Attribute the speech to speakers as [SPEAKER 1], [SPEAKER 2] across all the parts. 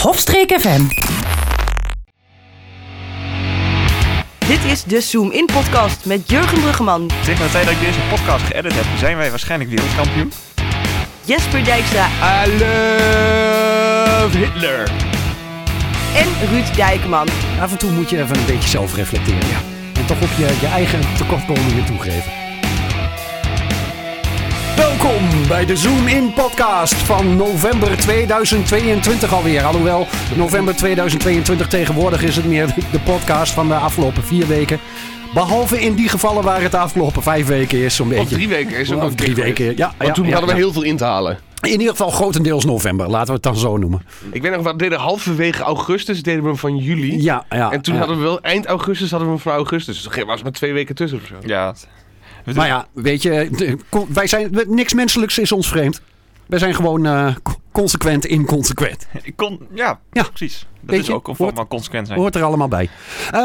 [SPEAKER 1] Hofstreek FM.
[SPEAKER 2] Dit is de Zoom In Podcast met Jurgen Bruggeman,
[SPEAKER 3] Tegen de tijd dat ik deze podcast geëdit heb, zijn wij waarschijnlijk wereldkampioen.
[SPEAKER 2] Jesper Dijkstra
[SPEAKER 3] I love Hitler.
[SPEAKER 2] en Ruud Dijkman.
[SPEAKER 4] Af en toe moet je even een beetje zelf reflecteren. Ja. En toch op je, je eigen tekortkomingen toegeven. Welkom bij de Zoom In podcast van november 2022 alweer. Alhoewel, november 2022 tegenwoordig is het meer de podcast van de afgelopen vier weken. Behalve in die gevallen waar het de afgelopen vijf weken is. Zo'n beetje.
[SPEAKER 5] Of drie weken is ook
[SPEAKER 4] Of
[SPEAKER 5] nog
[SPEAKER 4] drie weken. Ja,
[SPEAKER 5] Want
[SPEAKER 4] ja,
[SPEAKER 5] toen
[SPEAKER 4] ja,
[SPEAKER 5] hadden we
[SPEAKER 4] ja.
[SPEAKER 5] heel veel in te halen.
[SPEAKER 4] In ieder geval grotendeels november, laten we het dan zo noemen.
[SPEAKER 5] Ik weet nog, we deden halverwege augustus, deden we hem van juli.
[SPEAKER 4] Ja, ja.
[SPEAKER 5] En toen
[SPEAKER 4] ja.
[SPEAKER 5] hadden we wel, eind augustus hadden we hem van augustus. Dus er was maar twee weken tussen of zo.
[SPEAKER 3] Ja.
[SPEAKER 4] Maar ja, weet je, de- ko- wij zijn, niks menselijks is ons vreemd. Wij zijn gewoon eh, co- consequent inconsequent.
[SPEAKER 3] Ik kon, ja,
[SPEAKER 4] Ja.
[SPEAKER 3] precies. Dat
[SPEAKER 4] Weet
[SPEAKER 3] is
[SPEAKER 4] je,
[SPEAKER 3] ook conform
[SPEAKER 4] hoort-
[SPEAKER 3] aan consequent zijn.
[SPEAKER 4] Hoort er allemaal bij. Ehm,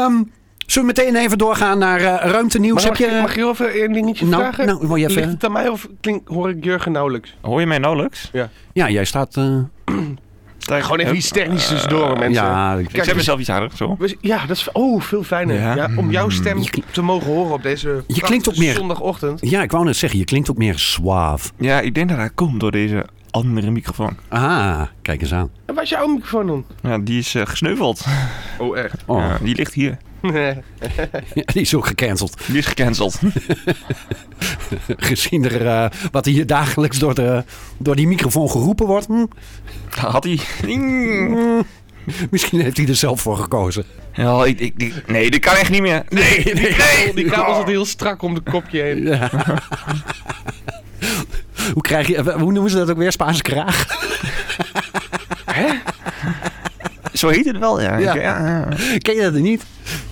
[SPEAKER 4] zullen we meteen even doorgaan naar eh ruimtenieuws?
[SPEAKER 5] Maar mag,
[SPEAKER 4] Heb
[SPEAKER 5] ik-
[SPEAKER 4] je...
[SPEAKER 5] mag je heel even een dingetje
[SPEAKER 4] Nou,
[SPEAKER 5] vragen?
[SPEAKER 4] nou, wil je even-
[SPEAKER 5] Ligt het aan mij of klink, hoor ik Jurgen nauwelijks?
[SPEAKER 3] Hoor je mij nauwelijks?
[SPEAKER 4] Ja, jij staat... eh,
[SPEAKER 3] Sta ik-
[SPEAKER 5] Gewoon even
[SPEAKER 3] Hup.
[SPEAKER 5] iets technisch tussendoor, mensen.
[SPEAKER 4] ja, ik-
[SPEAKER 3] Ik zet mezelf iets harder, zo.
[SPEAKER 5] We- Ja, dat is oh, veel fijner.
[SPEAKER 3] Ja.
[SPEAKER 5] Ja. om jouw stem te mogen horen op deze prachtige
[SPEAKER 4] klinkt ook meer-
[SPEAKER 5] zondagochtend.
[SPEAKER 4] ja, ik wou net zeggen, je klinkt ook meer suave.
[SPEAKER 3] Ja, ik denk dat dat komt door deze andere microfoon.
[SPEAKER 4] Ah, kijk eens aan.
[SPEAKER 5] En waar is jouw microfoon dan?
[SPEAKER 3] Ja, die is eh, gesneuveld.
[SPEAKER 5] Oh, echt?
[SPEAKER 4] Oh,
[SPEAKER 3] Ja, die ligt hier.
[SPEAKER 4] die is ook gecanceld.
[SPEAKER 3] Die is gecanceld.
[SPEAKER 4] Gezien er, eh, wat hier dagelijks door, de, door die microfoon geroepen wordt. hm,
[SPEAKER 3] Had hij.
[SPEAKER 4] misschien heeft hij er zelf voor gekozen.
[SPEAKER 3] Ja, ik, ik, die- nee, dit kan echt niet meer. Nee, nee, nee.
[SPEAKER 5] Die kabel zat heel strak om de kopje heen.
[SPEAKER 4] Hoe, krijg je, eh, hoe noemen ze dat ook weer? Spaanse kraag?
[SPEAKER 3] Zo heet het wel, ja.
[SPEAKER 4] Ja.
[SPEAKER 3] Ik- ja, ja.
[SPEAKER 4] Ken je dat niet?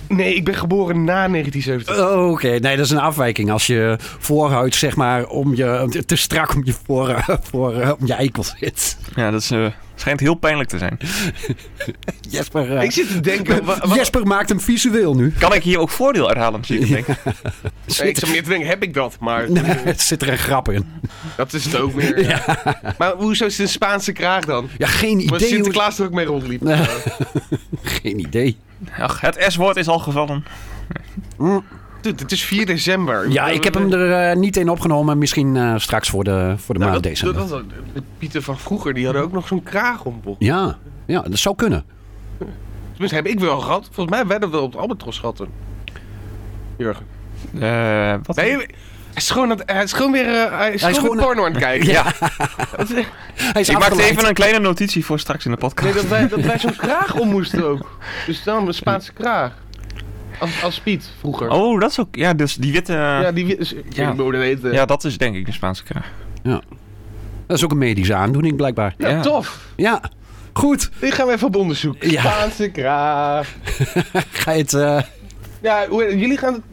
[SPEAKER 5] Nee, ik ben geboren na 1970.
[SPEAKER 4] Oké, nee, dat is een afwijking. Als je voorhuid, zeg maar, om je, te strak om je, voor, voor, eh, om je eikel zit.
[SPEAKER 3] Ja, dat is, eh, schijnt heel pijnlijk te zijn.
[SPEAKER 4] Jesper, eh,
[SPEAKER 5] Ik zit te denken. wa- wa-
[SPEAKER 4] Jesper maakt hem visueel nu.
[SPEAKER 3] Kan ik hier ook voordeel uit halen, zie ik denk.
[SPEAKER 5] Nee, ik zat meer te denken, heb ik dat? Maar
[SPEAKER 4] Nee, het zit er een grap in.
[SPEAKER 5] dat is het ook meer. ja. Maar hoezo is het een Spaanse kraag dan?
[SPEAKER 4] Ja, geen
[SPEAKER 5] Maar
[SPEAKER 4] idee. hoe-
[SPEAKER 5] Sinterklaas er ook mee rondliep.
[SPEAKER 4] Nee. Geen idee.
[SPEAKER 3] Ach, het S-woord is al gevallen.
[SPEAKER 5] Dude, het is 4 december.
[SPEAKER 4] Nou. Ja, ik heb hem er eh, niet in opgenomen. Misschien eh, straks voor de, voor de
[SPEAKER 5] Nou,
[SPEAKER 4] maand
[SPEAKER 5] dat-
[SPEAKER 4] december.
[SPEAKER 5] dat- dat- de Pieter van vroeger, die hadden ook nog zo'n kraag om. bocht.
[SPEAKER 4] Ja, ja, dat zou kunnen.
[SPEAKER 5] Tenminste, heb ik wel gehad. Volgens mij werden we op het Albatros gehad toen. Jurgen.
[SPEAKER 3] Eh, wat?
[SPEAKER 5] Nee, hij is gewoon, aan het- hij is gewoon weer eh, hij is
[SPEAKER 4] Hij is gewoon-
[SPEAKER 5] gewoon weer porno aan het kijken.
[SPEAKER 3] Ja,
[SPEAKER 5] Dat is-
[SPEAKER 4] Hij is
[SPEAKER 3] ik maakte
[SPEAKER 4] afgeleid.
[SPEAKER 3] even een kleine notitie voor straks in de podcast.
[SPEAKER 5] Nee, dat wij, dat wij zo'n kraag om moesten ook. Dus dan een Spaanse kraag. Als, als Piet vroeger.
[SPEAKER 3] Oh, dat is ook... Ja, dus die witte...
[SPEAKER 5] Ja,
[SPEAKER 3] Ja,
[SPEAKER 5] die is, ik
[SPEAKER 3] Ja.
[SPEAKER 5] weet niet hoe dat heet. eh.
[SPEAKER 3] dat is denk ik de Spaanse kraag.
[SPEAKER 4] Dat is ook een medische aandoening, blijkbaar.
[SPEAKER 5] Nou,
[SPEAKER 3] Ja.
[SPEAKER 5] tof.
[SPEAKER 4] Ja, goed.
[SPEAKER 5] Dit gaan we even op onderzoek.
[SPEAKER 4] Ja.
[SPEAKER 5] Spaanse kraag.
[SPEAKER 4] Ga je het... eh,
[SPEAKER 5] Ja, hoe- jullie gaan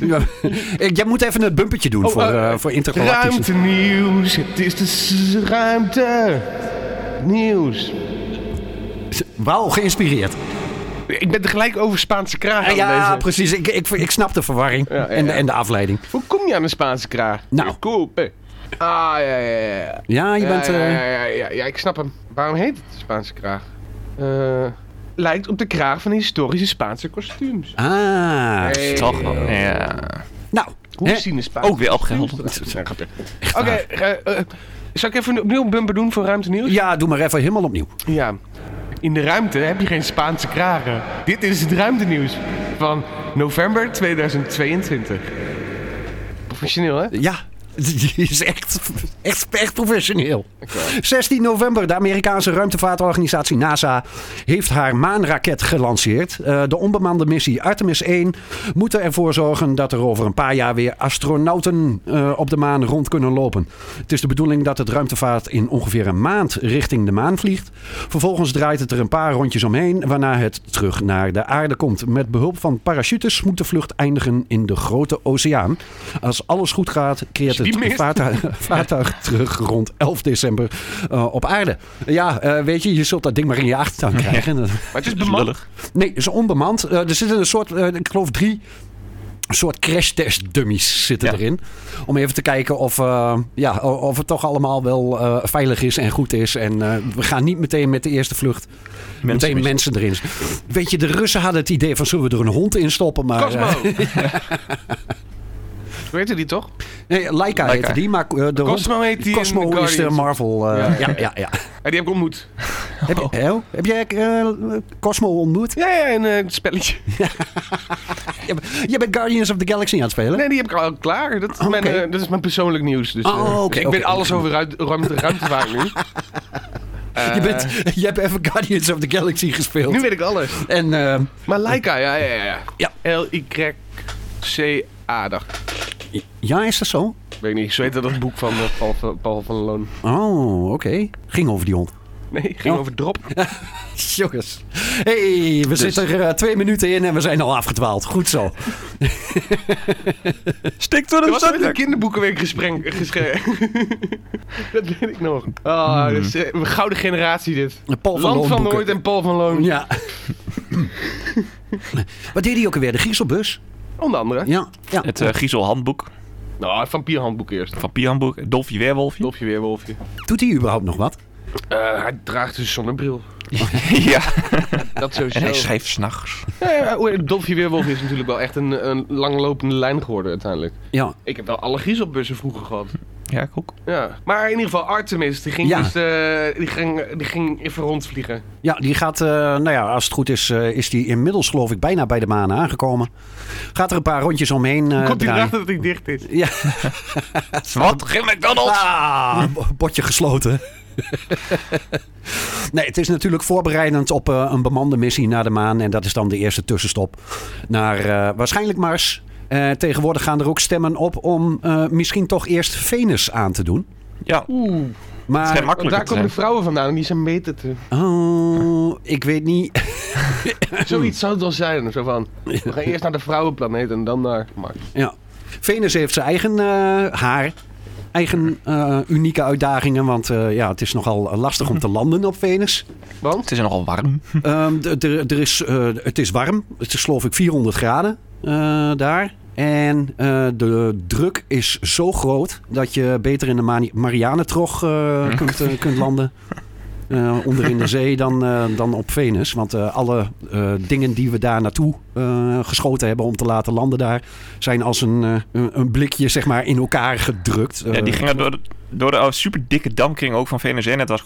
[SPEAKER 4] Ja, ik- jij moet even het bumpertje doen
[SPEAKER 5] Oh,
[SPEAKER 4] voor,
[SPEAKER 5] eh,
[SPEAKER 4] eh, voor
[SPEAKER 5] het
[SPEAKER 4] intergalactische.
[SPEAKER 5] ruimte nieuws. Het is de s- ruimte nieuws.
[SPEAKER 4] Wauw, geïnspireerd.
[SPEAKER 5] Ik ben tegelijk over Spaanse kraag aan
[SPEAKER 4] ja,
[SPEAKER 5] deze.
[SPEAKER 4] precies. Ik, ik, ik snap de verwarring
[SPEAKER 5] ja,
[SPEAKER 4] En, de,
[SPEAKER 5] ja.
[SPEAKER 4] en de afleiding.
[SPEAKER 5] Hoe kom je aan een Spaanse kraag?
[SPEAKER 4] Nou.
[SPEAKER 5] Kopen. Ah, ja, ja, ja. ja.
[SPEAKER 4] Ja, je bent...
[SPEAKER 5] ja,
[SPEAKER 4] eh,
[SPEAKER 5] ja, ja, ja, ja, ik snap hem. Waarom heet het de Spaanse kraag? Eh, lijkt op de kraag van historische Spaanse kostuums.
[SPEAKER 4] Ah.
[SPEAKER 5] Hey.
[SPEAKER 3] Toch wel. Ja.
[SPEAKER 4] Nou,
[SPEAKER 5] Hoe
[SPEAKER 4] hè?
[SPEAKER 5] zien de Spaanse
[SPEAKER 3] Ook weer
[SPEAKER 5] kostuums
[SPEAKER 3] opgehelderd.
[SPEAKER 5] eruit? Ja, grapje. Oké, eh, eh, zal ik even opnieuw een bumper doen voor ruimte nieuws?
[SPEAKER 4] ja, doe maar even helemaal opnieuw.
[SPEAKER 5] Ja. In de ruimte heb je geen Spaanse kragen. Dit is het ruimtenieuws van november 2022. Professioneel, hè?
[SPEAKER 4] Ja, die is echt, echt, echt professioneel. 16 november, de Amerikaanse ruimtevaartorganisatie NASA heeft haar maanraket gelanceerd. Eh, de onbemande missie Artemis 1 moet ervoor zorgen dat er over een paar jaar weer astronauten eh, op de maan rond kunnen lopen. Het is de bedoeling dat het ruimtevaart in ongeveer een maand richting de maan vliegt. Vervolgens draait het er een paar rondjes omheen, waarna het terug naar de aarde komt. Met behulp van parachutes moet de vlucht eindigen in de grote oceaan. Als alles goed gaat, keert
[SPEAKER 5] je die
[SPEAKER 4] het
[SPEAKER 5] mist.
[SPEAKER 4] vaartuig, vaartuig terug rond 11 december eh, op aarde. Ja, eh, weet je, je zult dat ding maar in je achtertuin krijgen.
[SPEAKER 5] Maar het is
[SPEAKER 3] Dat is
[SPEAKER 5] bemand.
[SPEAKER 3] lullig.
[SPEAKER 4] Nee, het is onbemand. Eh, er zitten een soort, eh, ik geloof drie Een soort crash test dummies zitten
[SPEAKER 3] Ja.
[SPEAKER 4] erin. Om even te kijken of, eh, ja, o- of het toch allemaal wel eh, veilig is en goed is. En eh, we gaan niet meteen met de eerste vlucht meteen mensen erin. Weet je, de Russen hadden het idee van zullen we er een hond in stoppen. Maar,
[SPEAKER 5] Cosmo!
[SPEAKER 4] eh,
[SPEAKER 5] Hoe heette die toch?
[SPEAKER 4] nee, Laika
[SPEAKER 3] Laika.
[SPEAKER 4] heette die, maar eh, de
[SPEAKER 5] Cosmo
[SPEAKER 4] hond-
[SPEAKER 5] heet die in
[SPEAKER 4] Cosmo
[SPEAKER 5] The
[SPEAKER 4] is de
[SPEAKER 5] Guardians.
[SPEAKER 4] Marvel. eh, ja,
[SPEAKER 5] Ja, ja. Oh.
[SPEAKER 4] ja, ja.
[SPEAKER 5] Ja, die heb ik ontmoet.
[SPEAKER 4] Heb, je, heel? heb jij eh, Cosmo ontmoet?
[SPEAKER 5] Ja, ja, in eh, het spelletje.
[SPEAKER 4] Je bent- Je bent Guardians of the Galaxy aan het spelen?
[SPEAKER 5] Nee, die heb ik al klaar. Dat is,
[SPEAKER 4] Oké.
[SPEAKER 5] mijn, eh, dat is mijn persoonlijk nieuws. Dus, eh,
[SPEAKER 4] Oh, oké,
[SPEAKER 5] ik
[SPEAKER 4] oké,
[SPEAKER 5] weet alles
[SPEAKER 4] oké.
[SPEAKER 5] over ruimte, ruimte, ruimtevaart nu.
[SPEAKER 4] Je, bent, je hebt even Guardians of the Galaxy gespeeld.
[SPEAKER 5] Nu weet ik alles.
[SPEAKER 4] En eh,
[SPEAKER 5] Maar Laika, ja, ja, ja.
[SPEAKER 4] Ja.
[SPEAKER 5] L-Y-C-A, dacht ik.
[SPEAKER 4] ja, is dat zo?
[SPEAKER 5] Weet ik niet. Zo heette dat boek van eh, Paul, van- Paul van Loon.
[SPEAKER 4] Oh, oké. Ging over die hond.
[SPEAKER 5] Nee, ging
[SPEAKER 4] Ja.
[SPEAKER 5] over drop.
[SPEAKER 4] Jongens. hey, we zitten er eh, twee minuten in en we zijn al afgedwaald. Goed zo.
[SPEAKER 3] Stik door
[SPEAKER 5] Er
[SPEAKER 3] de
[SPEAKER 5] was ooit een
[SPEAKER 3] subject.
[SPEAKER 5] kinderboekenweek gesprek. dat weet ik nog. Ah, dat is eh, een gouden generatie dit.
[SPEAKER 4] Hmm. Paul van
[SPEAKER 5] Land
[SPEAKER 4] Loon
[SPEAKER 5] van
[SPEAKER 4] boeken.
[SPEAKER 5] Nooit en Paul van Loon.
[SPEAKER 4] Ja. Wat deed hij ook alweer? De Gieselbus?
[SPEAKER 5] Onder andere.
[SPEAKER 4] Ja. ja.
[SPEAKER 3] Het eh, Giesel handboek.
[SPEAKER 5] Nou, van Pierhandboek eerst.
[SPEAKER 3] Van Piehandboek. Dolfje Weerwolfje.
[SPEAKER 5] Dolfje weer, Wolfje.
[SPEAKER 4] Doet hij überhaupt nog wat?
[SPEAKER 5] Eh, hij draagt een zonnebril.
[SPEAKER 3] ja.
[SPEAKER 5] Dat sowieso.
[SPEAKER 3] En hij schreef s'nachts.
[SPEAKER 5] Ja, ja, oh, en Dolfje Weerwolf is natuurlijk wel echt een, een langlopende lijn geworden uiteindelijk.
[SPEAKER 4] Ja.
[SPEAKER 5] Ik heb wel alle Gieselbussen vroeger gehad.
[SPEAKER 3] Ja, ik ook.
[SPEAKER 5] Ja. Maar in ieder geval, Artemis, die ging,
[SPEAKER 4] Ja.
[SPEAKER 5] dus, eh, die ging, die ging even rondvliegen.
[SPEAKER 4] Ja, die gaat, eh, nou ja, als het goed is, eh, is die inmiddels geloof ik bijna bij de maan aangekomen. Gaat er een paar rondjes omheen eh
[SPEAKER 5] Komt hij
[SPEAKER 4] draaien.
[SPEAKER 5] erachter dat hij dicht is?
[SPEAKER 4] Ja.
[SPEAKER 3] Wat? Geen McDonald's!
[SPEAKER 4] Ah, bo- botje gesloten. Nee, het is natuurlijk voorbereidend op eh, een bemande missie naar de maan. En dat is dan de eerste tussenstop naar eh, waarschijnlijk Mars. Eh, tegenwoordig gaan er ook stemmen op om eh, misschien toch eerst Venus aan te doen.
[SPEAKER 3] Ja,
[SPEAKER 5] Oeh,
[SPEAKER 3] het eh, zijn
[SPEAKER 4] Maar
[SPEAKER 5] want daar
[SPEAKER 3] makkelijker te
[SPEAKER 5] komen de
[SPEAKER 3] zijn.
[SPEAKER 5] vrouwen vandaan en die zijn beter te...
[SPEAKER 4] oh, ik weet niet.
[SPEAKER 5] Zoiets zou het wel zijn. Zo van, we gaan eerst naar de vrouwenplaneet en dan naar Mars.
[SPEAKER 4] Ja. Venus heeft zijn eigen eh, haar. Eigen eh, unieke uitdagingen, want eh, ja, het is nogal lastig om te landen op Venus.
[SPEAKER 5] Want?
[SPEAKER 3] Het is nogal warm.
[SPEAKER 4] Ehm, d- d- er is, eh, het is warm. Het is geloof ik 400 graden eh, daar. En eh, de druk is zo groot dat je beter in de Mani- Marianentrog eh,
[SPEAKER 3] Hm.
[SPEAKER 4] kunt, eh, kunt landen. eh, onder in de zee dan, eh, dan op Venus. Want eh, alle eh, dingen die we daar naartoe eh, geschoten hebben om te laten landen daar... zijn als een, eh, een- een blikje zeg maar, in elkaar gedrukt.
[SPEAKER 3] Ja, die
[SPEAKER 4] Eh,
[SPEAKER 3] gingen door de, door de super dikke damkring ook van VNS en het was...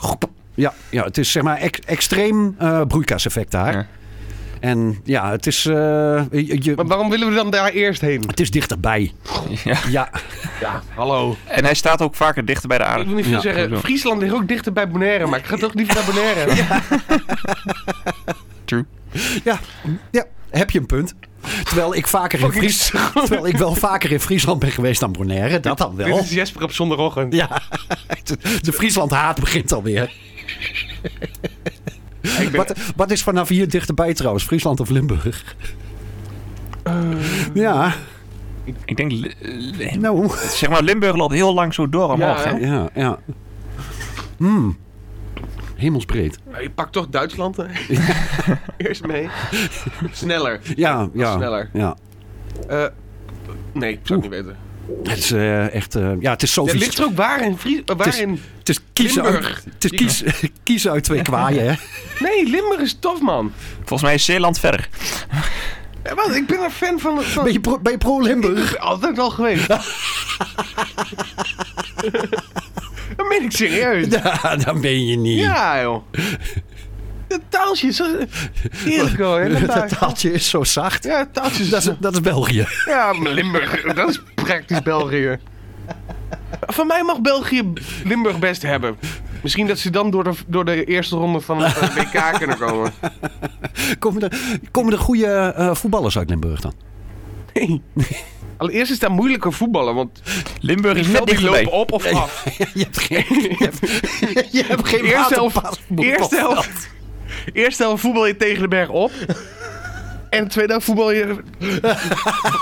[SPEAKER 4] Ja, ja het is zeg maar ex- extreem eh broeikaseffect daar.
[SPEAKER 3] Ja.
[SPEAKER 4] En ja, het is, eh, je, je-
[SPEAKER 5] Maar waarom willen we dan daar eerst heen?
[SPEAKER 4] het is dichterbij.
[SPEAKER 3] Ja.
[SPEAKER 4] Ja,
[SPEAKER 5] Ja, hallo.
[SPEAKER 3] En hij staat ook vaker dichter bij de
[SPEAKER 5] Ik
[SPEAKER 3] aarde.
[SPEAKER 5] wil niet veel
[SPEAKER 4] Ja,
[SPEAKER 5] zeggen,
[SPEAKER 3] sowieso.
[SPEAKER 5] Friesland ligt ook dichter bij Bonaire, maar ik ga toch liever naar Bonaire.
[SPEAKER 3] True.
[SPEAKER 4] ja, ja, heb je een punt. Terwijl ik, vaker in Fries, terwijl ik wel vaker in Friesland ben geweest dan Bonaire, dat dan
[SPEAKER 5] Dit
[SPEAKER 4] wel.
[SPEAKER 5] is Jesper op zondagochtend.
[SPEAKER 4] Ja, de Friesland haat begint alweer.
[SPEAKER 5] Ik ben-
[SPEAKER 4] Wat, wat is vanaf hier dichterbij trouwens? Friesland of Limburg?
[SPEAKER 5] Eh,
[SPEAKER 4] Ja,
[SPEAKER 3] Ik denk... li- li-
[SPEAKER 4] nou.
[SPEAKER 3] Zeg maar, Limburg loopt heel lang zo door omhoog.
[SPEAKER 5] Ja.
[SPEAKER 3] hè?
[SPEAKER 4] Ja, ja. Hmm. Hemelsbreed.
[SPEAKER 5] Nou, je pakt toch Duitsland, hè? Eerst mee. Sneller.
[SPEAKER 4] Ja, ja.
[SPEAKER 5] sneller.
[SPEAKER 4] Ja.
[SPEAKER 5] Eh, nee, ik zou het niet weten.
[SPEAKER 4] Het is eh, echt, eh, ja, het is zo
[SPEAKER 5] Ja,
[SPEAKER 4] vies.
[SPEAKER 5] ligt er ook waar in Fries... eh, Waar
[SPEAKER 4] Het is-
[SPEAKER 5] in...
[SPEAKER 4] Het is kiezen,
[SPEAKER 5] Limburg.
[SPEAKER 4] uit, het is kiezen, kiezen uit twee kwaaien, hè?
[SPEAKER 5] Nee, Limburg is tof, man.
[SPEAKER 3] Volgens mij is Zeeland verder.
[SPEAKER 5] Ja, wat, ik ben een fan van... van...
[SPEAKER 4] Ben je pro- ben je pro-Limburg?
[SPEAKER 5] Altijd wel geweest. dat meen ik serieus.
[SPEAKER 4] ja, dat ben je niet.
[SPEAKER 5] Ja, joh. Dat taaltje is zo... Heerlijk, hoor. hè, dat
[SPEAKER 4] dat
[SPEAKER 5] daar-
[SPEAKER 4] taaltje is zo zacht.
[SPEAKER 5] Ja, het taaltje is...
[SPEAKER 4] Dat is, dat is België.
[SPEAKER 5] Ja, maar Limburg, dat is praktisch België. Van mij mag België Limburg best hebben. Misschien dat ze dan door de, door de eerste ronde van het eh, WK kunnen komen.
[SPEAKER 4] Komen er, komen er goede eh, voetballers uit Limburg dan?
[SPEAKER 5] Nee. Allereerst is dat moeilijker voetballen, want
[SPEAKER 3] Limburg is
[SPEAKER 5] die
[SPEAKER 3] net
[SPEAKER 5] velden
[SPEAKER 3] dichterbij.
[SPEAKER 5] lopen op of af.
[SPEAKER 4] je hebt geen, je hebt, je hebt geen
[SPEAKER 5] Eerste helft,
[SPEAKER 4] waterpas-
[SPEAKER 5] eerste helft, eerste helft voetbal je tegen de berg op. En tweede helft voetbal je...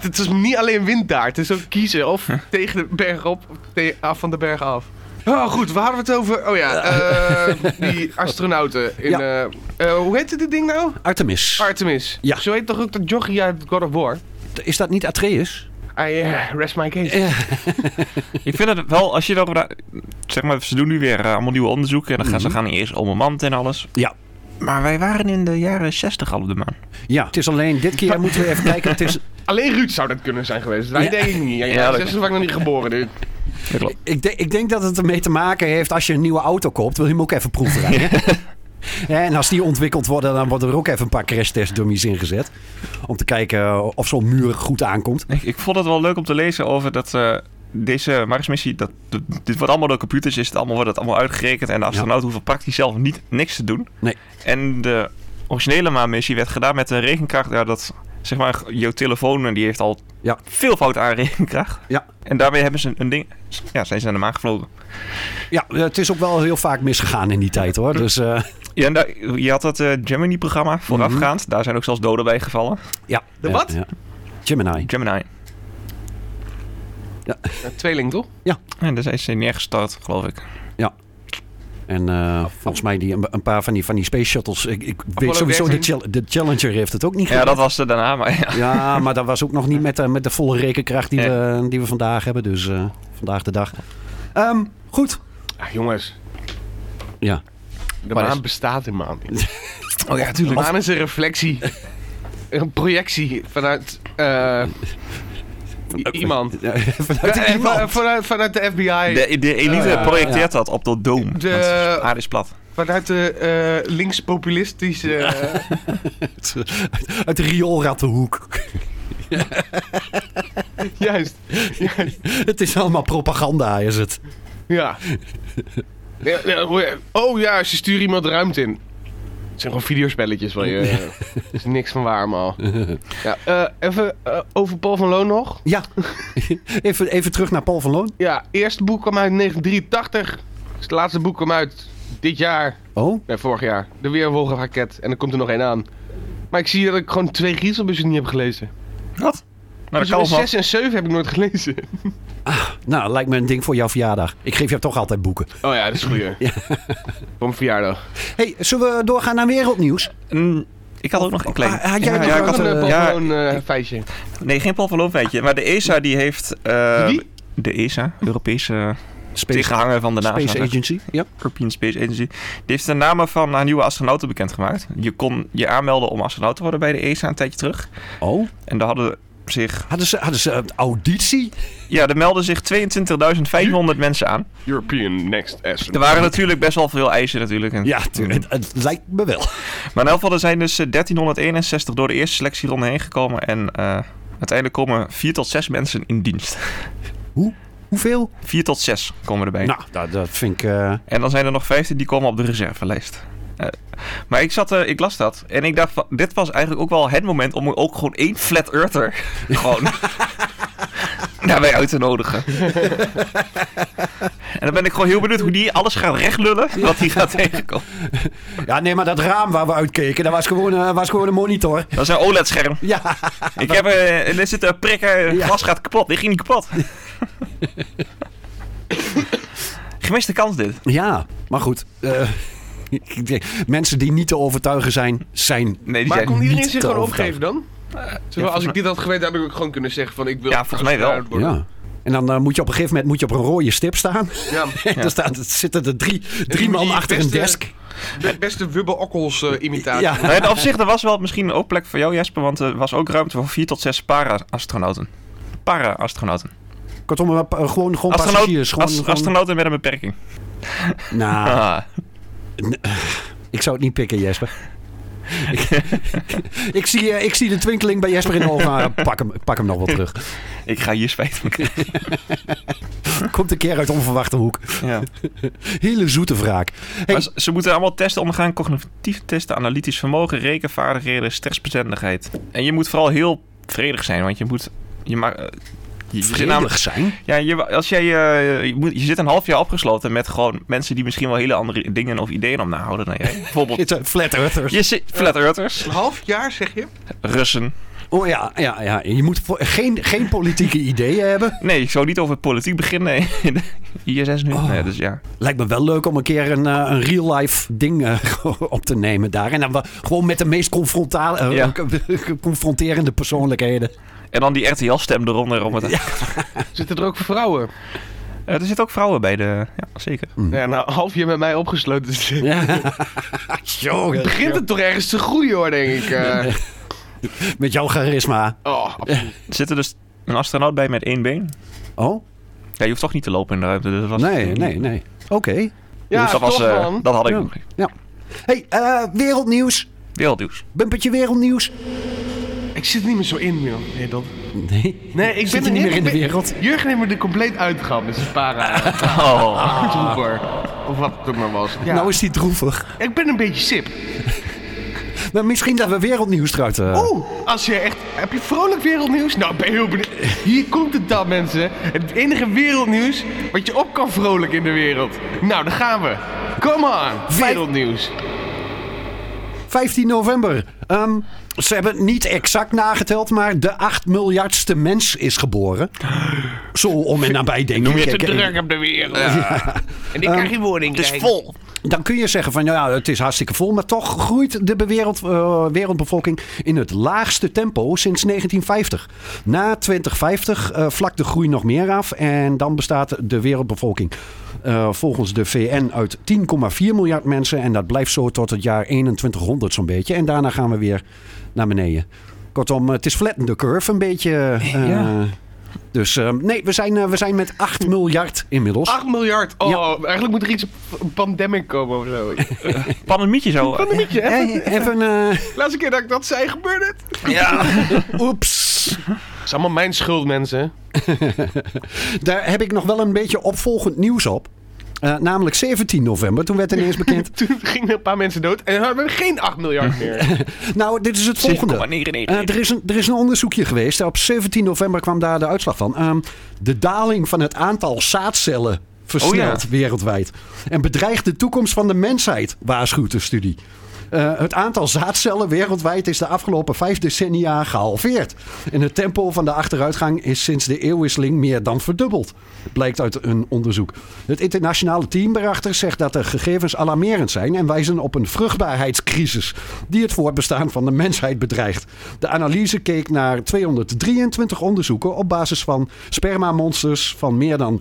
[SPEAKER 5] Het is niet alleen wind daar, het is ook kiezen. Of tegen de berg op, of te- af van de berg af. Oh goed, waar hadden we het over? Oh ja, eh, die astronauten. In, eh, eh, hoe heette dit ding nou?
[SPEAKER 4] Artemis.
[SPEAKER 5] Artemis.
[SPEAKER 4] Ja.
[SPEAKER 5] Zo heet toch ook dat jochie uit God of War?
[SPEAKER 4] is dat niet Atreus?
[SPEAKER 5] I eh, rest my case.
[SPEAKER 3] Ik vind het wel, als je erover... na- Zeg maar, ze doen nu weer eh, allemaal nieuwe onderzoeken. En dan gaan ze gaan eerst om een mand en alles.
[SPEAKER 4] Ja.
[SPEAKER 3] Maar wij waren in de jaren 60 al op de maan.
[SPEAKER 4] Ja, het is alleen dit keer moeten we even kijken. Het is,
[SPEAKER 5] Alleen Ruud zou dat kunnen zijn geweest. Wij
[SPEAKER 4] Ja.
[SPEAKER 5] denk ik niet. Ja,
[SPEAKER 3] Ja,
[SPEAKER 5] ja,
[SPEAKER 3] dat-
[SPEAKER 5] zes was ik nog niet geboren, dude.
[SPEAKER 3] Dat klopt.
[SPEAKER 4] ik, denk- ik denk dat het ermee te maken heeft als je een nieuwe auto koopt, wil je hem ook even proefrijden. En als die ontwikkeld worden, dan worden er ook even een paar crashtest dummies ingezet. Om te kijken eh, of zo'n muur goed aankomt.
[SPEAKER 3] Ik, ik vond het wel leuk om te lezen over dat... eh, deze Marsmissie, dat, dat- dit wordt allemaal door computers, is het allemaal, wordt het allemaal uitgerekend. En de astronaut hoeft praktisch zelf niet, niks te doen.
[SPEAKER 4] Nee.
[SPEAKER 3] En de originele maanmissie werd gedaan met een regenkracht. Ja, dat, zeg maar, jouw telefoon en die heeft al
[SPEAKER 4] Ja.
[SPEAKER 3] veel fout aan regenkracht.
[SPEAKER 4] Ja.
[SPEAKER 3] En daarmee hebben ze een, een ding... Ja, zijn ze naar de maan gevlogen.
[SPEAKER 4] Ja, het is ook wel heel vaak misgegaan in die tijd hoor. Dus eh,
[SPEAKER 3] Ja, en daar- je had dat eh, Gemini-programma voorafgaand. Daar zijn ook zelfs doden bij gevallen.
[SPEAKER 4] ja.
[SPEAKER 5] De wat?
[SPEAKER 4] Ja, ja. Gemini.
[SPEAKER 3] Gemini.
[SPEAKER 5] Ja, tweeling, toch?
[SPEAKER 3] En daar zijn ze neergestart, geloof ik.
[SPEAKER 4] En
[SPEAKER 5] Oh,
[SPEAKER 4] eh, volgens mij die, een, een paar van die, van die space shuttles. Ik, ik weet sowieso, de,
[SPEAKER 5] werking.
[SPEAKER 4] Chal- de Challenger heeft het ook niet
[SPEAKER 3] Ja, dat was ze daarna, maar ja.
[SPEAKER 4] Ja, maar dat was ook nog niet met, eh, met de volle rekenkracht die,
[SPEAKER 3] Nee.
[SPEAKER 4] we, die we vandaag hebben. Dus eh, vandaag de dag. Ehm, goed.
[SPEAKER 5] Ah, jongens.
[SPEAKER 4] Ja.
[SPEAKER 5] De
[SPEAKER 3] Maar
[SPEAKER 5] maan
[SPEAKER 3] is-
[SPEAKER 5] bestaat helemaal niet.
[SPEAKER 3] Oh ja,
[SPEAKER 5] De
[SPEAKER 3] natuurlijk.
[SPEAKER 5] maan is een reflectie. Een projectie vanuit... eh, i- iemand.
[SPEAKER 4] Vanuit
[SPEAKER 5] Eh,
[SPEAKER 4] iemand.
[SPEAKER 5] va- Vanuit, vanuit de FBI.
[SPEAKER 3] De, de elite
[SPEAKER 5] Oh, ja.
[SPEAKER 3] projecteert dat op dat dome.
[SPEAKER 5] De-
[SPEAKER 3] Want de aarde is plat. Nou,
[SPEAKER 5] Vanuit de eh, linkspopulistische... eh,
[SPEAKER 4] Uit de rioolrattenhoek.
[SPEAKER 5] juist. Juist.
[SPEAKER 4] het is allemaal propaganda, is het.
[SPEAKER 5] Ja. Ja, ja, hoe- Oh ja, ze sturen iemand de ruimte in. Het zijn gewoon videospelletjes waar je... Er is niks van waar, man. Ja, eh, even eh, over Paul van Loon nog.
[SPEAKER 4] Ja. even, even terug naar Paul van Loon.
[SPEAKER 5] Ja, eerste boek kwam uit in 1983. Dus het laatste boek kwam uit dit jaar.
[SPEAKER 4] Oh,
[SPEAKER 5] Nee, vorig jaar. De Weerwolf-raket. En er komt er nog één aan. Maar ik zie dat ik gewoon twee Griezelbussen niet heb gelezen.
[SPEAKER 3] Wat? Nou, dat kan
[SPEAKER 5] Dus
[SPEAKER 3] wel.
[SPEAKER 5] 6 en 7 heb ik nooit gelezen.
[SPEAKER 4] nou, lijkt me een ding voor jouw verjaardag. Ik geef jou toch altijd boeken.
[SPEAKER 5] Oh ja, dat is goed. hè. Voor mijn verjaardag.
[SPEAKER 4] hey, zullen we doorgaan naar wereldnieuws?
[SPEAKER 3] Mm, Ik had ook nog een klein.
[SPEAKER 4] Ah, had jij nog
[SPEAKER 3] ja,
[SPEAKER 4] een
[SPEAKER 3] ik had
[SPEAKER 5] een
[SPEAKER 4] andere
[SPEAKER 3] een
[SPEAKER 5] eh,
[SPEAKER 3] ja,
[SPEAKER 5] gewoon eh, feitje.
[SPEAKER 3] Nee, geen Paul van Loon, weet je. Maar de ESA die heeft. eh,
[SPEAKER 5] Wie?
[SPEAKER 3] De ESA, Europese
[SPEAKER 4] Space,
[SPEAKER 3] tegenhanger van de NASA.
[SPEAKER 4] Space
[SPEAKER 3] zeg.
[SPEAKER 4] Agency. Ja.
[SPEAKER 3] European Space Agency. Die heeft de namen van haar nieuwe astronauten bekendgemaakt. Je kon je aanmelden om astronaut te worden bij de ESA een tijdje terug.
[SPEAKER 4] Oh,
[SPEAKER 3] En daar hadden zich.
[SPEAKER 4] hadden ze, hadden ze een auditie?
[SPEAKER 3] Ja, er melden zich 22.500 mensen aan.
[SPEAKER 5] European Next S.
[SPEAKER 3] Er waren natuurlijk best wel veel eisen, natuurlijk. En-
[SPEAKER 4] Ja, tu- het, het lijkt me wel.
[SPEAKER 3] Maar in elk geval er zijn dus eh, 1361 door de eerste selectieronde heen gekomen. En eh, uiteindelijk komen 4 tot 6 mensen in dienst.
[SPEAKER 4] Hoe? Hoeveel?
[SPEAKER 3] 4 tot 6 komen erbij.
[SPEAKER 4] Nou, dat, dat vind ik... eh,
[SPEAKER 3] En dan zijn er nog 15 die komen op de reservelijst. Eh, maar ik, zat, eh, ik las dat en ik dacht, van, dit was eigenlijk ook wel het moment om ook gewoon één flat earther gewoon naar mij uit te nodigen. en dan ben ik gewoon heel benieuwd hoe die alles gaat rechtlullen wat hij gaat tegenkomen.
[SPEAKER 4] Ja, nee, maar dat raam waar we uitkeken, dat was gewoon, eh, was gewoon een monitor.
[SPEAKER 3] Dat is een OLED-scherm.
[SPEAKER 4] Ja,
[SPEAKER 3] Ik heb eh, en er zit een prik, eh, het
[SPEAKER 4] Ja.
[SPEAKER 3] glas gaat kapot. Dit ging niet kapot. Gemiste kans dit.
[SPEAKER 4] ja maar goed. eh, ik denk, mensen die niet te overtuigen zijn, zijn...
[SPEAKER 3] Nee, die
[SPEAKER 5] Maar
[SPEAKER 3] zijn-
[SPEAKER 5] kon iedereen
[SPEAKER 4] niet
[SPEAKER 5] zich
[SPEAKER 4] te
[SPEAKER 5] gewoon opgeven
[SPEAKER 4] overtuigen.
[SPEAKER 5] dan? Zo,
[SPEAKER 3] ja,
[SPEAKER 5] Eh, als
[SPEAKER 3] volgens
[SPEAKER 5] ik dit had geweten, had ik ook gewoon kunnen zeggen van ik wil...
[SPEAKER 3] Ja, volgens mij wel.
[SPEAKER 5] astronaut worden.
[SPEAKER 4] Ja. En dan eh, moet je op een gegeven moment moet je op een rode stip staan.
[SPEAKER 5] Ja.
[SPEAKER 4] En dan staan, zitten er drie, drie
[SPEAKER 5] Die-
[SPEAKER 4] man
[SPEAKER 5] die
[SPEAKER 4] achter een
[SPEAKER 5] beste-
[SPEAKER 4] desk.
[SPEAKER 5] De beste Wubbe Okkels eh, imitatie.
[SPEAKER 4] Ja.
[SPEAKER 3] Nou, in opzicht, er was wel misschien ook plek voor jou, Jesper, want er was ook ruimte voor 4 tot 6 para-astronauten. Para-astronauten.
[SPEAKER 4] Kortom, eh, pa- gewoon, gewoon
[SPEAKER 3] Astronaut-
[SPEAKER 4] passagiers. Gewoon,
[SPEAKER 3] as-
[SPEAKER 4] gewoon-
[SPEAKER 3] Astronauten met een beperking.
[SPEAKER 4] Nou,
[SPEAKER 3] Ah.
[SPEAKER 4] ik zou het niet pikken, Jesper. ik, ik zie, eh, ik zie de twinkeling bij Jesper in de ogen. maar Pak hem, pak hem nog wel terug.
[SPEAKER 3] Ik ga hier spijt van krijgen.
[SPEAKER 4] Komt een keer uit onverwachte hoek.
[SPEAKER 3] Ja.
[SPEAKER 4] Hele zoete wraak. Hey,
[SPEAKER 3] Maar ze- Ze moeten allemaal testen ondergaan. Cognitief testen, analytisch vermogen, rekenvaardigheden, stressbestendigheid. En je moet vooral heel vredig zijn, want je moet... Je ma- eh, je- je zit namelijk-
[SPEAKER 4] vredig zijn.
[SPEAKER 3] Ja, je, als jij, eh, je, moet, je zit een half jaar opgesloten met gewoon mensen die misschien wel hele andere dingen of ideeën om nahouden dan jij. Bijvoorbeeld,
[SPEAKER 4] Dit zijn flat earthers.
[SPEAKER 3] je zit, flat earthers,
[SPEAKER 5] Een half jaar, zeg je?
[SPEAKER 3] Russen,
[SPEAKER 4] Oh ja, ja, ja. je moet voor- geen, geen politieke ideeën hebben.
[SPEAKER 3] Nee, ik zou niet over politiek beginnen nee. in de ISS nu.
[SPEAKER 4] Oh.
[SPEAKER 3] Nee, dus ja.
[SPEAKER 4] Lijkt me wel leuk om een keer een, eh, een real-life ding eh, op te nemen daar. En dan we- gewoon met de meest confrontale, eh,
[SPEAKER 3] Ja.
[SPEAKER 4] confronterende persoonlijkheden.
[SPEAKER 3] En dan die RTL-stem eronder. Om het...
[SPEAKER 5] Zitten er ook vrouwen?
[SPEAKER 3] Eh, er zitten ook vrouwen bij de... Ja, zeker.
[SPEAKER 4] Mm.
[SPEAKER 5] Ja, nou, half je met mij opgesloten zit.
[SPEAKER 4] Jongen,
[SPEAKER 5] Begint het toch ergens te groeien hoor, denk ik. eh.
[SPEAKER 4] met jouw charisma.
[SPEAKER 5] Oh, absoluut.
[SPEAKER 3] Er zitten dus een astronaut bij met één been.
[SPEAKER 4] Oh,
[SPEAKER 3] Ja, je hoeft toch niet te lopen in de ruimte. Dus dat was...
[SPEAKER 4] nee, nee, nee. Oké.
[SPEAKER 5] Ja,
[SPEAKER 3] dus dat, was,
[SPEAKER 5] toch
[SPEAKER 3] eh,
[SPEAKER 5] man.
[SPEAKER 3] dat had ik
[SPEAKER 4] Ja.
[SPEAKER 3] nog.
[SPEAKER 4] Ja. hey, eh, wereldnieuws.
[SPEAKER 3] Wereldnieuws.
[SPEAKER 4] Bumpertje wereldnieuws.
[SPEAKER 5] Ik zit niet meer zo in, joh. Nee, dat...
[SPEAKER 4] Nee.
[SPEAKER 5] Nee, ik
[SPEAKER 4] Zit
[SPEAKER 5] ben
[SPEAKER 4] er niet meer
[SPEAKER 5] ik
[SPEAKER 4] in de
[SPEAKER 5] ben-
[SPEAKER 4] wereld.
[SPEAKER 5] Jurgen neemt me er compleet uitgehaald met zijn para.
[SPEAKER 3] Oh.
[SPEAKER 5] Hardroeper. Of wat het ook maar was. Ja.
[SPEAKER 4] Nou is die droevig.
[SPEAKER 5] Ik ben een beetje sip.
[SPEAKER 4] Maar misschien dat we wereldnieuws eruit...
[SPEAKER 5] Oh.
[SPEAKER 4] eh,
[SPEAKER 5] Oeh, als je echt... Heb je vrolijk wereldnieuws? Nou, ben je heel benieuwd. Hier komt het dan, mensen. Het enige wereldnieuws wat je op kan vrolijk in de wereld. Nou, daar gaan we. Come on, wereldnieuws.
[SPEAKER 4] 15 november. Ehm, ze hebben niet exact nageteld, maar de 8 miljardste mens is geboren. Zo om en nabij denk
[SPEAKER 5] Noem je
[SPEAKER 4] ik.
[SPEAKER 5] te
[SPEAKER 4] Ik- ik-
[SPEAKER 5] druk op de wereld. En ik krijg geen
[SPEAKER 4] Ehm,
[SPEAKER 5] woning Het is vol.
[SPEAKER 4] Dan kun je zeggen van nou ja, het is hartstikke vol, maar toch groeit de bewereld, eh, wereldbevolking in het laagste tempo sinds 1950. Na 2050 eh, vlakt de groei nog meer af en dan bestaat de wereldbevolking eh, volgens de VN uit 10,4 miljard mensen en dat blijft zo tot het jaar 2100 zo'n beetje en daarna gaan we weer naar beneden. Kortom, het is flatten de curve een beetje. eh,
[SPEAKER 3] Ja.
[SPEAKER 4] Dus eh, nee, we zijn, eh, we zijn met 8 miljard inmiddels.
[SPEAKER 5] 8 miljard. Oh,
[SPEAKER 4] Ja.
[SPEAKER 5] eigenlijk moet er iets een pandemic komen of zo.
[SPEAKER 3] Pandemietje zo.
[SPEAKER 5] Pandemietje, hè?
[SPEAKER 4] Eh, Even, eh,
[SPEAKER 5] Laatste keer dat ik dat zei, gebeurde het.
[SPEAKER 4] oeps.
[SPEAKER 5] Het is allemaal mijn schuld, mensen.
[SPEAKER 4] Daar heb ik nog wel een beetje opvolgend nieuws op. Eh, namelijk 17 november, toen werd ineens bekend.
[SPEAKER 5] Toen gingen er een paar mensen dood en hadden we geen 8 miljard meer.
[SPEAKER 4] nou, dit is het volgende. Eh, er, is een, er is een onderzoekje geweest. Op 17 november kwam daar de uitslag van. Ehm, de daling van het aantal zaadcellen versnelt
[SPEAKER 3] Oh ja.
[SPEAKER 4] wereldwijd. En bedreigt de toekomst van de mensheid, waarschuwt de studie. Eh, het aantal zaadcellen wereldwijd is de afgelopen vijf decennia gehalveerd. En het tempo van de achteruitgang is sinds de eeuwwisseling meer dan verdubbeld. Blijkt uit een onderzoek. Het internationale team erachter zegt dat de gegevens alarmerend zijn en wijzen op een vruchtbaarheidscrisis die het voortbestaan van de mensheid bedreigt. De analyse keek naar 223 onderzoeken op basis van spermamonsters van meer dan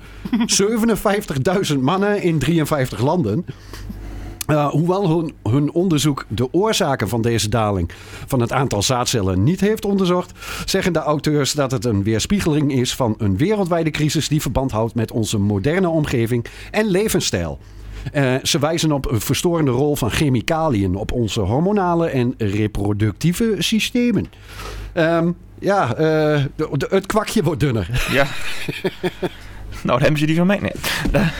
[SPEAKER 4] 57.000 mannen in 53 landen. Uh, hoewel hun, hun onderzoek de oorzaken van deze daling van het aantal zaadcellen niet heeft onderzocht, zeggen de auteurs dat het een weerspiegeling is van een wereldwijde crisis die verband houdt met onze moderne omgeving en levensstijl. Eh, ze wijzen op een verstorende rol van chemicaliën op onze hormonale en reproductieve systemen. Ehm, ja, eh, de- de- het kwakje wordt dunner.
[SPEAKER 3] Ja. nou, dan hebben ze die van mij. Nee.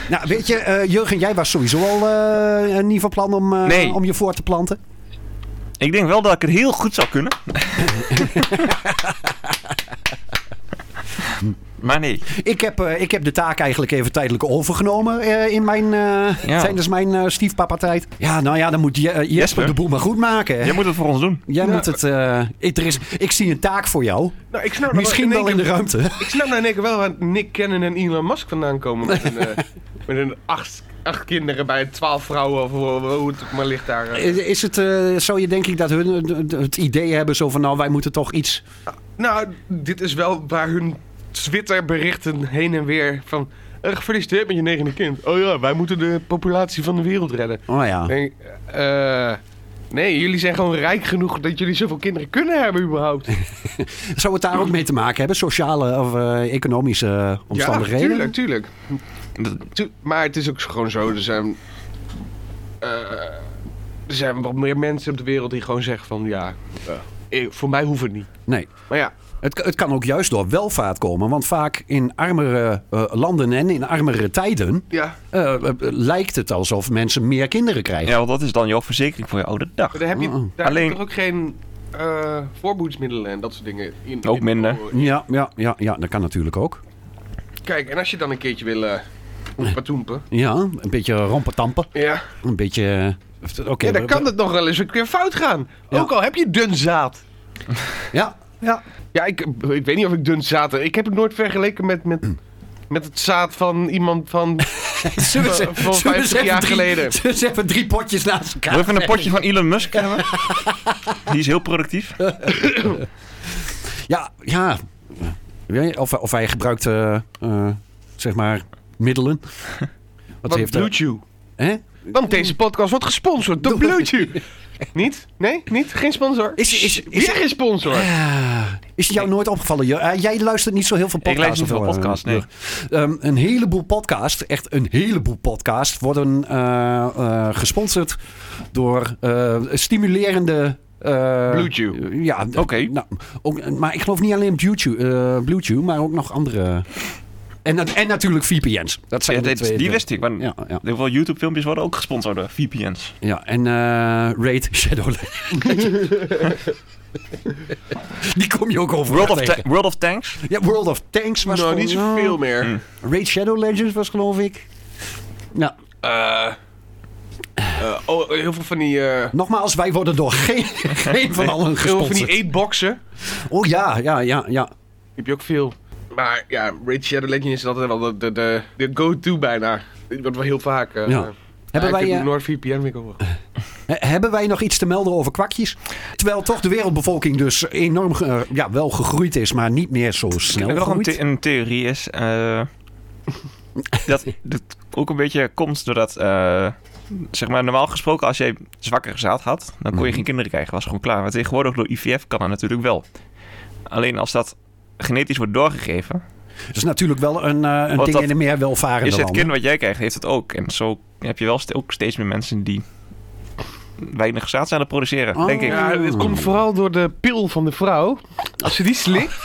[SPEAKER 4] Nou, weet je, eh, Jurgen, jij was sowieso al eh, niet van plan om, eh,
[SPEAKER 3] Nee.
[SPEAKER 4] om je voor te planten.
[SPEAKER 3] Ik denk wel dat ik het heel goed zou kunnen. maar nee.
[SPEAKER 4] Ik heb, eh, ik heb de taak eigenlijk even tijdelijk overgenomen eh, in mijn, eh,
[SPEAKER 3] Ja.
[SPEAKER 4] tijdens mijn eh stiefpapa-tijd. Ja, nou ja, dan moet Je- eh, Jesper,
[SPEAKER 3] Jesper.
[SPEAKER 4] de boel maar goed maken. Hè?
[SPEAKER 3] Jij moet het voor ons doen.
[SPEAKER 4] Jij moet het. eh, ik, er is, ik zie een taak voor jou.
[SPEAKER 5] Nou, ik snap nou
[SPEAKER 4] Misschien
[SPEAKER 5] één
[SPEAKER 4] wel in de
[SPEAKER 5] keer-
[SPEAKER 4] ruimte.
[SPEAKER 5] Ik snap nou in één keer wel waar Nick Cannon en Elon Musk vandaan komen. Met hun, eh, met hun acht, acht kinderen bij twaalf vrouwen of hoe, hoe het ook maar ligt daar. eh.
[SPEAKER 4] Is het eh, zo, je denk ik, dat hun eh, d- het idee hebben zo van, nou, wij moeten toch iets.
[SPEAKER 5] Nou, dit is wel waar hun Twitter-berichten heen en weer van... eh, gefeliciteerd met je negende kind. Oh ja, wij moeten de populatie van de wereld redden.
[SPEAKER 4] Oh ja.
[SPEAKER 5] Denk, eh, nee, jullie zijn gewoon rijk genoeg dat jullie zoveel kinderen kunnen hebben überhaupt.
[SPEAKER 4] Zou het daar ook mee te maken hebben? Sociale of eh, economische eh, omstandigheden?
[SPEAKER 5] Ja, tuurlijk, tuurlijk. Tu- maar het is ook gewoon zo, er zijn... eh, er zijn wat meer mensen op de wereld die gewoon zeggen van... Ja, eh, voor mij hoeft het niet.
[SPEAKER 4] Nee.
[SPEAKER 5] Maar ja,
[SPEAKER 4] Het, het kan ook juist door welvaart komen. Want vaak in armere eh, landen en in armere tijden
[SPEAKER 5] ja
[SPEAKER 4] eh, eh, eh, lijkt het alsof mensen meer kinderen krijgen.
[SPEAKER 3] Ja, want dat is dan jouw verzekering voor je oude dag.
[SPEAKER 5] maar daar heb je, daar heb je
[SPEAKER 3] Alleen-
[SPEAKER 5] toch ook geen eh, voorboedsmiddelen en dat soort dingen. In,
[SPEAKER 3] Ook
[SPEAKER 5] in-
[SPEAKER 3] minder.
[SPEAKER 4] Ja, ja, ja, ja, dat kan natuurlijk ook.
[SPEAKER 5] Kijk, en als je dan een keertje wil... eh Patoempen.
[SPEAKER 4] Ja, een beetje rompetampen.
[SPEAKER 5] Ja.
[SPEAKER 4] Een beetje... eh, Oké.
[SPEAKER 5] ja, dan
[SPEAKER 4] we-
[SPEAKER 5] kan het nog wel eens een keer fout gaan.
[SPEAKER 4] Ja.
[SPEAKER 5] Ook al heb je dun zaad.
[SPEAKER 4] Ja. Ja.
[SPEAKER 5] Ja, ik, ik weet niet of ik dun zaad... Ik heb het nooit vergeleken met, met,
[SPEAKER 4] Mm.
[SPEAKER 5] met het zaad van iemand van...
[SPEAKER 4] Zullen
[SPEAKER 5] we ze- Van- van zullen we ze 50 even jaar drie- geleden.
[SPEAKER 4] Zullen ze even drie potjes naast elkaar
[SPEAKER 3] Wil je even een potje van Elon Musk hebben? Die is heel productief.
[SPEAKER 4] Ja, ja. Ja, Of, of hij gebruikt, eh, eh, zeg maar, middelen. Wat
[SPEAKER 5] Wat
[SPEAKER 4] heeft hij?
[SPEAKER 5] Bluetooth.
[SPEAKER 4] Hè?
[SPEAKER 5] Want deze podcast wordt gesponsord door Bluetooth. niet? Nee? Niet? Geen sponsor?
[SPEAKER 4] Is- is- is-
[SPEAKER 5] Weer geen sponsor.
[SPEAKER 4] Ah, is het jou nooit opgevallen? Jo- eh, jij luistert niet zo heel veel
[SPEAKER 3] Eh, Ik
[SPEAKER 4] podcasts.
[SPEAKER 3] lees niet
[SPEAKER 4] of
[SPEAKER 3] veel
[SPEAKER 4] wel, eh,
[SPEAKER 3] podcasts, nee.
[SPEAKER 4] Ehm, een heleboel podcasts, echt een heleboel podcasts, worden eh, eh, gesponsord door eh, stimulerende. eh,
[SPEAKER 5] Bluetooth.
[SPEAKER 4] Ja,
[SPEAKER 3] Oké.
[SPEAKER 4] nou, ook, maar ik geloof niet alleen Bluetooth, eh, Bluetooth maar ook nog andere. En, nat- en natuurlijk VPN's. Dat zijn
[SPEAKER 3] Ja,
[SPEAKER 4] de
[SPEAKER 3] dit-
[SPEAKER 4] twee-
[SPEAKER 3] die
[SPEAKER 4] de-
[SPEAKER 3] wist ik. want
[SPEAKER 4] Ja, ja.
[SPEAKER 3] Heel veel YouTube-filmpjes worden ook gesponsord door VPN's.
[SPEAKER 4] Ja, en eh, Raid Shadowlands. die kom je ook over.
[SPEAKER 3] World of, Ta- World of Tanks.
[SPEAKER 4] Ja, World of Tanks was
[SPEAKER 5] Nou,
[SPEAKER 4] gewoon-
[SPEAKER 5] niet zoveel meer.
[SPEAKER 4] Raid Shadow Legends was geloof ik. Nou,
[SPEAKER 5] Eh, eh, oh, heel veel van die... eh,
[SPEAKER 4] nogmaals, wij worden door geen, geen van allen
[SPEAKER 5] heel veel van
[SPEAKER 4] gesponsord.
[SPEAKER 5] die eetboxen.
[SPEAKER 4] Oh ja, ja, ja, ja.
[SPEAKER 5] Die heb je ook veel. Maar ja, Raid Shadow Legends is altijd wel de, de, de, de go-to bijna. Dat wordt wel heel vaak. eh,
[SPEAKER 4] Ja.
[SPEAKER 5] eh,
[SPEAKER 4] Hebben,
[SPEAKER 5] ja,
[SPEAKER 4] wij,
[SPEAKER 5] ik heb
[SPEAKER 4] eh,
[SPEAKER 5] NordVPN weer over.
[SPEAKER 4] he- hebben wij nog iets te melden over kwakjes? Terwijl toch de wereldbevolking dus enorm ge- eh, ja, wel gegroeid is, maar niet meer zo snel
[SPEAKER 3] En nog een,
[SPEAKER 4] groeit.
[SPEAKER 3] the- een theorie is eh, dat het ook een beetje komt doordat, eh, zeg maar, normaal gesproken als jij zwakker zaad had, dan
[SPEAKER 4] Mhm.
[SPEAKER 3] kon je geen kinderen krijgen, was gewoon klaar. Maar tegenwoordig door IVF kan dat natuurlijk wel. Alleen als dat genetisch wordt doorgegeven,
[SPEAKER 4] Dat is natuurlijk wel een, eh, een
[SPEAKER 3] Want
[SPEAKER 4] ding
[SPEAKER 3] dat-
[SPEAKER 4] in de meer welvarende
[SPEAKER 3] is het
[SPEAKER 4] landen.
[SPEAKER 3] kind wat jij krijgt, heeft het ook. En zo heb je wel ste- ook steeds meer mensen die weinig zaad zijn aan het produceren,
[SPEAKER 4] Oh.
[SPEAKER 3] denk ik.
[SPEAKER 5] Ja, het komt vooral door de pil van de vrouw. Als ze die slikt,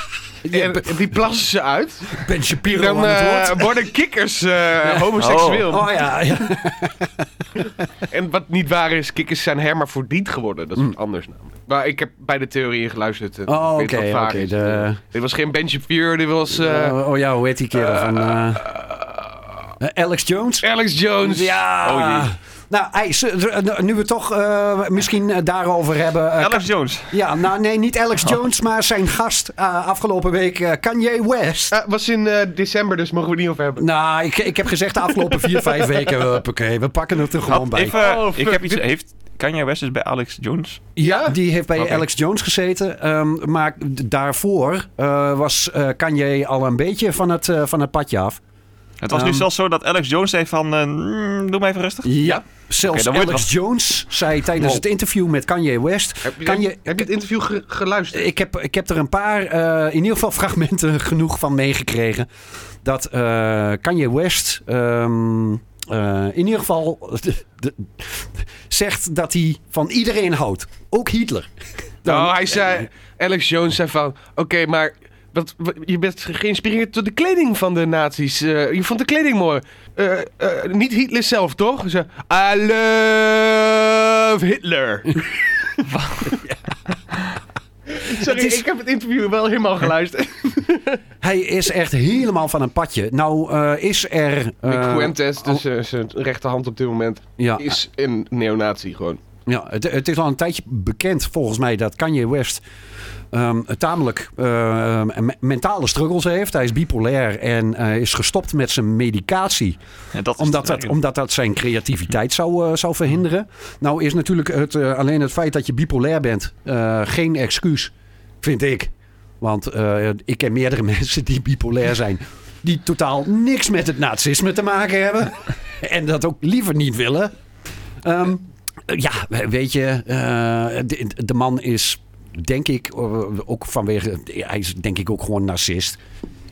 [SPEAKER 4] Ja,
[SPEAKER 5] die, die plassen ze uit.
[SPEAKER 4] Ben Shapiro
[SPEAKER 5] Dan
[SPEAKER 4] aan
[SPEAKER 5] eh,
[SPEAKER 4] het woord.
[SPEAKER 5] worden kikkers eh, homoseksueel.
[SPEAKER 4] Oh ja, ja.
[SPEAKER 5] En Mm. wat niet waar is, kikkers zijn hermafrodiet geworden. Dat is wat anders namelijk. Maar ik heb bij de theorieën geluisterd. eh,
[SPEAKER 4] Oh,
[SPEAKER 5] ik weet
[SPEAKER 4] oké,
[SPEAKER 5] wat waar
[SPEAKER 4] oké,
[SPEAKER 5] is. Eh,
[SPEAKER 4] de-
[SPEAKER 5] Dit was geen Ben Shapiro, dit was eh,
[SPEAKER 4] oh ja, hoe heet die kerel van... eh, eh, Alex Jones?
[SPEAKER 5] Alex Jones.
[SPEAKER 4] Ja.
[SPEAKER 3] Oh jee.
[SPEAKER 4] Nou, ey, ze- ze- nu we het toch eh, misschien eh, daarover hebben. eh,
[SPEAKER 3] Alex Oh. Jones.
[SPEAKER 4] Ja, nou nee, niet Alex Jones, maar zijn gast eh, afgelopen week, eh, Kanye West.
[SPEAKER 5] Eh, was in eh, december, dus mogen we het niet over hebben.
[SPEAKER 4] Nou, ik, ik heb gezegd de afgelopen vier, vijf weken, huppakee, we pakken het er gewoon
[SPEAKER 3] Had-
[SPEAKER 4] bij.
[SPEAKER 3] even,
[SPEAKER 5] Oh,
[SPEAKER 3] ik
[SPEAKER 5] fuck,
[SPEAKER 3] heb iets,
[SPEAKER 5] dit-
[SPEAKER 3] heeft Kanye West is bij Alex Jones?
[SPEAKER 4] Ja, die heeft bij
[SPEAKER 3] Oké.
[SPEAKER 4] Alex Jones gezeten. ehm, maar d- daarvoor eh, was eh Kanye al een beetje van het, eh, van het padje af.
[SPEAKER 3] Het was nu
[SPEAKER 4] Ehm,
[SPEAKER 3] zelfs zo dat Alex Jones zei van, eh, mm, doe maar even rustig.
[SPEAKER 4] Ja. Zelfs
[SPEAKER 3] Oké, dan wordt
[SPEAKER 4] Alex Jones zei tijdens
[SPEAKER 3] Wow.
[SPEAKER 4] het interview met Kanye West...
[SPEAKER 5] Heb je,
[SPEAKER 4] Kanye,
[SPEAKER 5] heb, je het interview ge- geluisterd?
[SPEAKER 4] Ik heb, ik heb er een paar, eh, in ieder geval fragmenten genoeg van meegekregen. Dat eh Kanye West ehm, eh, in ieder geval de- de- zegt dat hij van iedereen houdt. Ook Hitler.
[SPEAKER 5] nou, hij zei, Alex Jones zei van, oké, maar wat, wat- je bent geïnspireerd door de kleding van de nazi's. Eh, je vond de kleding mooi. Eh, eh, niet Hitler zelf, toch? Hij zei, I love Hitler. Sorry,
[SPEAKER 4] Het is-
[SPEAKER 5] ik heb het interview wel helemaal geluisterd.
[SPEAKER 4] Hij is echt helemaal van een padje. Nou eh, is er...
[SPEAKER 5] Nick
[SPEAKER 4] eh,
[SPEAKER 5] Fuentes, dus
[SPEAKER 3] oh.
[SPEAKER 5] eh, zijn rechterhand op dit moment,
[SPEAKER 4] ja,
[SPEAKER 5] is een neonazi gewoon.
[SPEAKER 4] ja, het, het is al een tijdje bekend volgens mij dat Kanye West... ehm, tamelijk eh, me- mentale struggles heeft. Hij is bipolair en eh, is gestopt met zijn medicatie.
[SPEAKER 3] Ja, dat is
[SPEAKER 4] Omdat
[SPEAKER 3] de
[SPEAKER 4] dat,
[SPEAKER 3] reden.
[SPEAKER 4] omdat dat zijn creativiteit zou, eh, zou verhinderen. Nou is natuurlijk het, eh, alleen het feit dat je bipolair bent eh, geen excuus, vind ik. Want eh, ik ken meerdere mensen die bipolair zijn. Die totaal niks met het nazisme te maken hebben. En dat ook liever niet willen. Ehm, ja, weet je, eh, de, de man is denk ik eh, ook vanwege... Hij is denk ik ook gewoon narcist.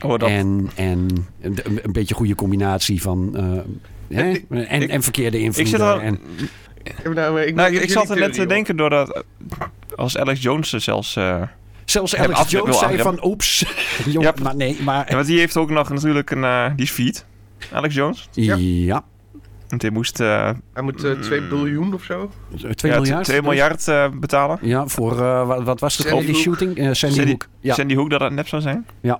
[SPEAKER 3] Oh, dat-
[SPEAKER 4] En, en een, een beetje goede combinatie van. eh, hè? en,
[SPEAKER 3] ik-
[SPEAKER 4] en verkeerde invloeden.
[SPEAKER 3] ik zit al,
[SPEAKER 4] en,
[SPEAKER 5] Ik, heb nou, eh, ik,
[SPEAKER 3] nou,
[SPEAKER 5] ik-
[SPEAKER 3] ik,
[SPEAKER 5] ik-
[SPEAKER 3] zat er
[SPEAKER 5] jullie
[SPEAKER 3] net te
[SPEAKER 5] theorie,
[SPEAKER 3] denken doordat eh, als Alex Jones er zelfs. eh,
[SPEAKER 4] zelfs
[SPEAKER 3] hem
[SPEAKER 4] Alex
[SPEAKER 3] af- wil
[SPEAKER 4] Jones zei
[SPEAKER 3] afremmen.
[SPEAKER 4] van oeps. Jong,
[SPEAKER 3] Yep.
[SPEAKER 4] Maar nee,
[SPEAKER 3] ja,
[SPEAKER 4] maar.
[SPEAKER 3] want die heeft ook nog natuurlijk een. eh, die is fiet. Alex Jones.
[SPEAKER 4] Ja.
[SPEAKER 3] Want die moest eh
[SPEAKER 5] hoor. Hij moet eh, 2 biljoen of zo.
[SPEAKER 4] 2
[SPEAKER 3] ja,
[SPEAKER 4] miljard. dus.
[SPEAKER 3] 2 miljard eh, betalen.
[SPEAKER 4] Ja, voor eh, wa- wat, was het?
[SPEAKER 5] Sandy
[SPEAKER 4] ook die
[SPEAKER 5] Hook.
[SPEAKER 4] shooting? Eh, Sandy,
[SPEAKER 3] Sandy-
[SPEAKER 4] Hook. Ja.
[SPEAKER 3] Sandy Hook dat dat nep zou zijn.
[SPEAKER 4] Ja.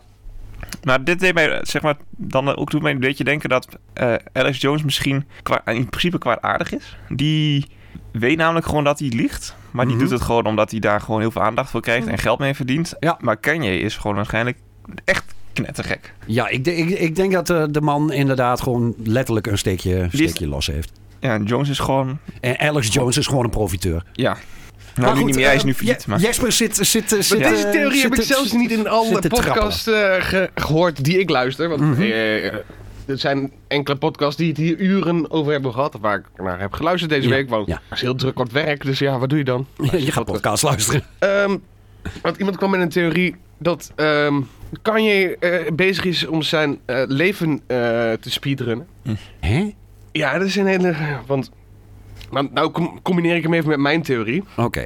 [SPEAKER 3] Maar dit deed mij, eh, zeg maar, dan ook doet mij eh, een beetje denken dat eh, Alex Jones misschien qua, in principe kwaadaardig is. Die weet namelijk gewoon dat hij liegt. Maar die
[SPEAKER 4] Mhm.
[SPEAKER 3] doet het gewoon omdat hij daar gewoon heel veel aandacht voor krijgt en geld mee verdient.
[SPEAKER 4] Ja.
[SPEAKER 3] Maar Kanye is gewoon waarschijnlijk echt knettergek.
[SPEAKER 4] Ja, ik, de- ik, ik denk dat eh, de man inderdaad gewoon letterlijk een steekje,
[SPEAKER 3] Die is-
[SPEAKER 4] steekje los heeft.
[SPEAKER 3] Ja, en Jones is gewoon...
[SPEAKER 4] En Alex Jones is gewoon een profiteur.
[SPEAKER 3] Ja. Nou, nu niet meer.
[SPEAKER 4] eh,
[SPEAKER 3] Hij is nu failliet. maar...
[SPEAKER 4] Jesper zit... zit, eh, zit
[SPEAKER 5] Maar deze
[SPEAKER 4] eh,
[SPEAKER 5] theorie
[SPEAKER 4] zit
[SPEAKER 5] heb ik
[SPEAKER 4] te-
[SPEAKER 5] zelfs niet in alle
[SPEAKER 4] zit te Mhm. trappelen.
[SPEAKER 5] podcasts eh, ge- gehoord die ik luister. Want eh, eh, er zijn enkele podcasts die het hier uren over hebben gehad. Waar ik naar heb geluisterd deze
[SPEAKER 4] Ja,
[SPEAKER 5] week. Want
[SPEAKER 4] ja.
[SPEAKER 5] het is heel druk wat werk, dus ja, wat doe je dan?
[SPEAKER 4] Je gaat podcast luisteren.
[SPEAKER 5] Ehm, want iemand kwam met een theorie dat ehm Kanye eh, bezig is om zijn eh, leven eh, te speedrunnen.
[SPEAKER 4] Hè?
[SPEAKER 5] Ja, dat is een hele... Want, nou, nou com- combineer ik hem even met mijn theorie.
[SPEAKER 4] Oké.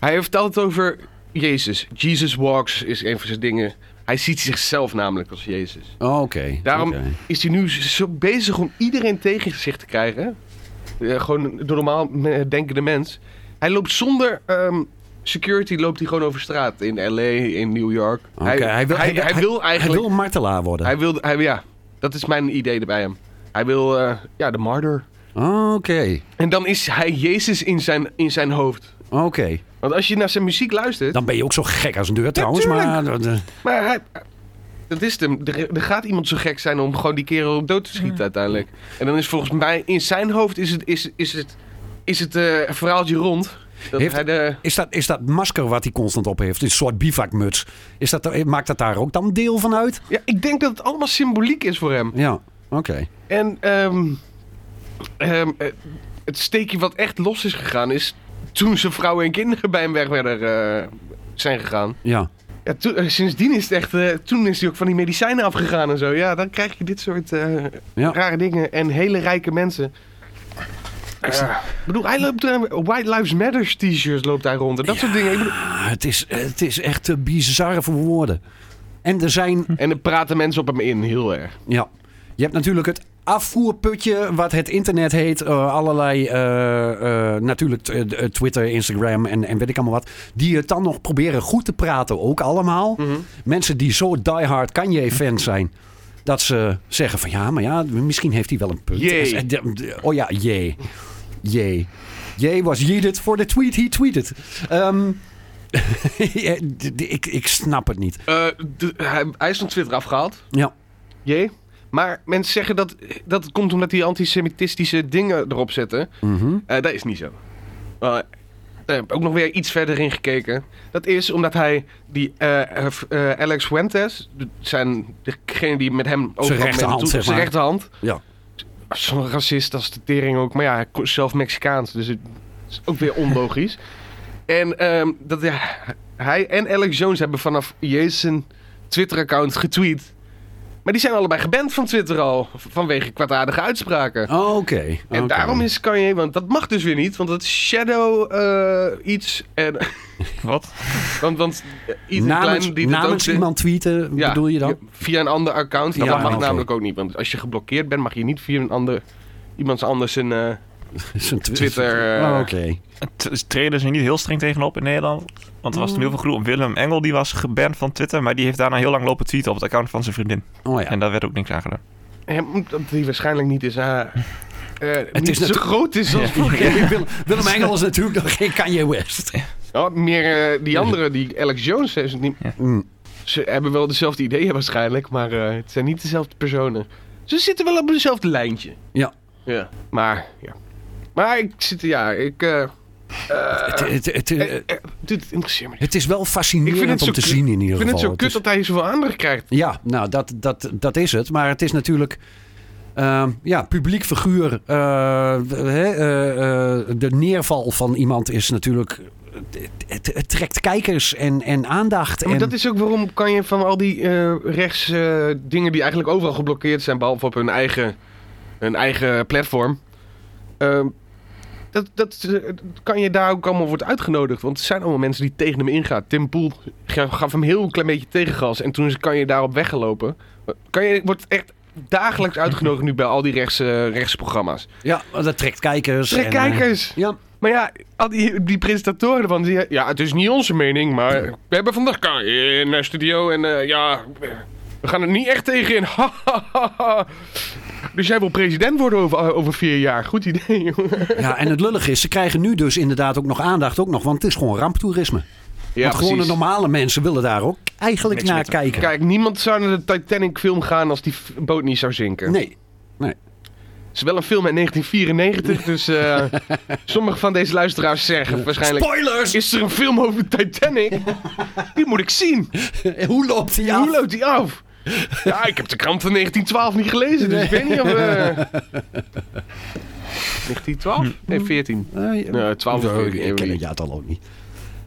[SPEAKER 5] Hij vertelt het over Jezus. Jesus walks is een van zijn dingen. Hij ziet zichzelf namelijk als Jezus.
[SPEAKER 4] Oké.
[SPEAKER 5] Daarom
[SPEAKER 4] oké.
[SPEAKER 5] is hij nu zo bezig om iedereen tegen zich te krijgen. Eh, gewoon de normaal me- denkende mens. Hij loopt zonder ehm, security loopt hij gewoon over straat. In L.A., in New York.
[SPEAKER 4] Oké, hij wil-
[SPEAKER 5] hij,
[SPEAKER 4] hij-
[SPEAKER 5] hij wil
[SPEAKER 4] Hij
[SPEAKER 5] eigenlijk...
[SPEAKER 4] wil een martelaar worden.
[SPEAKER 5] Hij wil, hij, ja, dat is mijn idee bij hem. Hij wil eh, ja, de martyr.
[SPEAKER 4] Oké.
[SPEAKER 5] En dan is hij Jezus in zijn, in zijn hoofd.
[SPEAKER 4] Oké.
[SPEAKER 5] Want als je naar zijn muziek luistert...
[SPEAKER 4] Dan ben je ook zo gek als een deur trouwens. Maar, eh,
[SPEAKER 5] Maar hij, dat is het hem. Er, er gaat iemand zo gek zijn om gewoon die kerel op dood te schieten uiteindelijk. En dan is volgens mij in zijn hoofd is het, is, is het, is het eh, verhaaltje rond. Dat
[SPEAKER 4] Heeft-
[SPEAKER 5] hij de,
[SPEAKER 4] is, dat, is dat masker wat hij constant op heeft, een soort bivakmuts, is dat, maakt dat daar ook dan deel van uit?
[SPEAKER 5] ja, ik denk dat het allemaal symboliek is voor hem.
[SPEAKER 4] Ja, oké.
[SPEAKER 5] En ehm, ehm, eh, het steekje wat echt los is gegaan is toen zijn vrouw en kinderen bij hem weg werden, eh, zijn gegaan.
[SPEAKER 4] Ja.
[SPEAKER 5] Ja, toen- eh, sindsdien is het echt. eh, toen is hij ook van die medicijnen afgegaan en zo. Ja, dan krijg je dit soort eh,
[SPEAKER 4] Ja.
[SPEAKER 5] rare dingen. En hele rijke mensen. Eh, ik bedoel, hij loopt eh, White Lives Matters t-shirts loopt hij rond en dat soort dingen. Ik bedoel-
[SPEAKER 4] Ah, het, is, het is echt eh, bizar voor woorden. En er zijn
[SPEAKER 5] en dan praten mensen op hem in, heel erg.
[SPEAKER 4] Ja. Je hebt natuurlijk het afvoerputje, wat het internet heet. eh, allerlei, eh, eh, natuurlijk t- eh, d- eh, Twitter, Instagram en, en weet ik allemaal wat. Die het dan nog proberen goed te praten, ook allemaal.
[SPEAKER 5] Hm. Mhm.
[SPEAKER 4] Mensen die zo diehard Kanye-fan zijn. Dat ze zeggen van ja, maar ja, misschien heeft hij wel een punt.
[SPEAKER 5] Jee.
[SPEAKER 4] Eh, d- d- Oh ja, jee. Jee. Jee was yeeted voor de tweet he tweeted. Ehm, ja, d- d- ik, ik snap het niet.
[SPEAKER 5] Eh, de- hij, hij is van Twitter afgehaald.
[SPEAKER 4] Ja.
[SPEAKER 5] Jee. Maar mensen zeggen dat dat komt omdat die antisemitistische dingen erop zetten.
[SPEAKER 4] Mhm.
[SPEAKER 5] Eh, dat is niet zo. Eh, daar heb ik ook nog weer iets verder in gekeken. Dat is omdat hij die eh, eh, v- eh, Alex Fuentes, d- zijn degene die met hem overal mee
[SPEAKER 4] rechterhand,
[SPEAKER 5] naartoe-
[SPEAKER 4] zeg
[SPEAKER 5] zijn
[SPEAKER 4] maar.
[SPEAKER 5] rechterhand.
[SPEAKER 4] Ja.
[SPEAKER 5] Zo'n racist als de tering ook. Maar ja, hij is zelf Mexicaans, dus het is ook weer onlogisch. en ehm, dat ja, hij en Alex Jones hebben vanaf Jason Twitter-account getweet. Maar die zijn allebei geband van Twitter al, v- vanwege kwaadaardige uitspraken.
[SPEAKER 4] Oké.
[SPEAKER 5] En
[SPEAKER 4] oké.
[SPEAKER 5] daarom is Kanye, want dat mag dus weer niet, want dat is shadow eh, iets. En,
[SPEAKER 3] Wat?
[SPEAKER 5] want want eh, iets
[SPEAKER 4] namens
[SPEAKER 5] klein die dat
[SPEAKER 4] namens
[SPEAKER 5] ook-
[SPEAKER 4] iemand tweeten,
[SPEAKER 5] ja,
[SPEAKER 4] bedoel je dan?
[SPEAKER 5] Via een ander account. Nou,
[SPEAKER 4] Ja,
[SPEAKER 5] dat mag
[SPEAKER 4] oké.
[SPEAKER 5] namelijk ook niet, want als je geblokkeerd bent, mag je niet via een ander iemand anders een eh,
[SPEAKER 4] Zo'n twi-
[SPEAKER 5] Twitter. eh,
[SPEAKER 4] Oh, Oké.
[SPEAKER 3] T- Trailers er niet heel streng tegenop in Nederland. Want er was
[SPEAKER 4] Mm.
[SPEAKER 3] toen heel veel groep om Willem Engel, die was geband van Twitter. Maar die heeft daarna heel lang lopen tweeten op het account van zijn vriendin.
[SPEAKER 4] Oh ja.
[SPEAKER 3] En daar werd ook niks aan gedaan.
[SPEAKER 5] hem, Omdat die waarschijnlijk niet is. eh, eh, niet
[SPEAKER 4] is
[SPEAKER 5] zo
[SPEAKER 4] natu-
[SPEAKER 5] groot is als
[SPEAKER 4] Willem- Willem, Willem Engel is natuurlijk nog geen Kanye West.
[SPEAKER 5] Oh, meer eh, die andere, die Alex Jones heeft het niet.
[SPEAKER 4] Mm.
[SPEAKER 5] Ze hebben wel dezelfde ideeën waarschijnlijk, maar eh, het zijn niet dezelfde personen. Ze zitten wel op hetzelfde lijntje.
[SPEAKER 4] Ja.
[SPEAKER 5] Ja. Maar, ja. Maar ik zit, ja, ik... eh,
[SPEAKER 4] Het, het, het,
[SPEAKER 5] eh,
[SPEAKER 4] eh,
[SPEAKER 5] eh, dit interesseert me niet.
[SPEAKER 4] het is wel
[SPEAKER 5] Ik vind het
[SPEAKER 4] fascinerend
[SPEAKER 5] zo
[SPEAKER 4] om te
[SPEAKER 5] kut-
[SPEAKER 4] zien in
[SPEAKER 5] Ik
[SPEAKER 4] ieder geval.
[SPEAKER 5] vind het zo
[SPEAKER 4] Het
[SPEAKER 5] kut
[SPEAKER 4] is-
[SPEAKER 5] dat hij zoveel aandacht krijgt.
[SPEAKER 4] Ja, nou, dat, dat, dat is het. Maar het is natuurlijk... ehm, ja, publiek figuur. eh, hè, eh, eh, de neerval van iemand is natuurlijk... Het, het, het trekt kijkers en, en aandacht.
[SPEAKER 5] Maar
[SPEAKER 4] en,
[SPEAKER 5] dat is ook waarom kan je van al die eh, rechts eh, dingen die eigenlijk overal geblokkeerd zijn, behalve op hun eigen, hun eigen platform. ehm, dat, dat eh, kan je daar ook allemaal wordt uitgenodigd. Want er zijn allemaal mensen die tegen hem ingaan. Tim Poel ga- gaf hem heel klein beetje tegengas. En toen is- kan je daarop weggelopen. Kan je, wordt echt dagelijks uitgenodigd nu bij al die rechts, eh, rechtsprogramma's.
[SPEAKER 4] Ja, dat trekt kijkers.
[SPEAKER 5] Zeg,
[SPEAKER 4] en, eh,
[SPEAKER 5] kijkers!
[SPEAKER 4] ja,
[SPEAKER 5] Maar ja, al die, die presentatoren ervan, die, ja, het is niet onze mening, maar we hebben vandaag Kai in de studio en eh, ja, we gaan er niet echt tegen in. Dus jij wil president worden over, over vier jaar. Goed idee, jongen.
[SPEAKER 4] Ja, en het lullig is, ze krijgen nu dus inderdaad ook nog aandacht, ook nog, want het is gewoon ramptoerisme. want gewoon de normale mensen willen daar ook eigenlijk
[SPEAKER 3] Niks
[SPEAKER 4] naar
[SPEAKER 3] met te
[SPEAKER 4] kijken.
[SPEAKER 5] Kijk, niemand zou naar de Titanic-film gaan als die f- boot niet zou zinken.
[SPEAKER 4] Nee.
[SPEAKER 5] Het is wel een film uit 1994, dus eh, sommige van deze luisteraars zeggen waarschijnlijk...
[SPEAKER 4] Spoilers!
[SPEAKER 5] Is er een film over de Titanic? Die moet ik zien.
[SPEAKER 4] Hoe loopt die
[SPEAKER 5] Hoe
[SPEAKER 4] af?
[SPEAKER 5] loopt die af? Ja, ik heb de krant van 1912 niet gelezen, dus ik weet niet of... eh 1912? Nee, 14.
[SPEAKER 4] Eh, ja.
[SPEAKER 5] Nee, 12
[SPEAKER 4] Ja,
[SPEAKER 5] uur,
[SPEAKER 4] ik- Ik
[SPEAKER 5] nou, weet
[SPEAKER 4] ken
[SPEAKER 5] ik
[SPEAKER 4] het ja, al ook niet.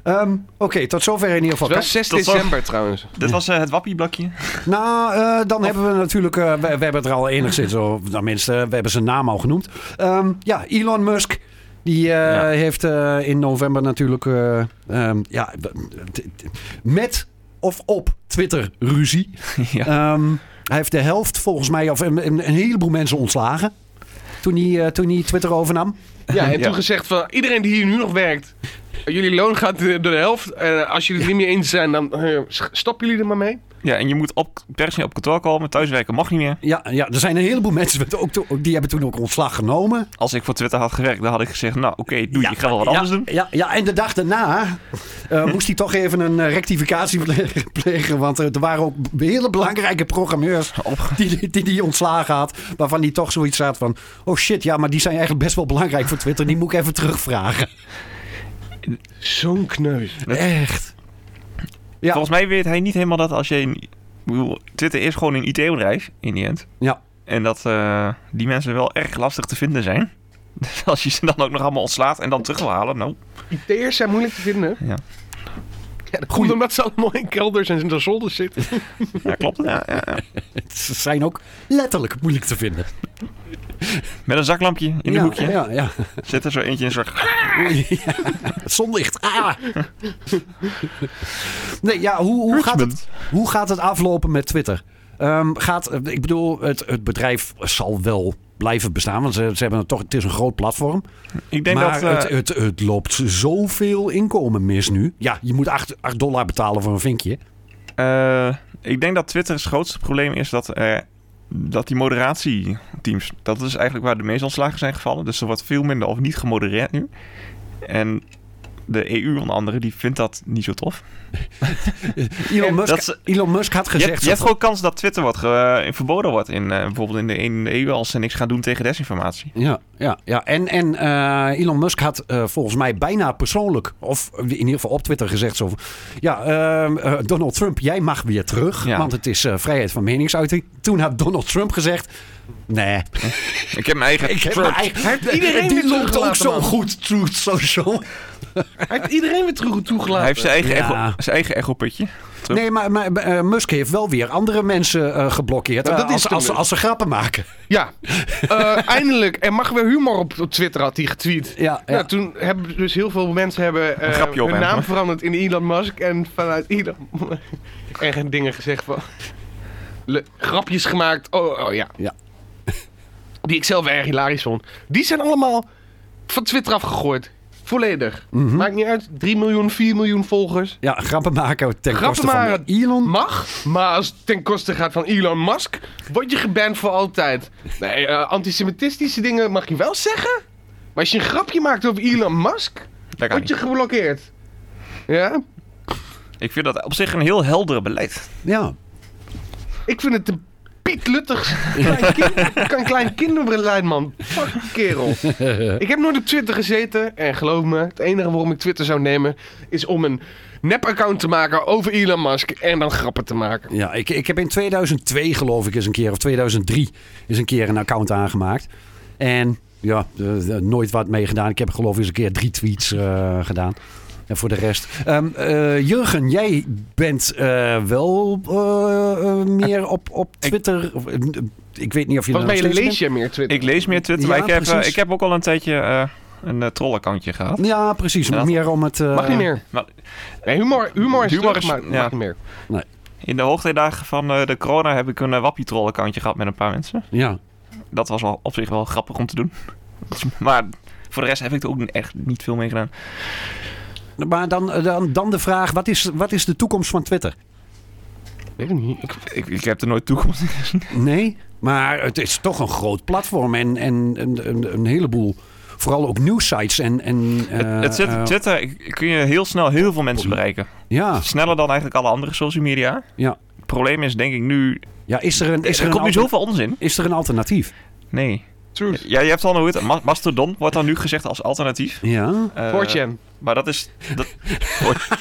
[SPEAKER 4] Ehm, Oké, tot zover in ieder geval.
[SPEAKER 5] Het is wel 6
[SPEAKER 3] Tot zo.
[SPEAKER 5] december trouwens.
[SPEAKER 3] Dit was eh, het wappieblakje.
[SPEAKER 4] Nou, eh, dan hebben we natuurlijk, eh, we, we hebben het er al enigszins over, tenminste, we hebben zijn naam al genoemd. Ehm, ja, Elon Musk. Die eh,
[SPEAKER 3] Ja.
[SPEAKER 4] heeft eh, in november natuurlijk, eh, ehm, ja, d- d- d- met of op Twitter ruzie.
[SPEAKER 3] ja.
[SPEAKER 4] Ehm, hij heeft de helft volgens mij, of een, een- een heleboel mensen ontslagen. Toen hij, eh, toen hij Twitter overnam.
[SPEAKER 5] Ja, en
[SPEAKER 3] Ja.
[SPEAKER 5] toen gezegd van iedereen die hier nu nog werkt. Jullie loon gaat eh, door de helft. Eh, als jullie het niet meer eens zijn, dan eh, s- stoppen jullie er maar mee.
[SPEAKER 3] ja, en je moet op, personeel op kantoor komen. Thuiswerken mag niet meer.
[SPEAKER 4] Ja, ja, er zijn een heleboel mensen met ook, to- die hebben toen ook ontslag genomen.
[SPEAKER 3] Als ik voor Twitter had gewerkt, dan had ik gezegd... Nou, oké, doe je. Ik ga wel wat
[SPEAKER 4] ja,
[SPEAKER 3] anders doen.
[SPEAKER 4] Ja, ja, en de dag daarna eh, moest hij toch even een eh, rectificatie ple- plegen. Want eh, er waren ook b- hele belangrijke programmeurs die die, die, die ontslagen had. Waarvan hij toch zoiets had van... Oh shit, ja, maar die zijn eigenlijk best wel belangrijk voor Twitter. Die moet ik even terugvragen.
[SPEAKER 5] Zo'n kneus.
[SPEAKER 4] Echt. Ja.
[SPEAKER 3] Volgens mij weet hij niet helemaal dat als je... een- ik bedoel, Twitter is gewoon een IT-bedrijf in die end.
[SPEAKER 4] Ja.
[SPEAKER 3] En dat eh, die mensen wel erg lastig te vinden zijn. Dus als je ze dan ook nog allemaal ontslaat en dan terug wil halen, nou...
[SPEAKER 5] IT'ers zijn moeilijk te vinden.
[SPEAKER 3] Ja.
[SPEAKER 5] Ja, dat komt omdat ze allemaal in kelders en in de zolders zitten.
[SPEAKER 3] Ja, klopt. Ja, ja, ja.
[SPEAKER 4] Ze zijn ook letterlijk moeilijk te vinden.
[SPEAKER 3] Met een zaklampje in een
[SPEAKER 4] ja,
[SPEAKER 3] hoekje.
[SPEAKER 4] Ja, ja.
[SPEAKER 3] Zit er zo eentje in zo'n...
[SPEAKER 4] ja. Zonlicht. Ah. Nee, ja, hoe, hoe gaat het Hoe gaat het aflopen met Twitter? Ehm, gaat, eh, ik bedoel, het, het bedrijf zal wel blijven bestaan, want ze, ze hebben het toch, het is een groot platform.
[SPEAKER 3] Ik denk dat...
[SPEAKER 4] maar
[SPEAKER 3] eh,
[SPEAKER 4] het, het, het loopt zoveel inkomen mis nu. Ja, je moet 8, 8 dollar betalen voor een vinkje.
[SPEAKER 3] Eh, ik denk dat Twitter's grootste probleem is dat, eh, dat die moderatieteams, dat is eigenlijk waar de meeste ontslagen zijn gevallen. Dus er wordt veel minder of niet gemodereerd nu. En de EU onder andere, die vindt dat niet zo tof.
[SPEAKER 4] Elon Musk,
[SPEAKER 3] dat is-
[SPEAKER 4] Elon Musk had
[SPEAKER 3] Je,
[SPEAKER 4] gezegd...
[SPEAKER 3] hebt- je hebt
[SPEAKER 4] dat-
[SPEAKER 3] gewoon kans dat Twitter wordt ge- eh, verboden wordt in, eh, bijvoorbeeld in de, in de EU als ze niks gaan doen tegen desinformatie.
[SPEAKER 4] ja, ja, ja. En, en eh, Elon Musk had eh, volgens mij bijna persoonlijk, of in ieder geval op Twitter gezegd zo van... Ja, ehm, eh, Donald Trump, jij mag weer terug,
[SPEAKER 3] Ja.
[SPEAKER 4] want het is eh, vrijheid van meningsuiting. Toen had Donald Trump gezegd, nee,
[SPEAKER 3] Ik heb mijn eigen
[SPEAKER 4] Ik heb
[SPEAKER 3] Trump.
[SPEAKER 4] mijn eigen-
[SPEAKER 5] iedereen
[SPEAKER 4] die
[SPEAKER 5] weer
[SPEAKER 4] loopt ook
[SPEAKER 5] teruggelaten,
[SPEAKER 4] zo
[SPEAKER 5] man.
[SPEAKER 4] goed, Truth Social.
[SPEAKER 5] Hij heeft iedereen weer terug
[SPEAKER 3] Hij
[SPEAKER 5] toegelaten.
[SPEAKER 3] heeft zijn eigen,
[SPEAKER 4] Ja.
[SPEAKER 3] echo, zijn eigen echoputje. Trump.
[SPEAKER 4] Nee, maar, maar eh, Musk heeft wel weer andere mensen eh, geblokkeerd.
[SPEAKER 5] Nou,
[SPEAKER 4] eh,
[SPEAKER 5] dat is
[SPEAKER 4] als,
[SPEAKER 5] toen
[SPEAKER 4] als,
[SPEAKER 5] weer.
[SPEAKER 4] als ze grappen maken.
[SPEAKER 5] Ja, Eh, eindelijk. Er mag weer humor op, op Twitter, had hij getweet.
[SPEAKER 4] Ja, ja.
[SPEAKER 5] Nou, toen hebben dus heel veel mensen hebben, eh,
[SPEAKER 3] grapje op
[SPEAKER 5] hun
[SPEAKER 3] hem,
[SPEAKER 5] naam
[SPEAKER 3] hoor.
[SPEAKER 5] veranderd in Elon Musk. En vanuit Elon Musk en dingen gezegd van... Le- grapjes gemaakt. Oh, oh ja.
[SPEAKER 4] Ja.
[SPEAKER 5] Die ik zelf erg hilarisch vond. Die zijn allemaal van Twitter afgegooid. Volledig.
[SPEAKER 3] Mhm.
[SPEAKER 5] Maakt niet uit. 3 miljoen, 4 miljoen volgers.
[SPEAKER 4] Ja, grappen maken ten
[SPEAKER 5] Grappen
[SPEAKER 4] koste van
[SPEAKER 5] maken.
[SPEAKER 4] Elon.
[SPEAKER 5] Mag, maar als het ten koste gaat van Elon Musk, word je geband voor altijd. Nee, eh, antisemitistische dingen mag je wel zeggen. Maar als je een grapje maakt over Elon Musk,
[SPEAKER 3] Dat kan
[SPEAKER 5] word je
[SPEAKER 3] niet.
[SPEAKER 5] geblokkeerd. Ja?
[SPEAKER 3] Ik vind dat op zich een heel helder beleid.
[SPEAKER 4] Ja.
[SPEAKER 5] Ik vind het een Piet Luttig. Klein kind, kan klein kinderbeleid, man. Fuck kerel. Ik heb nooit op Twitter gezeten. En geloof me, het enige waarom ik Twitter zou nemen... is om een nep-account te maken over Elon Musk... en dan grappen te maken.
[SPEAKER 4] Ja, ik, ik heb in 2002 geloof ik eens een keer, of 2003, eens een keer een account aangemaakt. En ja, eh, eh, nooit wat mee gedaan. Ik heb geloof ik eens een keer drie tweets eh, gedaan. En voor de rest. Ehm, eh, Jurgen, jij bent eh, wel eh, eh, meer op, op Twitter. of, eh, ik weet niet of je er nog
[SPEAKER 5] Volgens mij
[SPEAKER 4] steeds bent.
[SPEAKER 5] lees je meer Twitter.
[SPEAKER 3] Ik lees meer Twitter, maar
[SPEAKER 4] Ja,
[SPEAKER 3] ik heb, eh,
[SPEAKER 4] precies.
[SPEAKER 3] ik heb ook al een tijdje eh, een eh, trollaccountje gehad.
[SPEAKER 4] Ja, precies.
[SPEAKER 3] Ja.
[SPEAKER 4] Meer om het. eh,
[SPEAKER 5] Mag niet meer.
[SPEAKER 3] Maar-
[SPEAKER 5] Nee, humor, humor is
[SPEAKER 3] Humor
[SPEAKER 5] terug,
[SPEAKER 3] is-
[SPEAKER 5] maar
[SPEAKER 3] ja.
[SPEAKER 5] mag niet meer.
[SPEAKER 3] In de hoogtijdagen van eh, de corona heb ik een wappie troll accountje gehad met een paar mensen.
[SPEAKER 4] Ja.
[SPEAKER 3] Dat was wel op zich wel grappig om te doen. maar voor de rest heb ik er ook echt niet veel mee gedaan.
[SPEAKER 4] eh, Maar dan, dan, dan de vraag: wat is, wat is de toekomst van Twitter?
[SPEAKER 5] Weet ik niet. Ik-
[SPEAKER 3] Ik, ik heb er nooit toekomst
[SPEAKER 4] Eh,
[SPEAKER 3] in gezien.
[SPEAKER 4] Nee, maar het is toch een groot platform en, en, en- en een heleboel, vooral ook nieuwsites en... en eh,
[SPEAKER 3] het zet-
[SPEAKER 4] eh,
[SPEAKER 3] Twitter ik- kun je heel snel heel veel mensen bereiken.
[SPEAKER 4] ja,
[SPEAKER 3] Sneller dan eigenlijk alle andere social media.
[SPEAKER 4] ja.
[SPEAKER 3] Het probleem is denk ik nu...
[SPEAKER 4] ja, is er een, is er
[SPEAKER 3] er
[SPEAKER 4] een,
[SPEAKER 3] komt nu
[SPEAKER 4] alter-
[SPEAKER 3] zoveel onzin.
[SPEAKER 4] is er een alternatief?
[SPEAKER 3] Nee.
[SPEAKER 5] Truth.
[SPEAKER 3] Ja, je hebt al nooit... Ma- Mastodon wordt dan nu gezegd als alternatief.
[SPEAKER 4] Ja,
[SPEAKER 3] Eh,
[SPEAKER 5] 4chan.
[SPEAKER 3] Maar dat is... Dat,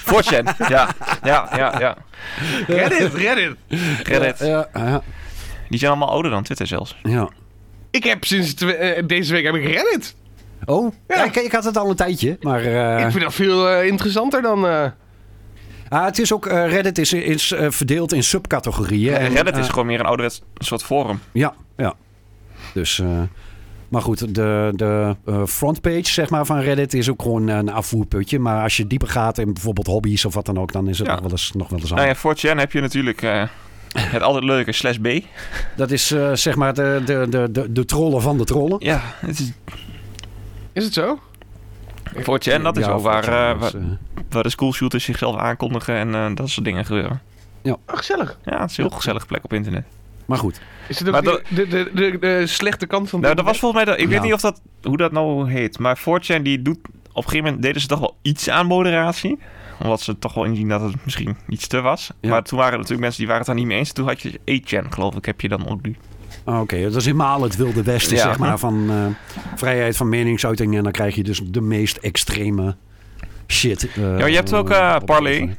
[SPEAKER 3] 4chan. Ja, ja, ja, ja. Reddit, Reddit. Reddit.
[SPEAKER 4] ja, ja,
[SPEAKER 3] Die zijn allemaal ouder dan Twitter zelfs.
[SPEAKER 4] ja.
[SPEAKER 5] Ik heb sinds twe- eh, deze week heb ik Reddit.
[SPEAKER 4] Oh,
[SPEAKER 5] Ja.
[SPEAKER 4] ja, ik, ik had het al een tijdje, maar... eh,
[SPEAKER 5] Ik vind dat veel eh, interessanter dan... eh,
[SPEAKER 4] ah, het is ook, eh, Reddit is, is eh, verdeeld in subcategorieën.
[SPEAKER 3] En
[SPEAKER 4] en,
[SPEAKER 3] Reddit
[SPEAKER 4] eh, Oh.
[SPEAKER 3] is gewoon meer een ouderwets soort forum.
[SPEAKER 4] Ja, ja. Dus, eh, maar goed, de, de eh, frontpage zeg maar, van Reddit is ook gewoon eh, een afvoerputje. Maar als je dieper gaat in bijvoorbeeld hobby's of wat dan ook, dan is het
[SPEAKER 3] Ja.
[SPEAKER 4] nog wel eens, nog wel eens
[SPEAKER 3] Nou
[SPEAKER 4] anders.
[SPEAKER 3] ja, 4chan heb je natuurlijk eh, het altijd leuke slash B.
[SPEAKER 4] Dat is eh, zeg maar de, de, de, de, de trollen van de trollen.
[SPEAKER 3] Ja, het is
[SPEAKER 5] is het zo?
[SPEAKER 3] 4chan, dat is
[SPEAKER 4] Ja,
[SPEAKER 3] ook waar, eh,
[SPEAKER 4] dat
[SPEAKER 3] waar,
[SPEAKER 4] is, eh,
[SPEAKER 3] waar de schoolshooters zichzelf aankondigen en eh, dat soort dingen gebeuren.
[SPEAKER 5] Ah, gezellig.
[SPEAKER 3] Ja, het is een heel gezellige plek op internet.
[SPEAKER 4] maar goed,
[SPEAKER 5] Is het ook
[SPEAKER 3] Maar
[SPEAKER 5] de, de, de, de, de slechte kant van...
[SPEAKER 3] Nou, dat was volgens mij... Dat, ik
[SPEAKER 4] Ja.
[SPEAKER 3] weet niet of dat, hoe dat nou heet, maar 4chan die doet... Op een gegeven moment deden ze toch wel iets aan moderatie. Omdat ze toch wel inzien dat het misschien iets te was.
[SPEAKER 4] Ja.
[SPEAKER 3] Maar toen waren er natuurlijk mensen die waren het daar niet mee eens. Toen had je 8chan, geloof ik, heb je dan ook nu.
[SPEAKER 4] Ah, oké, dat is helemaal het wilde westen
[SPEAKER 3] Ja.
[SPEAKER 4] zeg maar, van eh, vrijheid van meningsuiting. En dan krijg je dus de meest extreme shit. eh,
[SPEAKER 3] Ja, je hebt ook,
[SPEAKER 4] eh,
[SPEAKER 3] eh,
[SPEAKER 4] op-
[SPEAKER 3] Parley.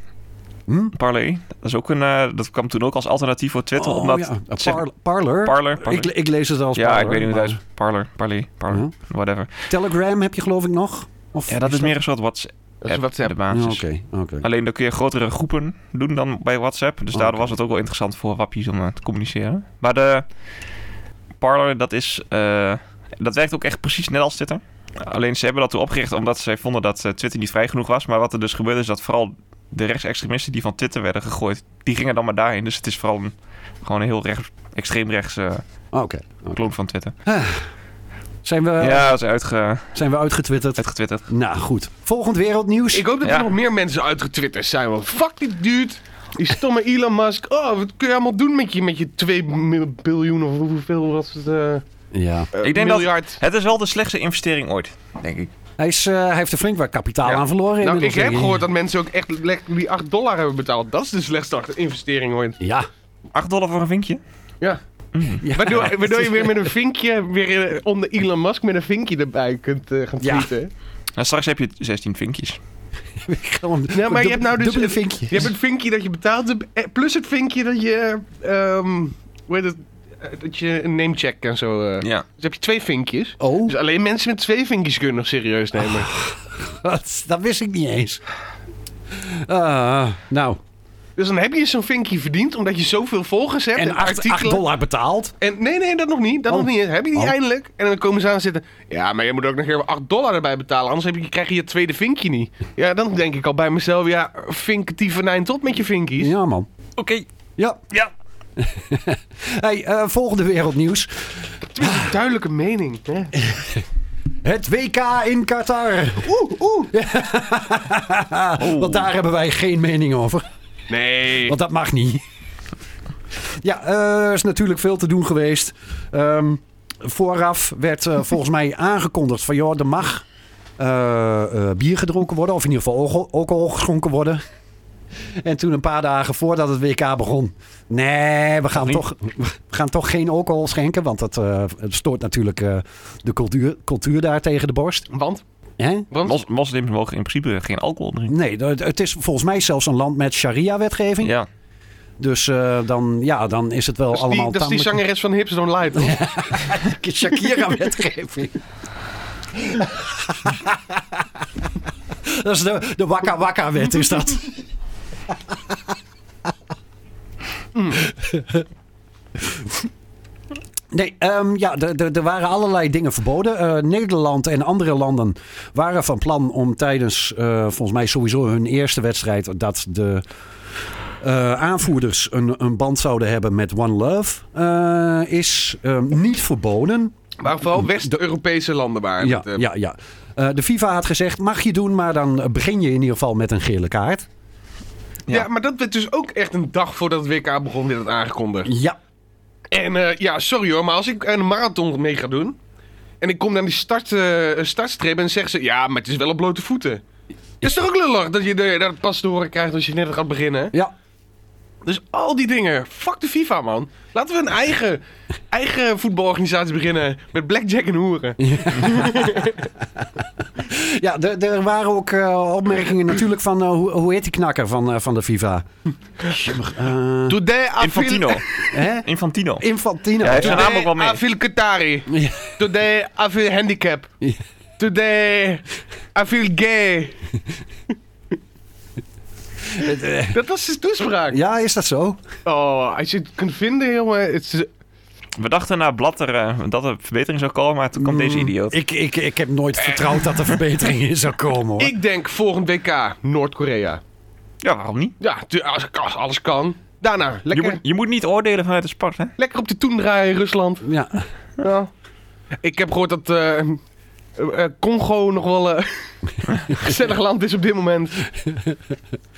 [SPEAKER 4] Hm?
[SPEAKER 3] Parley, dat, is ook een, eh, dat kwam toen ook als alternatief voor Twitter.
[SPEAKER 4] Oh,
[SPEAKER 3] omdat
[SPEAKER 4] ja, eh,
[SPEAKER 3] zeg-
[SPEAKER 4] Par- Parler.
[SPEAKER 3] Parler, Parler.
[SPEAKER 4] Ik, ik lees het als
[SPEAKER 3] ja,
[SPEAKER 4] Parler,
[SPEAKER 3] ik weet niet hoe
[SPEAKER 4] maar-
[SPEAKER 3] het is. Parler, Parley, Parler, whatever.
[SPEAKER 4] Telegram heb je geloof ik nog? Of
[SPEAKER 3] Ja, dat is meer een soort WhatsApp.
[SPEAKER 5] Dat is WhatsApp.
[SPEAKER 3] De
[SPEAKER 4] Ja, Oké,
[SPEAKER 3] basis.
[SPEAKER 4] oké.
[SPEAKER 3] Alleen dan kun je grotere groepen doen dan bij WhatsApp. Dus daardoor was het ook wel interessant voor wappies om eh, te communiceren. Maar de Parler, dat is... eh, dat werkt ook echt precies net als Twitter. Alleen ze hebben dat toen opgericht omdat zij vonden dat eh, Twitter niet vrij genoeg was. Maar wat er dus gebeurde is dat vooral de rechtsextremisten die van Twitter werden gegooid... die gingen dan maar daarheen. Dus het is vooral een, gewoon een heel rechts, extreem rechts eh,
[SPEAKER 4] Oké.
[SPEAKER 3] kloon van Twitter.
[SPEAKER 4] Zijn, we,
[SPEAKER 3] ja, dat is uitge,
[SPEAKER 4] zijn we uitgetwitterd?
[SPEAKER 3] uitgetwitterd.
[SPEAKER 4] Nou goed. Volgend wereldnieuws.
[SPEAKER 5] Ik hoop dat er
[SPEAKER 3] Ja.
[SPEAKER 5] nog meer mensen uitgetwitterd zijn. Want fuck die dude. Die stomme Elon Musk. Oh, wat kun je allemaal doen met je, met je 2 biljoen of hoeveel was het? eh, eh,
[SPEAKER 4] Ja.
[SPEAKER 3] Ik denk dat-
[SPEAKER 5] miljard.
[SPEAKER 3] Het is wel de slechtste investering ooit, denk ik.
[SPEAKER 4] Hij, is, eh, hij heeft er flink wat kapitaal
[SPEAKER 5] Ja.
[SPEAKER 4] aan verloren.
[SPEAKER 5] Nou, ik
[SPEAKER 4] inmiddels,
[SPEAKER 5] heb
[SPEAKER 4] denk
[SPEAKER 5] gehoord dat mensen ook echt le- die 8 dollar hebben betaald. Dat is de slechtste investering ooit.
[SPEAKER 4] Ja.
[SPEAKER 3] 8 dollar voor een vinkje?
[SPEAKER 5] Ja. Waardoor, waardoor je weer met een vinkje, weer eh, onder Elon Musk met een vinkje erbij kunt eh, gaan
[SPEAKER 4] Ja.
[SPEAKER 5] tweeten.
[SPEAKER 3] Nou, straks heb je 16 vinkjes.
[SPEAKER 4] Gewoon
[SPEAKER 5] Ja, maar je hebt nou dus...
[SPEAKER 4] dubbele
[SPEAKER 5] het-
[SPEAKER 4] vinkje.
[SPEAKER 5] Je hebt het vinkje dat je betaalt, eh, plus het vinkje dat je... ehm, hoe heet het? Eh, Dat je een namecheck en zo... eh.
[SPEAKER 3] Ja.
[SPEAKER 5] Dus heb je twee vinkjes.
[SPEAKER 4] Oh,
[SPEAKER 5] Dus alleen mensen met twee vinkjes kunnen nog serieus nemen.
[SPEAKER 4] wat? dat wist ik niet eens. Ah, nou,
[SPEAKER 5] Dus dan heb je zo'n vinkje verdiend omdat je zoveel volgers hebt.
[SPEAKER 4] en 8,
[SPEAKER 5] artikelen.
[SPEAKER 4] dollar betaald?
[SPEAKER 5] En nee, nee, dat nog niet. Dat
[SPEAKER 4] Oh.
[SPEAKER 5] nog niet. Heb je die
[SPEAKER 4] Oh.
[SPEAKER 5] eindelijk? En dan komen ze aan zitten. Ja, maar je moet ook nog even 8 dollar erbij betalen. Anders heb je, krijg je je tweede vinkje niet. Ja, dan denk ik al bij mezelf. Ja, vink die venijn tot met je vinkies.
[SPEAKER 4] Ja, man.
[SPEAKER 3] Oké.
[SPEAKER 4] Ja.
[SPEAKER 3] Ja.
[SPEAKER 4] Hey, eh, volgende wereldnieuws.
[SPEAKER 5] Tenminste, duidelijke mening. Hè?
[SPEAKER 4] Het WK in Qatar. Oeh, oeh. Want daar hebben wij geen mening over.
[SPEAKER 5] Nee.
[SPEAKER 4] Want dat mag niet. Ja, eh, er is natuurlijk veel te doen geweest. Ehm, vooraf werd eh, volgens mij aangekondigd van... joh, er mag eh, eh, bier gedronken worden. Of in ieder geval alcohol- alcohol geschonken worden. En toen een paar dagen voordat het WK begon... nee, we gaan,
[SPEAKER 3] niet?
[SPEAKER 4] toch, we gaan toch geen alcohol schenken. Want dat eh, het stoort natuurlijk eh, de cultuur, cultuur daar tegen de borst.
[SPEAKER 5] Want?
[SPEAKER 4] Hè?
[SPEAKER 5] Want?
[SPEAKER 3] Mos- moslims mogen in principe geen alcohol drinken.
[SPEAKER 4] Nee, dat- het is volgens mij zelfs een land met sharia-wetgeving.
[SPEAKER 3] Ja.
[SPEAKER 4] Dus eh, dan, ja, dan is het wel
[SPEAKER 5] dat is dus die,
[SPEAKER 4] allemaal
[SPEAKER 5] dat is die
[SPEAKER 4] tamelijk-
[SPEAKER 5] zangeres van Hips Don't Lie. toch?
[SPEAKER 4] Shakira-wetgeving. dat is de, de Waka Waka-wet, is dat. Nee, ehm, ja, er- er- er waren allerlei dingen verboden. Eh, Nederland en andere landen waren van plan om tijdens, eh, volgens mij sowieso hun eerste wedstrijd, dat de eh, aanvoerders een, een band zouden hebben met One Love, eh, is ehm, niet verboden.
[SPEAKER 5] Maar vooral West-Europese landen waren.
[SPEAKER 4] Ja,
[SPEAKER 5] het, eh.
[SPEAKER 4] ja, ja. Eh, de FIFA had gezegd, mag je doen, maar dan begin je in ieder geval met een gele kaart.
[SPEAKER 5] Ja. maar dat werd dus ook echt een dag voordat het WK begon, werd het aangekondigd.
[SPEAKER 4] Ja.
[SPEAKER 5] En eh, ja, sorry hoor, maar als ik aan een marathon mee ga doen. en ik kom naar die start, eh, startstrip en zeggen ze. ja, maar het is wel op blote voeten. Dat is toch ook lullig dat je de- dat pas te horen krijgt als je net gaat beginnen?
[SPEAKER 4] Ja.
[SPEAKER 5] Dus al die dingen. Fuck de FIFA, man. Laten we een eigen, eigen voetbalorganisatie beginnen. met blackjack en hoeren.
[SPEAKER 4] Ja, er er waren ook eh, opmerkingen natuurlijk van, eh, hoe, hoe heet die knakker van, eh, van de FIFA? Eh,
[SPEAKER 5] Today I
[SPEAKER 3] Infantino.
[SPEAKER 5] feel...
[SPEAKER 4] hè?
[SPEAKER 3] Infantino.
[SPEAKER 4] Infantino.
[SPEAKER 3] Ja, hij heeft zijn
[SPEAKER 5] Today
[SPEAKER 3] naam ook wel mee.
[SPEAKER 5] I feel Qatari.
[SPEAKER 4] Ja.
[SPEAKER 5] Today I feel handicap.
[SPEAKER 4] Ja.
[SPEAKER 5] Today I feel gay. Dat was zijn toespraak.
[SPEAKER 4] eh, Ja, is dat zo?
[SPEAKER 5] Oh, als je het kunt vinden, jongen. Het is...
[SPEAKER 3] We dachten na Blatter eh, dat er verbetering zou komen, maar toen kwam deze idioot.
[SPEAKER 4] Ik, ik, ik heb nooit vertrouwd dat er verbetering in zou komen. Hoor.
[SPEAKER 5] Ik denk volgend WK, Noord-Korea.
[SPEAKER 3] Ja, waarom niet?
[SPEAKER 5] Ja, tu- als, als alles kan. Daarna,
[SPEAKER 3] Je
[SPEAKER 5] lekker,
[SPEAKER 3] moet, je moet niet oordelen vanuit de sport, hè?
[SPEAKER 5] lekker op de toen draaien in Rusland.
[SPEAKER 4] Ja.
[SPEAKER 5] Ja. Ik heb gehoord dat eh, eh, eh, Congo nog wel eh, een gezellig land is op dit moment.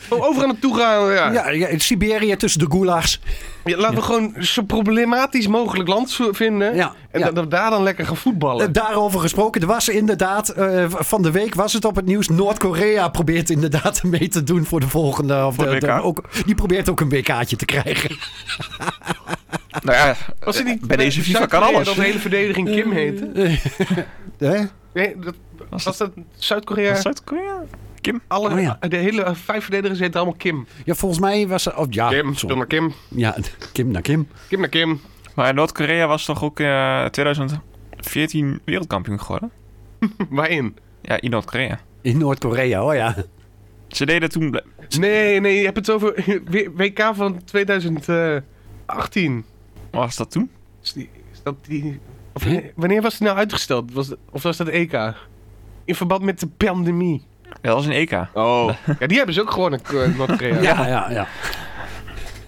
[SPEAKER 5] Oh, Over aan het toegaan, ja.
[SPEAKER 4] Ja, ja, in Siberië tussen de goulags.
[SPEAKER 5] Ja, laten we gewoon zo problematisch mogelijk land zo- vinden.
[SPEAKER 4] Ja,
[SPEAKER 5] en
[SPEAKER 4] ja.
[SPEAKER 5] dat we daar dan lekker gaan voetballen.
[SPEAKER 4] Eh, Daarover gesproken, er was inderdaad, eh, van de week was het op het nieuws. Noord-Korea probeert inderdaad mee te doen voor de volgende. Of
[SPEAKER 3] Voor
[SPEAKER 4] de-
[SPEAKER 3] WK.
[SPEAKER 4] de- ook, die probeert ook een WK'tje te krijgen.
[SPEAKER 3] Nou ja,
[SPEAKER 5] Als het niet
[SPEAKER 3] bij deze FIFA kan
[SPEAKER 5] Zuid-Korea
[SPEAKER 3] alles.
[SPEAKER 5] Dat de hele verdediging Kim heet.
[SPEAKER 4] Hè?
[SPEAKER 5] Nee, dat, was,
[SPEAKER 3] dat-
[SPEAKER 5] dat
[SPEAKER 3] eh,
[SPEAKER 5] Zuid-Korea?
[SPEAKER 3] Zuid-Korea? Kim?
[SPEAKER 5] Alle,
[SPEAKER 4] Oh ja.
[SPEAKER 5] De hele eh, vijf verdedigers heten allemaal Kim.
[SPEAKER 4] Ja, volgens mij was er. Oh, ja,
[SPEAKER 5] Kim,
[SPEAKER 4] zo-
[SPEAKER 5] door naar Kim.
[SPEAKER 4] ja, Kim naar Kim.
[SPEAKER 5] Kim naar Kim.
[SPEAKER 3] Maar Noord-Korea was toch ook eh 2014 wereldkampioen geworden?
[SPEAKER 5] Waarin?
[SPEAKER 3] Ja, in Noord-Korea.
[SPEAKER 4] In Noord-Korea, oh ja.
[SPEAKER 3] Ze deden toen... bl-
[SPEAKER 5] Nee, nee, je hebt het over WK van 2018.
[SPEAKER 3] Was dat toen?
[SPEAKER 5] Is, die, is dat die... Of, wanneer- wanneer was die nou uitgesteld? Was, dat- of was dat EK? In verband met de pandemie.
[SPEAKER 3] Ja, dat was een EK.
[SPEAKER 5] Oh. Ja, die hebben ze ook gewonnen, K- eh, Noord-Korea.
[SPEAKER 4] Ja, ja, ja.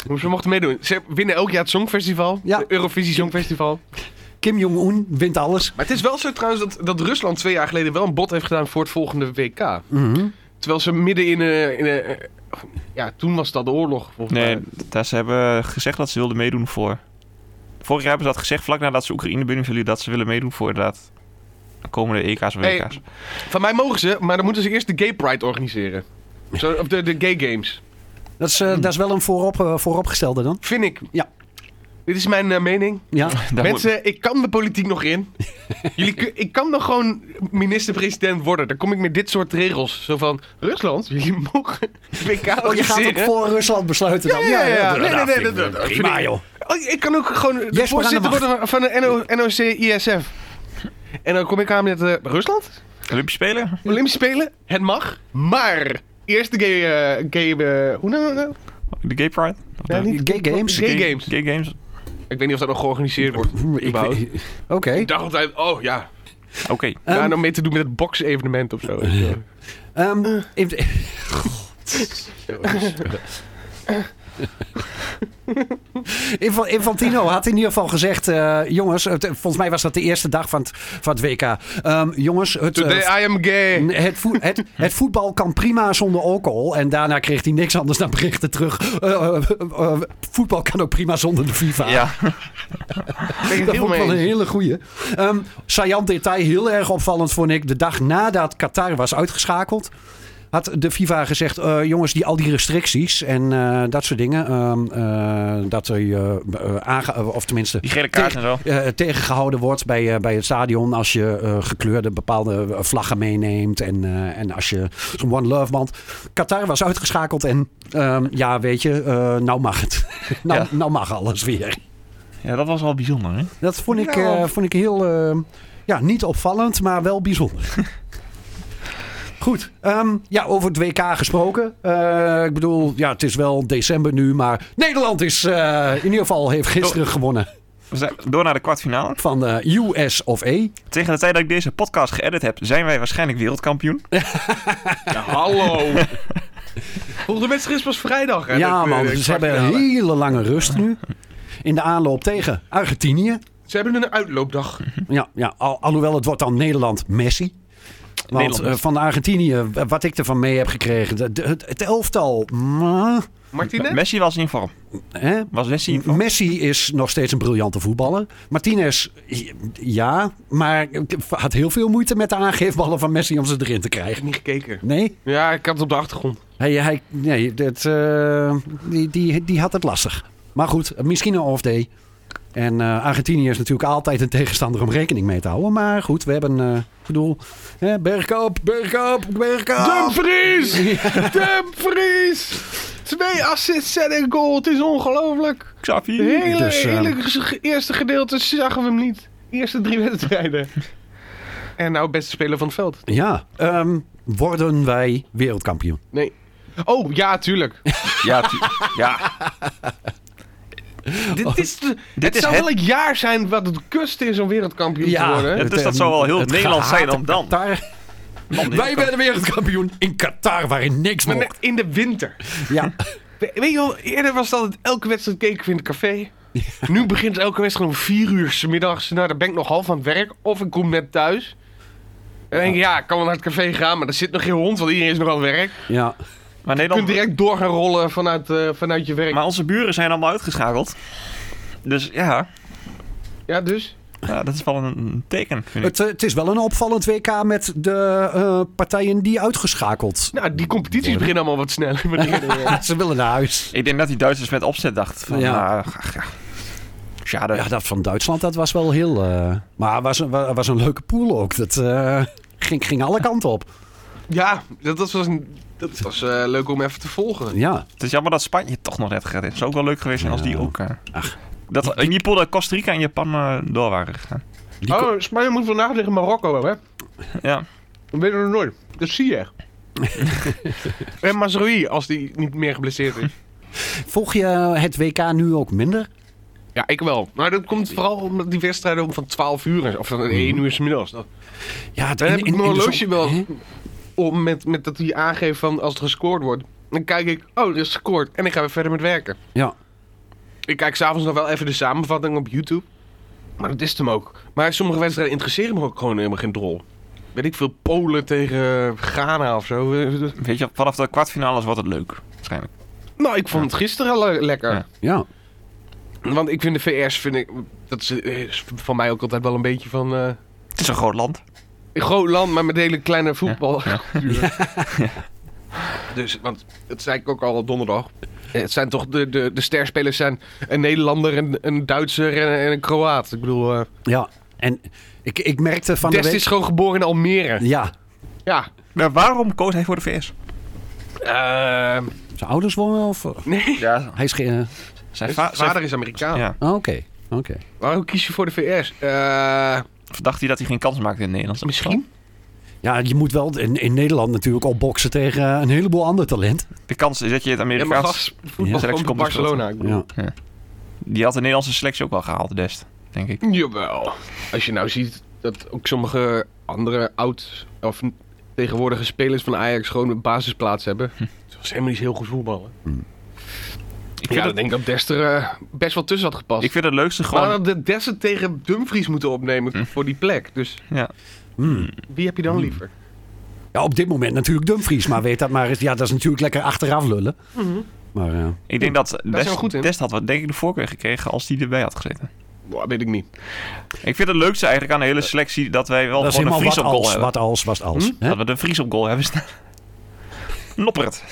[SPEAKER 5] Hoe Ze mochten meedoen. Ze winnen elk jaar het Songfestival.
[SPEAKER 4] Ja.
[SPEAKER 5] Het Eurovisie Songfestival.
[SPEAKER 4] Kim Jong-un wint alles.
[SPEAKER 5] Maar het is wel zo trouwens dat, dat Rusland twee jaar geleden wel een bod heeft gedaan voor het volgende WK.
[SPEAKER 4] Mhm.
[SPEAKER 5] Terwijl ze midden in een... In een ja, toen was dat de oorlog. Volgens
[SPEAKER 3] Nee,
[SPEAKER 5] mij.
[SPEAKER 3] daar ze hebben gezegd dat ze wilden meedoen voor... Vorig jaar hebben ze dat gezegd, vlak nadat ze Oekraïne binnenvielen, dat ze willen meedoen voor inderdaad de komende EK's en
[SPEAKER 5] Hey.
[SPEAKER 3] WK's.
[SPEAKER 5] Van mij mogen ze, maar dan moeten ze eerst de Gay Pride organiseren. Zo, of de, de Gay Games.
[SPEAKER 4] Dat, is, eh,
[SPEAKER 5] Mm.
[SPEAKER 4] dat is wel een voorop, eh, vooropgestelde dan.
[SPEAKER 5] Vind ik.
[SPEAKER 4] Ja.
[SPEAKER 5] Dit is mijn eh, mening.
[SPEAKER 4] Ja.
[SPEAKER 3] Daar
[SPEAKER 5] Mensen, ik kan de politiek nog in. Jullie, kun- ik kan nog gewoon minister-president worden. Dan kom ik met dit soort regels. Zo van, Rusland, jullie mogen
[SPEAKER 4] Oh,
[SPEAKER 5] WK
[SPEAKER 4] je gaat ook
[SPEAKER 5] organiseren.
[SPEAKER 4] voor Rusland besluiten dan.
[SPEAKER 5] Ja, ja, ja.
[SPEAKER 4] dat-
[SPEAKER 5] Nee, nee,
[SPEAKER 4] dat
[SPEAKER 5] nee,
[SPEAKER 4] vind ik
[SPEAKER 5] dat- dat vind
[SPEAKER 4] Prima,
[SPEAKER 5] ik-
[SPEAKER 4] joh.
[SPEAKER 5] Oh, ik kan ook gewoon de
[SPEAKER 4] Jesper aan de
[SPEAKER 5] voorzitter
[SPEAKER 4] macht.
[SPEAKER 5] worden van de NOC-ISF. En dan kom ik aan met eh, Rusland,
[SPEAKER 3] Olympische Spelen?
[SPEAKER 5] Olympische Spelen, het mag. Maar eerst de gay... eh, gay eh, hoe nou? nou?
[SPEAKER 3] De Gay Pride? Of de-
[SPEAKER 5] Ja, niet-
[SPEAKER 4] Gay games.
[SPEAKER 5] Gay Games.
[SPEAKER 3] Gay Games.
[SPEAKER 5] Ik weet niet of dat nog georganiseerd wordt.
[SPEAKER 4] Ik
[SPEAKER 5] überhaupt.
[SPEAKER 4] weet- Oké.
[SPEAKER 5] Ik dacht altijd, oh ja,
[SPEAKER 3] Oké.
[SPEAKER 5] daar
[SPEAKER 4] Ehm,
[SPEAKER 5] nou mee te doen met het box-evenement of zo. Ja.
[SPEAKER 4] ehm, even- Infa- Infantino had in ieder geval gezegd, eh, jongens, het- volgens mij was dat de eerste dag van het, van het WK. Ehm, jongens, het, eh,
[SPEAKER 5] Today I am gay.
[SPEAKER 4] het, voet- het, het voetbal kan prima zonder alcohol. En daarna kreeg hij niks anders dan berichten terug. Eh, eh, eh, voetbal kan ook prima zonder de
[SPEAKER 5] Nou,
[SPEAKER 4] FIFA.
[SPEAKER 3] Ja,
[SPEAKER 5] Ben je het
[SPEAKER 4] Dat
[SPEAKER 5] heel
[SPEAKER 4] vond ik wel een
[SPEAKER 5] mee eens?
[SPEAKER 4] hele goeie. Ehm saillant detail, heel erg opvallend vond ik. De dag nadat Qatar was uitgeschakeld... had de FIFA gezegd... eh, jongens, die, al die restricties en eh, dat soort dingen... ehm, eh, dat er je, eh, aange- eh, of tenminste...
[SPEAKER 3] die gele kaart en zo.
[SPEAKER 4] eh, tegengehouden wordt bij, eh, bij het stadion als je eh, gekleurde bepaalde eh, vlaggen meeneemt en, eh, en als je zo'n One Love band. Qatar was uitgeschakeld en ehm, ja, weet je, eh, nou mag het. nou,
[SPEAKER 3] Ja.
[SPEAKER 4] nou mag alles weer.
[SPEAKER 3] Ja, dat was wel bijzonder, hè?
[SPEAKER 4] Dat vond ik,
[SPEAKER 5] Nou.
[SPEAKER 4] eh, vond ik heel, eh, ja, niet opvallend, maar wel bijzonder. Goed, ehm, ja, over het WK gesproken. Eh, ik bedoel, ja, het is wel december nu, maar Nederland is eh, in ieder geval heeft gisteren
[SPEAKER 5] Oh.
[SPEAKER 4] gewonnen
[SPEAKER 3] We zijn door naar de kwartfinale.
[SPEAKER 4] van de US of A.
[SPEAKER 3] Tegen de tijd dat ik deze podcast geëdit heb, zijn wij waarschijnlijk wereldkampioen.
[SPEAKER 5] Ja, hallo. Volgende wedstrijd is pas vrijdag. Hè,
[SPEAKER 4] ja,
[SPEAKER 5] dat, eh,
[SPEAKER 4] man,
[SPEAKER 5] de
[SPEAKER 4] ze hebben een
[SPEAKER 5] kwartfinale.
[SPEAKER 4] hele lange rust nu. In de aanloop tegen Argentinië.
[SPEAKER 5] Ze hebben een uitloopdag.
[SPEAKER 4] Ja, ja al- alhoewel het wordt dan Nederland-Messi. Want eh,
[SPEAKER 3] Nederlanders.
[SPEAKER 4] van Argentinië, w- wat ik ervan mee heb gekregen, de- de- het, het elftal. mwah,
[SPEAKER 5] Martinez?
[SPEAKER 3] Messi was in vorm.
[SPEAKER 4] hè?
[SPEAKER 3] Was Messi in vorm?
[SPEAKER 4] Messi is nog steeds een briljante voetballer. Martinez, ja, maar had heel veel moeite met de aangeefballen van Messi om ze erin te krijgen.
[SPEAKER 5] niet gekeken.
[SPEAKER 4] Nee,
[SPEAKER 5] Ja, ik had het op de achtergrond.
[SPEAKER 4] hij, hij, nee dat, eh, die, die, die had het lastig. Maar goed, misschien een off day. En eh, Argentinië is natuurlijk altijd een tegenstander om rekening mee te houden. Maar goed, we hebben, eh ik bedoel, hè, bergop, bergop, bergop.
[SPEAKER 5] Dumfries! Dumfries! Twee assists en een goal. Het is ongelooflijk.
[SPEAKER 3] Xavi.
[SPEAKER 5] De hele,
[SPEAKER 4] Dus, eh,
[SPEAKER 5] hele ge- eerste gedeelte zagen we hem niet. Eerste drie wedstrijden. En nou, beste speler van het veld.
[SPEAKER 4] Ja, ehm, worden wij wereldkampioen?
[SPEAKER 5] Nee. Oh, ja, tuurlijk.
[SPEAKER 3] Ja, tu- ja.
[SPEAKER 5] dit is, de- het
[SPEAKER 3] is
[SPEAKER 5] zou
[SPEAKER 3] het-
[SPEAKER 5] wel het jaar zijn wat het kust is om wereldkampioen te worden.
[SPEAKER 3] het- dus dat zou wel heel
[SPEAKER 4] het
[SPEAKER 3] Nederlands zijn dan
[SPEAKER 4] gehate
[SPEAKER 3] dan.
[SPEAKER 4] Qatar.
[SPEAKER 3] Man, dit-
[SPEAKER 4] Wij werden wereldkampioen in Qatar, waarin niks
[SPEAKER 5] Maar
[SPEAKER 4] mocht.
[SPEAKER 5] net in de winter.
[SPEAKER 4] Ja,
[SPEAKER 5] We- Weet je wel, eerder was dat het elke wedstrijd keken we in het café. Nu begint elke wedstrijd om vier uur 's middags. Nou, dan ben ik nog half aan het werk. Of ik kom net thuis. En dan denk ik, ja, ik kan wel naar het café gaan, maar er zit nog geen hond, want iedereen is nog aan het werk.
[SPEAKER 4] ja.
[SPEAKER 3] maar,
[SPEAKER 5] Je kunt
[SPEAKER 3] Nederland,
[SPEAKER 5] direct door gaan rollen vanuit, eh, vanuit je werk.
[SPEAKER 3] maar onze buren zijn allemaal uitgeschakeld. Dus ja,
[SPEAKER 5] Ja, dus?
[SPEAKER 3] ja, Nou, dat is wel een, een teken, vind ik.
[SPEAKER 4] Het, eh, het is wel een opvallend WK met de eh, partijen die uitgeschakeld.
[SPEAKER 5] Nou, die competities beginnen allemaal wat sneller. Maar die-
[SPEAKER 4] Ja, ze willen naar huis.
[SPEAKER 3] Ik denk dat die Duitsers met opzet dachten van,
[SPEAKER 4] Ja.
[SPEAKER 3] ja, ach, ja. Schade.
[SPEAKER 4] Ja, dat van Duitsland, dat was wel heel... eh, maar het was, een- wa- was een leuke pool ook. Dat eh, ging, ging alle kanten op.
[SPEAKER 5] ja, dat was, een- dat was eh, leuk om even te volgen.
[SPEAKER 4] Ja,
[SPEAKER 3] Het is jammer dat Spanje toch nog net gered is. Het zou ook wel leuk geweest zijn als die
[SPEAKER 4] Ja.
[SPEAKER 3] ook... eh,
[SPEAKER 4] Ach.
[SPEAKER 3] Dat in die pool dat Costa Rica en Japan eh, door waren gegaan.
[SPEAKER 4] die ko-
[SPEAKER 5] Oh, Spanje moet vandaag tegen Marokko, hè?
[SPEAKER 3] Ja.
[SPEAKER 5] We weten het nooit. Dat zie je echt. en Mazraoui, als die niet meer geblesseerd is.
[SPEAKER 4] volg je het WK nu ook minder?
[SPEAKER 5] Ja, ik wel. Maar dat komt vooral omdat die wedstrijden om van 12 uur en zo, of van 1 uur 's middags. Dat-
[SPEAKER 4] Ja, het
[SPEAKER 5] Dan heb ik mijn
[SPEAKER 4] de zon-
[SPEAKER 5] horloge wel
[SPEAKER 4] Hè?
[SPEAKER 5] om met, met dat hij aangeeft van als er gescoord wordt. Dan kijk ik, oh, er is gescoord. En ik ga weer verder met werken.
[SPEAKER 4] Ja.
[SPEAKER 5] Ik kijk s'avonds nog wel even de samenvatting op YouTube. Maar dat is het hem ook. Maar sommige wedstrijden interesseren me ook gewoon helemaal geen drol. Weet ik veel, Polen tegen eh, Ghana of zo.
[SPEAKER 3] Weet je, vanaf de kwartfinales wordt het leuk. Waarschijnlijk.
[SPEAKER 5] Nou, ik vond het gisteren al le- lekker.
[SPEAKER 3] Ja.
[SPEAKER 4] Ja.
[SPEAKER 5] Want ik vind de VS, vind ik, dat is, eh, is van mij ook altijd wel een beetje van... eh,
[SPEAKER 3] Het is een groot land.
[SPEAKER 5] een groot land, maar met hele kleine voetbal. Dus, want dat zei ik ook al op donderdag. Eh, Het zijn toch de, de, de sterspelers zijn een Nederlander, een, een Duitser en, en een Kroaat. Ik bedoel, eh
[SPEAKER 4] Ja, en ik, ik merkte van
[SPEAKER 5] Dest
[SPEAKER 4] de week...
[SPEAKER 5] is gewoon geboren in Almere.
[SPEAKER 4] Ja,
[SPEAKER 5] Ja.
[SPEAKER 3] Maar waarom koos hij voor de VS? Eh,
[SPEAKER 5] Ehm,
[SPEAKER 4] zijn ouders wonen of... eh?
[SPEAKER 5] nee.
[SPEAKER 3] Ja.
[SPEAKER 4] Hij is geen... eh,
[SPEAKER 3] Zijn,
[SPEAKER 5] Zijn
[SPEAKER 3] va- zijn-
[SPEAKER 5] vader is Amerikaan.
[SPEAKER 3] Ja.
[SPEAKER 4] oh, Oké, oké.
[SPEAKER 5] Waarom kies je voor de VS? Eh,
[SPEAKER 3] Of dacht hij dat hij geen kans maakte in het Nederlands?
[SPEAKER 5] misschien.
[SPEAKER 4] Ja, je moet wel in, in Nederland natuurlijk al boksen tegen eh, een heleboel ander talent.
[SPEAKER 3] De kans is dat je het
[SPEAKER 5] Ja, maar
[SPEAKER 3] Amerikaans...
[SPEAKER 5] gast, voetbal
[SPEAKER 3] Ja. dus
[SPEAKER 5] komt uit Barcelona. Ik bedoel.
[SPEAKER 4] Ja.
[SPEAKER 3] die had de Nederlandse selectie ook wel gehaald, Dest. Denk ik.
[SPEAKER 5] Jawel. Als je nou ziet dat ook sommige andere oud of tegenwoordige spelers van Ajax gewoon een basisplaats hebben.
[SPEAKER 3] Hm.
[SPEAKER 5] Zoals helemaal niet heel goed voetballen.
[SPEAKER 3] Ik
[SPEAKER 5] Ja,
[SPEAKER 3] vind,
[SPEAKER 5] dan
[SPEAKER 3] het,
[SPEAKER 5] denk ik dat Dest er eh, best wel tussen had gepast.
[SPEAKER 3] ik vind het leukste
[SPEAKER 5] maar
[SPEAKER 3] gewoon... Hm.
[SPEAKER 5] dan de Dest het tegen Dumfries moeten opnemen voor die plek. Dus
[SPEAKER 3] Ja.
[SPEAKER 4] Hmm.
[SPEAKER 5] wie heb je dan liever?
[SPEAKER 4] Ja, op dit moment natuurlijk Dumfries, maar weet dat maar eens. Ja, dat is natuurlijk lekker achteraf lullen.
[SPEAKER 3] Mhm.
[SPEAKER 4] Maar eh,
[SPEAKER 3] Ik denk dat
[SPEAKER 5] Hm, zijn we goed
[SPEAKER 3] Dest,
[SPEAKER 5] in.
[SPEAKER 3] Dest had wat, denk ik de voorkeur gekregen als hij erbij had gezeten.
[SPEAKER 5] Boah, weet ik niet.
[SPEAKER 3] Ik vind het leukste eigenlijk aan de hele selectie dat wij wel
[SPEAKER 4] dat is
[SPEAKER 3] gewoon een
[SPEAKER 4] helemaal
[SPEAKER 3] Fries
[SPEAKER 4] wat
[SPEAKER 3] op goal
[SPEAKER 4] als,
[SPEAKER 3] hebben. Hmm?
[SPEAKER 4] wat als, was als. Hè?
[SPEAKER 3] Dat we de Fries op goal hebben staan. Noppert.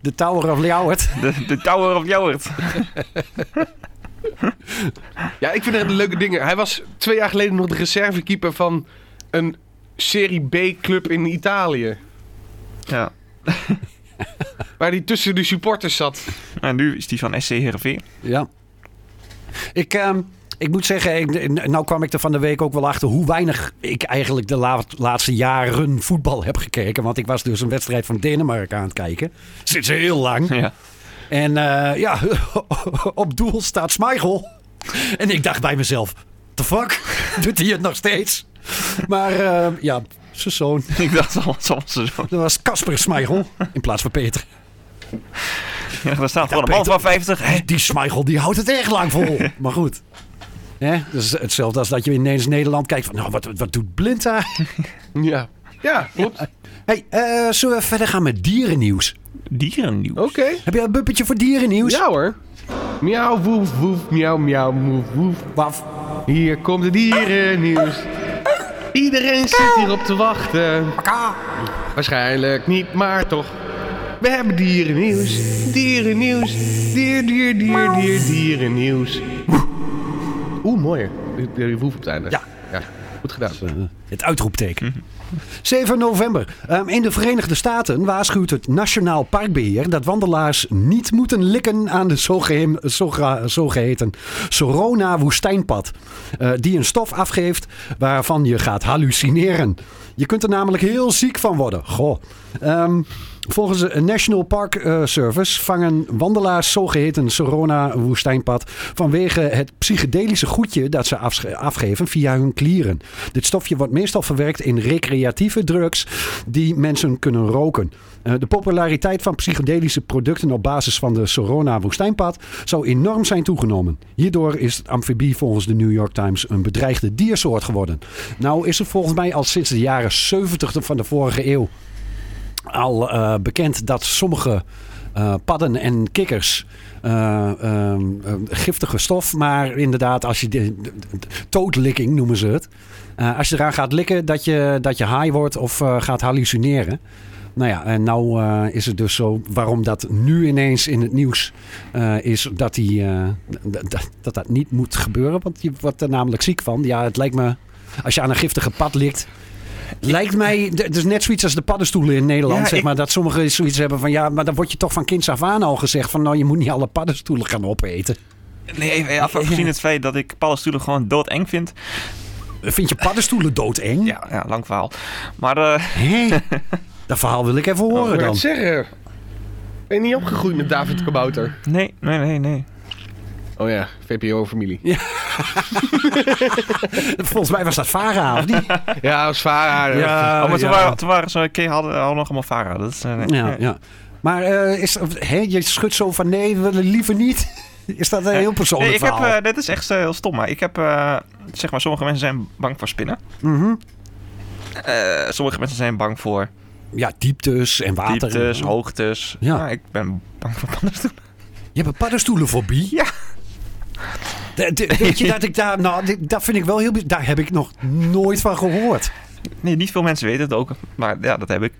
[SPEAKER 4] De Tower of Leeuwarden.
[SPEAKER 3] De, de Tower of Jouwert.
[SPEAKER 5] Ja, ik vind het leuke dingen. Hij was twee jaar geleden nog de reservekeeper van een Serie B-club in Italië.
[SPEAKER 3] Ja.
[SPEAKER 5] Waar hij tussen de supporters zat.
[SPEAKER 3] En Nou, nu is die van SC Heerenveen.
[SPEAKER 4] Ja. Ik, ehm, ik moet zeggen, ik, nou kwam ik er van de week ook wel achter hoe weinig ik eigenlijk de la- laatste jaren voetbal heb gekeken. Want ik was dus een wedstrijd van Denemarken aan het kijken. Sinds heel lang.
[SPEAKER 3] Ja.
[SPEAKER 4] En eh, ja, op doel staat Smeichel. En ik dacht bij mezelf, the fuck? Doet hij het nog steeds? Maar eh, ja, zijn zoon,
[SPEAKER 3] Ik dacht al, soms zo.
[SPEAKER 4] dat was Casper Smeichel in plaats van Peter.
[SPEAKER 3] Ja, daar staat gewoon een man van 50. Hè?
[SPEAKER 4] Die Smeichel, die houdt het erg lang vol. Maar goed. Hè? Dat is hetzelfde als dat je ineens Nederland kijkt van, nou, wat, wat doet Blind daar?
[SPEAKER 5] Ja. Ja, klopt.
[SPEAKER 4] hey, eh, zullen we verder gaan met dierennieuws?
[SPEAKER 3] Dierennieuws.
[SPEAKER 5] Oké.
[SPEAKER 4] Heb je een buppetje voor dierennieuws?
[SPEAKER 5] Ja hoor. Miauw, woef, woef, miauw, miauw, woef, woef.
[SPEAKER 4] Waf.
[SPEAKER 5] Hier komt het dierennieuws. Iedereen zit hierop te wachten. Waarschijnlijk niet, maar toch. We hebben dierennieuws. Dierennieuws. Dier, dier, dier, dier, dierennieuws. Oeh, mooier. De- De woef op het einde.
[SPEAKER 4] Ja.
[SPEAKER 5] ja. Goed gedaan.
[SPEAKER 4] Het uitroepteken. 7 november. Ehm, in de Verenigde Staten waarschuwt het Nationaal Parkbeheer dat wandelaars niet moeten likken aan de zogeheem- zogra- zogeheten Sorona woestijnpad. eh, die een stof afgeeft waarvan je gaat hallucineren. Je kunt er namelijk heel ziek van worden. Goh. Ehm, volgens de National Park eh, Service vangen wandelaars zogeheten Sorona woestijnpad vanwege het psychedelische goedje dat ze afsche- afgeven via hun klieren. Dit stofje wordt meestal verwerkt in recreatieve drugs die mensen kunnen roken. Eh, de populariteit van psychedelische producten op basis van de Sorona woestijnpad zou enorm zijn toegenomen. Hierdoor is het amfibie volgens de New York Times een bedreigde diersoort geworden. Nou is het volgens mij al sinds de jaren 70 van de vorige eeuw al eh, bekend dat sommige eh, padden en kikkers eh, ehm, ehm, giftige stof, maar inderdaad, als je de, de- de- toadlicking noemen ze het. Eh, als je eraan gaat likken, dat je, dat je high wordt of eh, gaat hallucineren. Nou ja, en nou eh, is het dus zo waarom dat nu ineens in het nieuws eh, is dat, die, eh, d- d- dat dat niet moet gebeuren. Want je wordt er namelijk ziek van. Ja, het lijkt me, als je aan een giftige pad likt, Lijkt mij, d- het is net zoiets als de paddenstoelen in Nederland,
[SPEAKER 3] Ja,
[SPEAKER 4] zeg
[SPEAKER 3] ik-
[SPEAKER 4] maar. Dat sommigen zoiets hebben van, ja, maar dan word je toch van kinds af aan al gezegd van, nou, je moet niet alle paddenstoelen gaan opeten.
[SPEAKER 3] Nee, even af- afgezien het feit dat ik paddenstoelen gewoon doodeng vind.
[SPEAKER 4] Vind je paddenstoelen doodeng?
[SPEAKER 3] Ja, ja lang verhaal. Maar eh,
[SPEAKER 4] Hé? Dat verhaal wil ik even horen
[SPEAKER 5] Ik wou
[SPEAKER 4] dan.
[SPEAKER 5] het zeggen. Ben je niet opgegroeid met David Kabouter?
[SPEAKER 3] nee, nee, nee, nee.
[SPEAKER 5] Oh ja, VPO-familie.
[SPEAKER 4] Volgens mij was dat Vara, of niet?
[SPEAKER 5] Ja, als vader.
[SPEAKER 4] Ja,
[SPEAKER 3] oh, maar toen
[SPEAKER 4] ja.
[SPEAKER 3] waren, toen waren ze een keer hadden, hadden nog allemaal Vara. Dat is, eh, nee.
[SPEAKER 4] Ja, ja. Maar eh, is, hè, je schudt zo van, nee, we willen liever niet. Is dat een heel persoonlijk
[SPEAKER 3] Nee, ik heb,
[SPEAKER 4] verhaal?
[SPEAKER 3] eh, dit is echt eh, heel stom, maar ik heb, eh, zeg maar, sommige mensen zijn bang voor spinnen.
[SPEAKER 4] Mhm.
[SPEAKER 3] Eh, sommige mensen zijn bang voor
[SPEAKER 4] Ja, dieptes en water.
[SPEAKER 3] dieptes, hoogtes.
[SPEAKER 4] Ja.
[SPEAKER 3] Nou, ik ben bang voor paddenstoelen.
[SPEAKER 4] Je hebt een paddenstoelenfobie?
[SPEAKER 3] Ja.
[SPEAKER 4] De- de- Weet je dat ik daar, nou, dit- dat vind ik wel heel, bi- daar heb ik nog nooit van gehoord.
[SPEAKER 3] Nee, niet veel mensen weten het ook, maar ja, dat heb ik.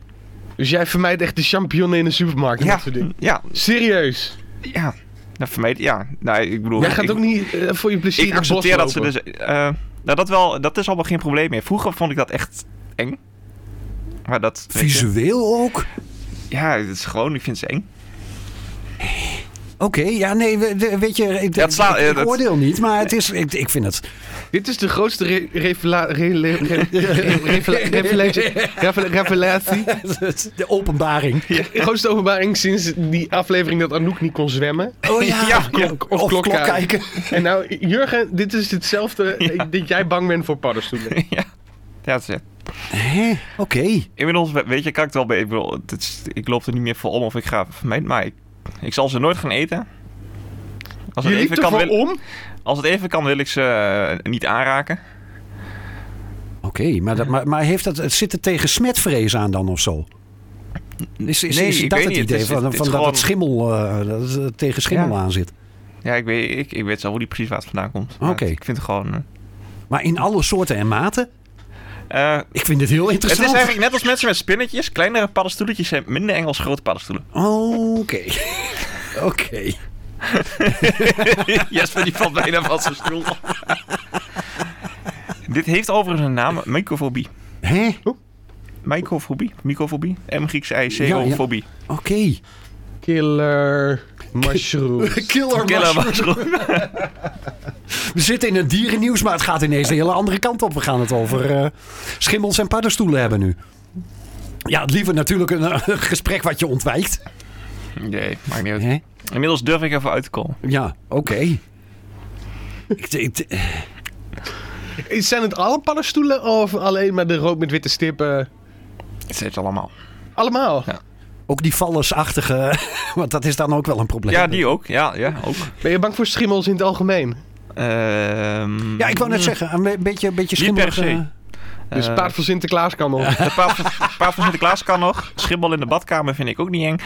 [SPEAKER 5] Dus jij vermijdt echt de champignonnen in de supermarkt en
[SPEAKER 3] Ja,
[SPEAKER 5] dat soort dingen.
[SPEAKER 3] ja,
[SPEAKER 5] Serieus?
[SPEAKER 3] ja. Dat vermeed, ja. Nou, ik bedoel,
[SPEAKER 5] Jij gaat
[SPEAKER 3] ik,
[SPEAKER 5] ook niet eh, voor je plezier
[SPEAKER 3] ik
[SPEAKER 5] in het bos
[SPEAKER 3] accepteer dat ze
[SPEAKER 5] lopen.
[SPEAKER 3] dus... eh, nou, dat, wel, dat is allemaal geen probleem meer. Vroeger vond ik dat echt eng. Maar dat... weet je,
[SPEAKER 4] Visueel ook?
[SPEAKER 3] Ja, het is gewoon, ik vind ze eng.
[SPEAKER 4] Oké, ja, nee, we- de- weet je, ik,
[SPEAKER 3] Dat sla-
[SPEAKER 4] ik- ik
[SPEAKER 3] eh, dat-
[SPEAKER 4] oordeel niet, maar het is, ik, ik vind het...
[SPEAKER 3] dus-
[SPEAKER 5] Dit is de grootste re- revela- re- le- re- re- revela- revelatie- revela- revelatie.
[SPEAKER 4] De openbaring.
[SPEAKER 5] De grootste openbaring sinds die aflevering dat Anouk niet kon zwemmen.
[SPEAKER 4] Oh ja,
[SPEAKER 3] Ja,
[SPEAKER 5] klok- of klok
[SPEAKER 4] kijken.
[SPEAKER 5] En nou, Jurgen, dit is hetzelfde eh, dat jij bang bent voor paddenstoelen.
[SPEAKER 3] Ja, het is,
[SPEAKER 4] Hè? Oké.
[SPEAKER 3] inmiddels, we- weet je, kan ik het wel bij... Ik, bedoel, het is- ik loop er niet meer voor om of ik ga vermijden, maar ik, ik zal ze nooit gaan eten. Als het,
[SPEAKER 5] Je liep
[SPEAKER 3] even kan,
[SPEAKER 5] ervoor
[SPEAKER 3] wil,
[SPEAKER 5] om?
[SPEAKER 3] als het even kan, wil ik ze eh, niet aanraken.
[SPEAKER 4] Oké, maar, dat- maar, maar heeft dat, het zit er tegen smetvrees aan dan of zo? Is, is,
[SPEAKER 3] Nee,
[SPEAKER 4] is
[SPEAKER 3] ik
[SPEAKER 4] dat
[SPEAKER 3] weet
[SPEAKER 4] het
[SPEAKER 3] niet, het
[SPEAKER 4] idee
[SPEAKER 3] is-
[SPEAKER 4] van,
[SPEAKER 3] het is
[SPEAKER 4] van dat
[SPEAKER 3] gewoon-
[SPEAKER 4] het schimmel, eh, dat het tegen schimmel
[SPEAKER 3] Ja.
[SPEAKER 4] aan zit?
[SPEAKER 3] Ja, ik weet, ik, ik weet zelf wel niet precies waar het vandaan komt. maar
[SPEAKER 4] Oké.
[SPEAKER 3] Ik vind het gewoon...
[SPEAKER 4] Maar in alle soorten en maten?
[SPEAKER 3] eh, eh,
[SPEAKER 4] Ik vind dit heel
[SPEAKER 3] het is
[SPEAKER 4] interessant.
[SPEAKER 3] eigenlijk net als mensen met spinnetjes. Kleinere paddenstoeltjes zijn minder eng als grote paddenstoelen.
[SPEAKER 4] Oké. Oké.
[SPEAKER 3] Jesper die valt bijna van zijn stoel. Dit heeft overigens een naam, mycofobie.
[SPEAKER 4] Hè? Oké.
[SPEAKER 3] Mycofobie, mycofobie, M Grieks I C
[SPEAKER 4] Ja,
[SPEAKER 3] O
[SPEAKER 4] ja.
[SPEAKER 3] fobie.
[SPEAKER 5] Killer mushroom.
[SPEAKER 4] Killer,
[SPEAKER 3] Killer mushroom.
[SPEAKER 4] We zitten in het dierennieuws, maar het gaat ineens de hele andere kant op. We gaan het over eh, schimmels en paddenstoelen hebben nu. Ja, het liever natuurlijk een eh, gesprek wat je ontwijkt.
[SPEAKER 3] Nee, maakt niet uit.
[SPEAKER 4] Hè?
[SPEAKER 3] Inmiddels durf ik even uit te komen.
[SPEAKER 4] Ja, oké. Ik- ik-
[SPEAKER 5] Zijn het alle paddenstoelen of alleen maar de rood met witte stippen?
[SPEAKER 3] Het zit allemaal.
[SPEAKER 5] Allemaal?
[SPEAKER 4] ook die vallesachtige, want dat is dan ook wel een probleem.
[SPEAKER 3] Ja, die ook. Ja, ja, ook.
[SPEAKER 5] Ben je bang voor schimmels in het algemeen?
[SPEAKER 3] Ehm,
[SPEAKER 4] Ja, ik wou net zeggen, een be- beetje, beetje
[SPEAKER 3] Niet per
[SPEAKER 4] schimmelig.
[SPEAKER 3] se.
[SPEAKER 4] eh,
[SPEAKER 5] Dus
[SPEAKER 3] eh,
[SPEAKER 5] paard van Sinterklaas kan nog.
[SPEAKER 3] De paard van, paard van Sinterklaas kan nog. Schimmel in de badkamer vind ik ook niet eng.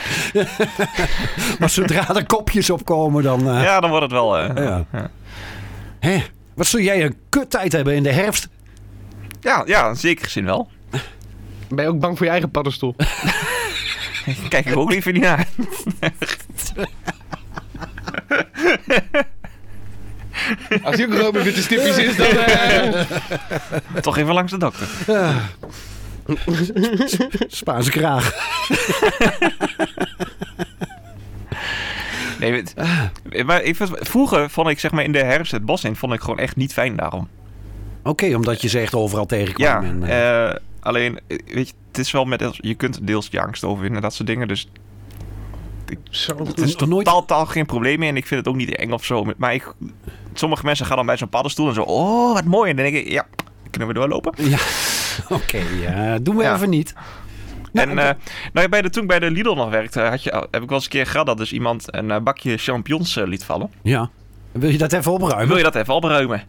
[SPEAKER 4] maar zodra er kopjes opkomen, dan... eh,
[SPEAKER 3] Ja, dan wordt het wel... eh,
[SPEAKER 4] Ja.
[SPEAKER 3] Ja.
[SPEAKER 4] Hè? Wat zul jij een kuttijd hebben in de herfst?
[SPEAKER 3] ja, ja, zeker gezien wel.
[SPEAKER 5] Ben je ook bang voor je eigen paddenstoel?
[SPEAKER 3] Kijk ik ook liever niet naar.
[SPEAKER 5] Als die ook rood met witte stipjes is, dan... eh,
[SPEAKER 3] Toch even langs de dokter.
[SPEAKER 4] Spaanse kraag.
[SPEAKER 3] Nee, weet-
[SPEAKER 4] Ah.
[SPEAKER 3] maar ik vond- vroeger vond ik zeg maar in de herfst het bos in, vond ik gewoon echt niet fijn daarom.
[SPEAKER 4] Oké, omdat je ze echt overal tegenkwam.
[SPEAKER 3] Ja,
[SPEAKER 4] en, eh,
[SPEAKER 3] eh, alleen, eh, weet je, het is wel met, je kunt deels je angst overwinnen, dat soort dingen, dus... ik- Het is
[SPEAKER 4] Nog nooit-
[SPEAKER 3] totaal, totaal geen probleem meer en ik vind het ook niet eng of zo. Maar ik, sommige mensen gaan dan bij zo'n paddenstoel en zo, oh, wat mooi. En dan denk ik, ja, kunnen we doorlopen?
[SPEAKER 4] Ja, oké. ja, doen we
[SPEAKER 3] Ja.
[SPEAKER 4] even niet. Nou,
[SPEAKER 3] en eh, nou, ja, bij de, toen ik bij de Lidl nog werkte, had je, heb ik wel eens een keer gehad dat dus iemand een eh, bakje champignons eh, liet vallen.
[SPEAKER 4] Ja. Wil je dat even opruimen?
[SPEAKER 3] Wil je dat even opruimen?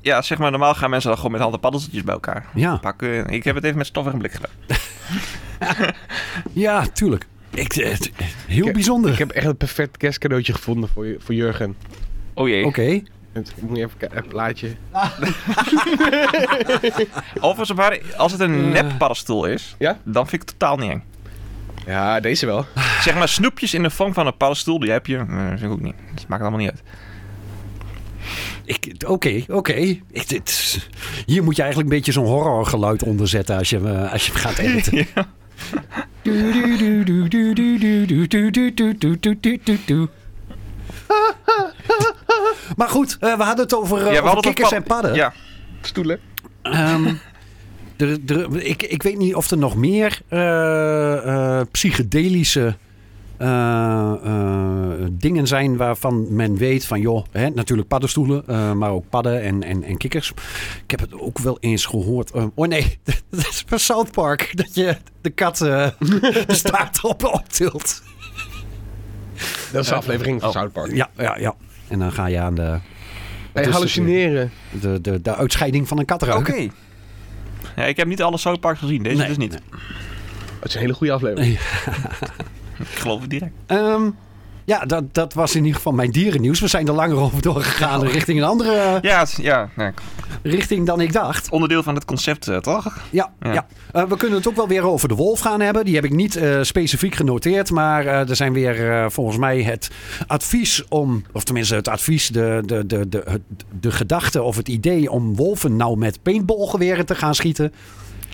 [SPEAKER 3] Ja, zeg maar, normaal gaan mensen dan gewoon met handen paddeltjes bij elkaar
[SPEAKER 4] Ja.
[SPEAKER 3] pakken. Ik heb het even met stofferig blik gedaan.
[SPEAKER 4] ja, tuurlijk. Ik, eh, het- heel
[SPEAKER 5] Ik-
[SPEAKER 4] bijzonder.
[SPEAKER 5] ik heb echt een perfect kerstcadeautje gevonden voor, je- voor Jurgen.
[SPEAKER 3] Oh jee.
[SPEAKER 4] Oké.
[SPEAKER 5] Het- Ik moet even kijken, een plaatje.
[SPEAKER 3] Overigens, maar als het een nep paddenstoel is,
[SPEAKER 5] Ja?
[SPEAKER 3] dan vind ik het totaal niet eng.
[SPEAKER 5] Ja, deze wel.
[SPEAKER 3] Zeg maar, snoepjes in de vorm van een paddenstoel, die heb je. eh, vind ik ook niet. Dat maakt allemaal niet uit.
[SPEAKER 4] Ik- Oké, oké. Ik- dit- Hier moet je eigenlijk een beetje zo'n horrorgeluid onder zetten als je, eh, als je hem gaat editen.
[SPEAKER 3] Ja.
[SPEAKER 4] Maar goed, eh, we hadden het over, eh,
[SPEAKER 3] Ja,
[SPEAKER 4] over
[SPEAKER 3] het
[SPEAKER 4] kikkers
[SPEAKER 3] pad-
[SPEAKER 4] en padden.
[SPEAKER 3] Ja,
[SPEAKER 5] Stoelen.
[SPEAKER 4] Ehm, er- er- ik, ik weet niet of er nog meer eh, eh, psychedelische eh, eh, dingen zijn waarvan men weet van joh, hè, natuurlijk paddenstoelen, eh, maar ook padden en, en, en kikkers. Ik heb het ook wel eens gehoord. eh, oh nee, dat is bij South Park dat je de kat eh, de staart op optilt.
[SPEAKER 5] Dat is de aflevering van
[SPEAKER 3] Oh.
[SPEAKER 5] South Park. dus-
[SPEAKER 4] Ja, ja, ja. En dan ga je aan de,
[SPEAKER 5] Hey,
[SPEAKER 4] is het
[SPEAKER 5] hallucineren.
[SPEAKER 4] de, de, de uitscheiding van een kat
[SPEAKER 3] oké.
[SPEAKER 4] ruiken.
[SPEAKER 3] Ja, ik heb niet alle South Park gezien. Deze
[SPEAKER 4] Nee,
[SPEAKER 3] dus niet.
[SPEAKER 4] nee.
[SPEAKER 5] Dat is een hele goede aflevering.
[SPEAKER 3] Ik geloof het direct.
[SPEAKER 4] Ehm, ja, dat, dat was in ieder geval mijn dierennieuws. We zijn er langer over doorgegaan richting een andere eh,
[SPEAKER 3] Ja, het- ja, ja,
[SPEAKER 4] richting dan ik dacht.
[SPEAKER 3] onderdeel van het concept, eh, toch?
[SPEAKER 4] Ja, ja.
[SPEAKER 3] Ja.
[SPEAKER 4] Eh, we kunnen het ook wel weer over de wolf gaan hebben. Die heb ik niet eh, specifiek genoteerd. Maar eh, er zijn weer eh, volgens mij het advies om... Of tenminste het advies, de, de, de, de, het- de gedachte of het idee... om wolven nou met paintballgeweren te gaan schieten...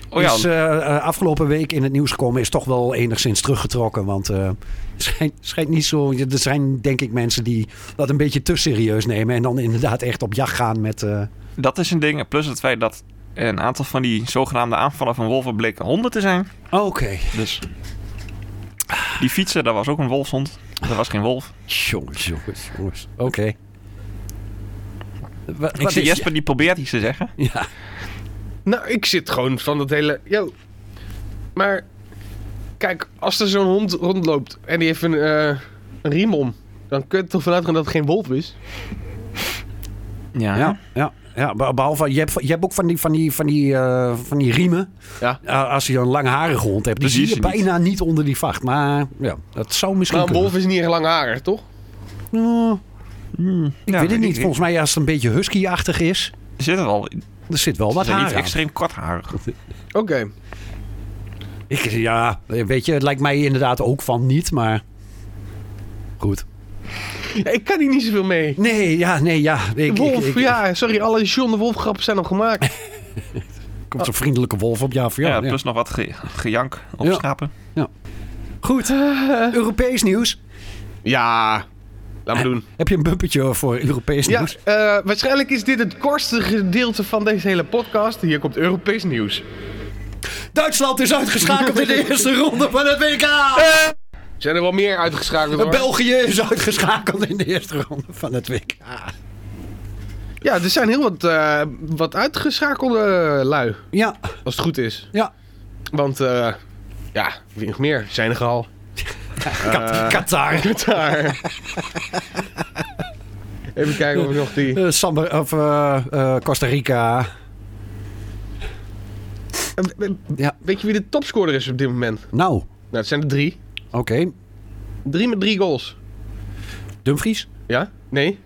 [SPEAKER 3] Oh ja,
[SPEAKER 4] is eh, eh, afgelopen week in het nieuws gekomen. Is toch wel enigszins teruggetrokken. Want eh, schijnt, schijnt niet zo. Er zijn denk ik mensen die dat een beetje te serieus nemen. En dan inderdaad echt op jacht gaan met. eh,
[SPEAKER 3] dat is een ding. Plus het feit dat een aantal van die zogenaamde aanvallen van wolven bleken honden te zijn.
[SPEAKER 4] Oké.
[SPEAKER 3] Dus die fietsen, daar was ook een wolfshond. Dat was geen wolf.
[SPEAKER 4] Jongens, jongens, jongens. Oké. Wa-
[SPEAKER 3] Ik
[SPEAKER 4] wat
[SPEAKER 3] zie
[SPEAKER 4] is-
[SPEAKER 3] Jesper, die probeert iets te zeggen.
[SPEAKER 4] Ja.
[SPEAKER 5] Nou, ik zit gewoon van dat hele... Yo. Maar kijk, als er zo'n hond rondloopt en die heeft een, eh, een riem om... dan kun je er toch vanuit gaan dat het geen wolf is?
[SPEAKER 3] Ja.
[SPEAKER 4] Ja, ja, ja, be- behalve je hebt, je hebt ook van die, van die, van die, eh, van die riemen.
[SPEAKER 5] Ja.
[SPEAKER 4] Eh, als je een langharige hond hebt, die
[SPEAKER 3] Dus die
[SPEAKER 4] zie je
[SPEAKER 3] is er niet.
[SPEAKER 4] bijna niet onder die vacht. Maar ja, dat zou misschien.
[SPEAKER 5] Maar een
[SPEAKER 4] kunnen.
[SPEAKER 5] wolf is niet echt langharig, toch?
[SPEAKER 4] Nou, Ik
[SPEAKER 3] Ja,
[SPEAKER 4] weet het niet.
[SPEAKER 3] ik-
[SPEAKER 4] Volgens mij als het een beetje husky-achtig is,
[SPEAKER 3] Er zit er al
[SPEAKER 4] er zit wel wat
[SPEAKER 3] er
[SPEAKER 4] haar
[SPEAKER 3] iets
[SPEAKER 4] aan.
[SPEAKER 3] extreem kortharig.
[SPEAKER 5] Oké.
[SPEAKER 4] Ik, ja, weet je, het lijkt mij inderdaad ook van niet, maar... Goed.
[SPEAKER 5] Ja, ik kan hier niet zoveel mee.
[SPEAKER 4] Nee, ja, nee, ja. Ik, ik-
[SPEAKER 5] wolf,
[SPEAKER 4] ik-
[SPEAKER 5] ja, sorry, alle John de Wolf grappen zijn al gemaakt.
[SPEAKER 4] er komt zo'n vriendelijke wolf op jou.
[SPEAKER 3] Ja,
[SPEAKER 4] Ja, ja.
[SPEAKER 3] plus nog wat ge- gejank op
[SPEAKER 4] Ja.
[SPEAKER 3] schapen.
[SPEAKER 4] Goed. Europees nieuws.
[SPEAKER 5] Ja, laat
[SPEAKER 4] Ah,
[SPEAKER 5] maar doen.
[SPEAKER 4] Heb je een bumpertje voor Europees
[SPEAKER 5] Ja,
[SPEAKER 4] nieuws?
[SPEAKER 5] eh, waarschijnlijk is dit het kortste gedeelte van deze hele podcast. Hier komt Europees nieuws.
[SPEAKER 4] Duitsland is uitgeschakeld in de eerste ronde van het WK.
[SPEAKER 5] Zijn er wel meer uitgeschakeld hoor.
[SPEAKER 4] België is uitgeschakeld in de eerste ronde van het WK.
[SPEAKER 5] Ja, er zijn heel wat, eh, wat uitgeschakelde lui,
[SPEAKER 4] Ja,
[SPEAKER 5] als het goed is.
[SPEAKER 4] ja.
[SPEAKER 5] Want, eh, ja, wie nog meer? Senegal.
[SPEAKER 3] Eh.
[SPEAKER 4] Kat- Qatar.
[SPEAKER 5] Qatar. Even kijken of ik nog die...
[SPEAKER 4] Eh, Samba- of, eh, eh, Costa Rica. Ja.
[SPEAKER 5] Weet je wie de topscorer is op dit moment?
[SPEAKER 4] Nou,
[SPEAKER 5] Nou, het zijn er drie.
[SPEAKER 4] oké.
[SPEAKER 5] Drie met drie goals.
[SPEAKER 4] Dumfries?
[SPEAKER 5] Ja? Nee?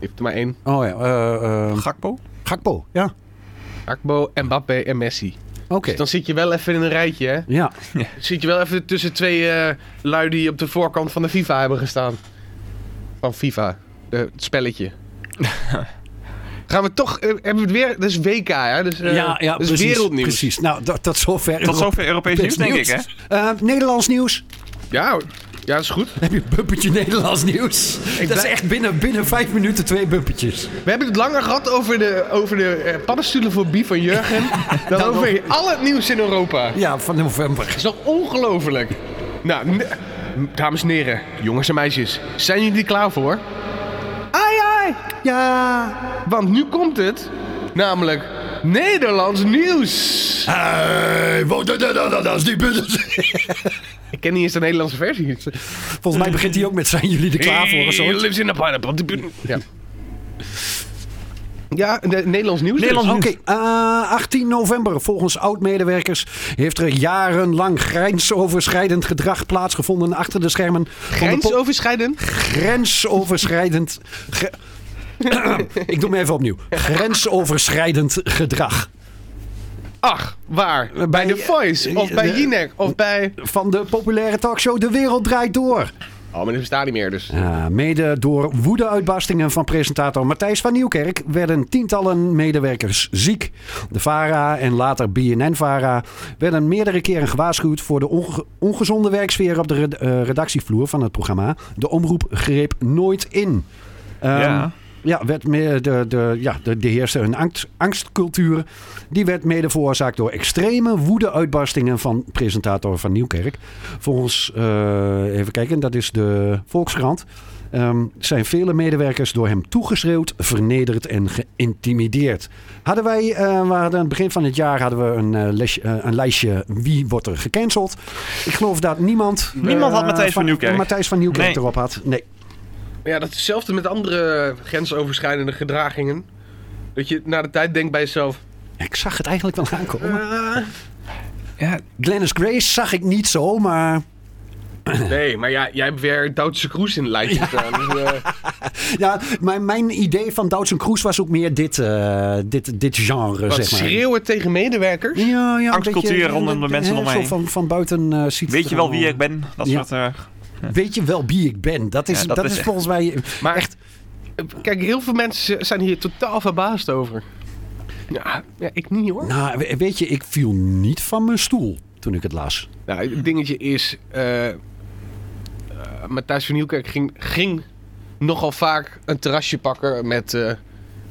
[SPEAKER 5] Heeft er maar één.
[SPEAKER 4] Oh ja. eh, eh,
[SPEAKER 3] Gakpo?
[SPEAKER 4] Gakpo, ja.
[SPEAKER 5] Akbo, Mbappé en Messi.
[SPEAKER 4] Oké.
[SPEAKER 5] Dus dan zit je wel even in een rijtje, hè?
[SPEAKER 4] Ja.
[SPEAKER 3] Eh,
[SPEAKER 5] Zit je wel even tussen twee eh, lui die op de voorkant van de FIFA hebben gestaan. Van FIFA. eh, het spelletje. Gaan we toch... eh, hebben we het weer... Dat is WK, hè? Dus, eh,
[SPEAKER 4] ja, ja
[SPEAKER 5] dat is
[SPEAKER 4] precies,
[SPEAKER 5] wereldnieuws.
[SPEAKER 4] Precies. Nou, dat, dat zover.
[SPEAKER 3] Tot zover Europees nieuws, denk ik, hè?
[SPEAKER 4] Eh, Nederlands nieuws.
[SPEAKER 5] Ja, hoor. ja, dat is goed.
[SPEAKER 4] Dan heb je een bumpertje Nederlands nieuws. dat is
[SPEAKER 5] blij-
[SPEAKER 4] echt binnen, binnen vijf minuten twee bumpertjes.
[SPEAKER 5] We hebben het langer gehad over de, over de eh, paddenstoelenfobie van Jurgen. dan
[SPEAKER 4] Dan
[SPEAKER 5] over
[SPEAKER 4] over-
[SPEAKER 5] al het nieuws in Europa. Dat
[SPEAKER 4] Ja, van november.
[SPEAKER 5] is toch ongelooflijk? Nou, n- dames en heren, jongens en meisjes, zijn jullie er klaar voor? Ai, ai!
[SPEAKER 4] Ja.
[SPEAKER 5] Want nu komt het, namelijk Nederlands nieuws.
[SPEAKER 4] Hey, wat dat, dat, dat, dat is die bus.
[SPEAKER 5] Ik ken niet eens de Nederlandse versie.
[SPEAKER 4] Volgens mij begint hij ook met zijn jullie er klaar voor of
[SPEAKER 5] He
[SPEAKER 4] zo.
[SPEAKER 5] lives in a pineapple. Ja, ja de- Nederlands nieuws. dus.
[SPEAKER 3] Nederlands
[SPEAKER 4] Oké, eh, 18 november. Volgens oud-medewerkers heeft er jarenlang grensoverschrijdend gedrag plaatsgevonden achter de schermen. van de po-
[SPEAKER 5] Grensoverschrijdend.
[SPEAKER 4] grensoverschrijdend. ge- Ik doe me even opnieuw. Grensoverschrijdend gedrag.
[SPEAKER 5] Ach, waar? Bij,
[SPEAKER 4] Bij-
[SPEAKER 5] The Voice, of bij
[SPEAKER 4] de-
[SPEAKER 5] Jinek, of bij...
[SPEAKER 4] Van de populaire talkshow De Wereld Draait Door.
[SPEAKER 5] Oh, maar dat bestaat niet meer dus.
[SPEAKER 4] Ja, mede door woedeuitbarstingen van presentator Matthijs van Nieuwkerk werden tientallen medewerkers ziek. De VARA en later BNN-VARA werden meerdere keren gewaarschuwd voor de onge- ongezonde werksfeer op de red- eh, redactievloer van het programma. De omroep greep nooit in. Ehm,
[SPEAKER 3] Ja.
[SPEAKER 4] Ja, werd meer de, de, ja, de, de heerste een angst, angstcultuur. Die werd mede veroorzaakt door extreme woede-uitbarstingen van presentator van Nieuwkerk. Volgens, eh, even kijken, dat is de Volkskrant. ehm, zijn vele medewerkers door hem toegeschreeuwd, vernederd en geïntimideerd. Hadden wij, eh, we hadden aan het begin van het jaar hadden we een, eh, lesje- eh, een lijstje wie wordt er gecanceld. Ik geloof dat niemand...
[SPEAKER 3] Niemand had
[SPEAKER 4] eh,
[SPEAKER 3] Matthijs van Nieuwkerk.
[SPEAKER 4] Matthijs van Nieuwkerk
[SPEAKER 3] Nee.
[SPEAKER 4] erop had. Nee.
[SPEAKER 5] Ja, dat is hetzelfde met andere grensoverschrijdende gedragingen. Dat je na de tijd denkt bij jezelf...
[SPEAKER 4] Ik zag het eigenlijk wel aankomen.
[SPEAKER 5] "Ah."
[SPEAKER 3] Ja,
[SPEAKER 4] Glennis Grace zag ik niet zo, maar...
[SPEAKER 5] nee, maar ja, jij hebt weer Duitse Kroes in het lijstje staan. Dus, eh,
[SPEAKER 4] Ja, mijn, mijn idee van Doutzen Kroes was ook meer dit, eh, dit, dit genre,
[SPEAKER 5] wat
[SPEAKER 4] zeg maar.
[SPEAKER 5] schreeuwen tegen medewerkers?
[SPEAKER 4] Ja, ja, een
[SPEAKER 3] Angstcultuur
[SPEAKER 4] beetje,
[SPEAKER 3] rondom de
[SPEAKER 4] eh,
[SPEAKER 3] mensen
[SPEAKER 4] hè,
[SPEAKER 3] om me
[SPEAKER 4] zo
[SPEAKER 3] heen.
[SPEAKER 4] Van, van buiten eh, ziet het
[SPEAKER 3] weet je
[SPEAKER 4] er
[SPEAKER 3] wel wie ik
[SPEAKER 4] allemaal-
[SPEAKER 3] ben? Dat
[SPEAKER 4] Ja.
[SPEAKER 3] soort... eh,
[SPEAKER 4] Weet je wel wie ik ben? Dat is,
[SPEAKER 3] Ja,
[SPEAKER 4] dat
[SPEAKER 3] dat
[SPEAKER 4] is
[SPEAKER 3] is-
[SPEAKER 4] volgens mij...
[SPEAKER 5] Maar echt, kijk, heel veel mensen zijn hier totaal verbaasd over. Ja, ja ik niet hoor.
[SPEAKER 4] Nou, we- weet je, ik viel niet van mijn stoel toen ik het las.
[SPEAKER 5] Nou, het dingetje is... eh eh, Matthijs van Nieuwkerk ging, ging nogal vaak een terrasje pakken met... eh,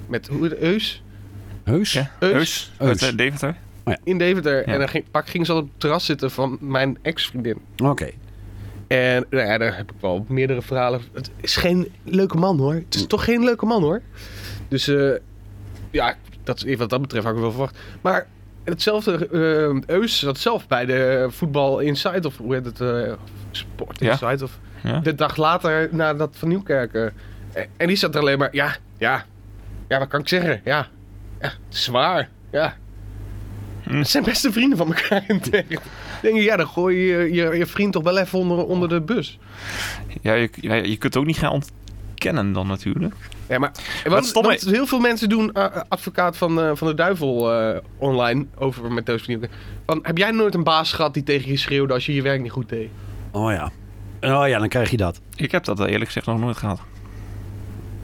[SPEAKER 5] met hoe Eus?
[SPEAKER 4] Heus?
[SPEAKER 3] ja.
[SPEAKER 5] Eus?
[SPEAKER 3] Eus.
[SPEAKER 4] Eus.
[SPEAKER 3] Uit eh, Deventer.
[SPEAKER 5] In Deventer.
[SPEAKER 3] Ja.
[SPEAKER 5] En dan ging, pak, ging ze altijd op het terras zitten van mijn ex-vriendin.
[SPEAKER 4] Oké.
[SPEAKER 5] En nou ja, daar heb ik wel meerdere verhalen. Het is geen leuke man hoor. Het
[SPEAKER 3] Mm.
[SPEAKER 5] is toch geen leuke man hoor. Dus eh, ja, dat, is even wat dat betreft had ik wel verwacht. Maar hetzelfde, eh Eus zat zelf bij de Voetbal Inside of hoe heet het? eh, Sport
[SPEAKER 3] Ja.
[SPEAKER 5] Inside of
[SPEAKER 3] Ja.
[SPEAKER 5] de dag later na dat van Nieuwkerk. eh, eh, en die zat er alleen maar, ja, ja, ja, wat kan ik zeggen? Ja, ja zwaar, ja.
[SPEAKER 3] Mm.
[SPEAKER 5] Het zijn beste vrienden van elkaar. in het echt. Denk je, ja, dan gooi je je, je je vriend toch wel even onder, onder de bus.
[SPEAKER 3] Ja, je, ja, je kunt het ook niet gaan ontkennen dan natuurlijk.
[SPEAKER 5] Ja, maar want,
[SPEAKER 3] stomme-
[SPEAKER 5] want heel veel mensen doen eh, eh, advocaat van, eh, van de duivel eh, online over met Toos van Nieuwkerk. Van, heb jij nooit een baas gehad die tegen je schreeuwde als je je werk niet goed deed?
[SPEAKER 4] Oh ja. Oh ja, dan krijg je dat.
[SPEAKER 3] Ik heb dat eh, eerlijk gezegd nog nooit gehad.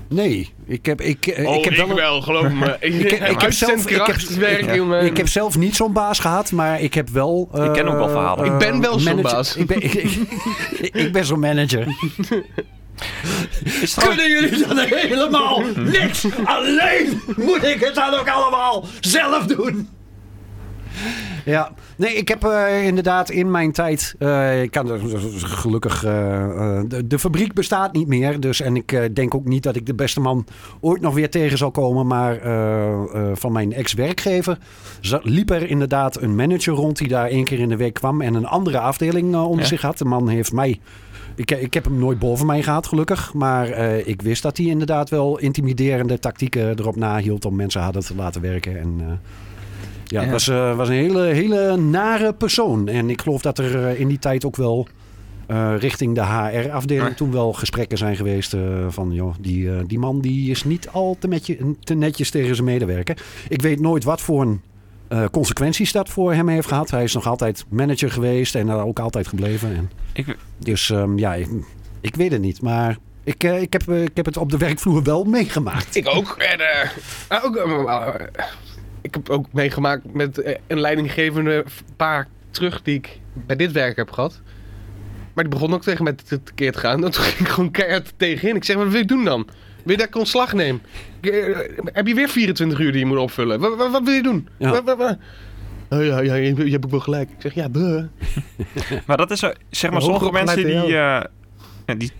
[SPEAKER 4] Nee, ik heb, ik,
[SPEAKER 3] Oh,
[SPEAKER 4] eh, ik heb wel... een-
[SPEAKER 5] Oh, geloof me. ik,
[SPEAKER 4] Ik heb- ik heb zelf- ik heb-
[SPEAKER 5] werk,
[SPEAKER 3] ja.
[SPEAKER 5] jongen.
[SPEAKER 4] Ik heb zelf niet zo'n baas gehad, maar ik heb wel... eh,
[SPEAKER 3] Ehm, Ik ken ook wel verhalen.
[SPEAKER 4] eh,
[SPEAKER 5] Ik ben wel zo'n
[SPEAKER 4] manager-
[SPEAKER 5] baas.
[SPEAKER 4] Ik ben, ik, ik- ik ben zo'n manager.
[SPEAKER 3] Is trouwens-
[SPEAKER 4] jullie dan helemaal niks? Alleen moet ik het dan ook allemaal zelf doen? Ja, nee, ik heb eh, inderdaad in mijn tijd. eh, ik kan er gelukkig. eh, eh, de, de fabriek bestaat niet meer. Dus, en ik eh, denk ook niet dat ik de beste man ooit nog weer tegen zal komen. Maar eh, eh, van mijn ex-werkgever za- liep er inderdaad een manager rond die daar één keer in de week kwam. En een andere afdeling eh, onder
[SPEAKER 3] Ja.
[SPEAKER 4] zich had. De man heeft mij. Ik, ik heb hem nooit boven mij gehad, gelukkig. Maar eh, ik wist dat hij inderdaad wel intimiderende tactieken erop nahield om mensen harder te laten werken. En, eh, ja, het
[SPEAKER 3] Ja.
[SPEAKER 4] was, eh, was een hele, hele nare persoon. En ik geloof dat er eh, in die tijd ook wel eh, richting de HR-afdeling
[SPEAKER 3] Ja.
[SPEAKER 4] toen wel gesprekken zijn geweest eh, van joh, die, eh, die man die is niet al te, metje- te netjes tegen zijn medewerker. Ik weet nooit wat voor een eh, consequenties dat voor hem heeft gehad. Hij is nog altijd manager geweest en daar ook altijd gebleven. En,
[SPEAKER 3] Ik-
[SPEAKER 4] dus ehm, ja, ik, ik weet het niet. Maar ik, eh, ik, heb, eh, ik heb het op de werkvloer wel meegemaakt.
[SPEAKER 5] Ik ook. En, eh, nou, ook eh, eh, ik heb ook meegemaakt met eh, een leidinggevende paar terug die ik bij dit werk heb gehad. Maar die begon ook tegen mij te- tekeer te gaan. En toen ging ik gewoon keihard tegenin. Ik zeg, wat wil je doen dan? Wil je dat ik ontslag neem? Ik, eh, heb je weer 24 uur die je moet opvullen? Wat, wat, wat wil je doen?
[SPEAKER 4] Ja.
[SPEAKER 5] Wat- wat- wat- Oh ja, ja, je, je hebt ook wel gelijk. Ik zeg, ja, buh.
[SPEAKER 3] Maar dat is zo- zeg maar,
[SPEAKER 5] Een
[SPEAKER 3] sommige
[SPEAKER 5] hoger
[SPEAKER 3] mensen
[SPEAKER 5] opgeleid
[SPEAKER 3] die, eh, ja, die,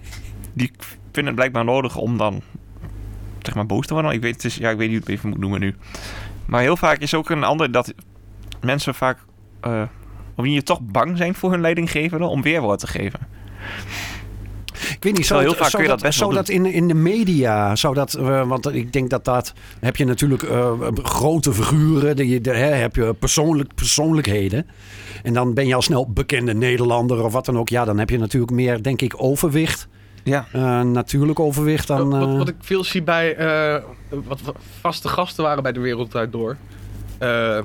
[SPEAKER 3] die vinden het blijkbaar nodig om dan zeg maar boos te worden. Ik weet, het is, ja, ik weet niet hoe ik het even moet noemen nu. Maar heel vaak is ook een ander dat mensen vaak eh op je toch bang zijn voor hun leidinggevende om weerwoord te geven.
[SPEAKER 4] Ik weet niet,
[SPEAKER 3] Terwijl
[SPEAKER 4] zou,
[SPEAKER 3] heel
[SPEAKER 4] het-
[SPEAKER 3] vaak kun
[SPEAKER 4] zou
[SPEAKER 3] je
[SPEAKER 4] dat,
[SPEAKER 3] dat best wel
[SPEAKER 4] zou dat in, in de media, zou dat, eh, want ik denk dat dat, heb je natuurlijk eh, grote figuren, die, de, hè, heb je persoonlijk, persoonlijkheden. En dan ben je al snel bekende Nederlander of wat dan ook. Ja, dan heb je natuurlijk meer, denk ik, overwicht.
[SPEAKER 3] Ja.
[SPEAKER 4] Eh, natuurlijk overwicht dan...
[SPEAKER 5] wat,
[SPEAKER 4] eh,
[SPEAKER 5] wat ik veel zie bij eh, wat wat vaste gasten waren bij de wereld Draait door. Eh,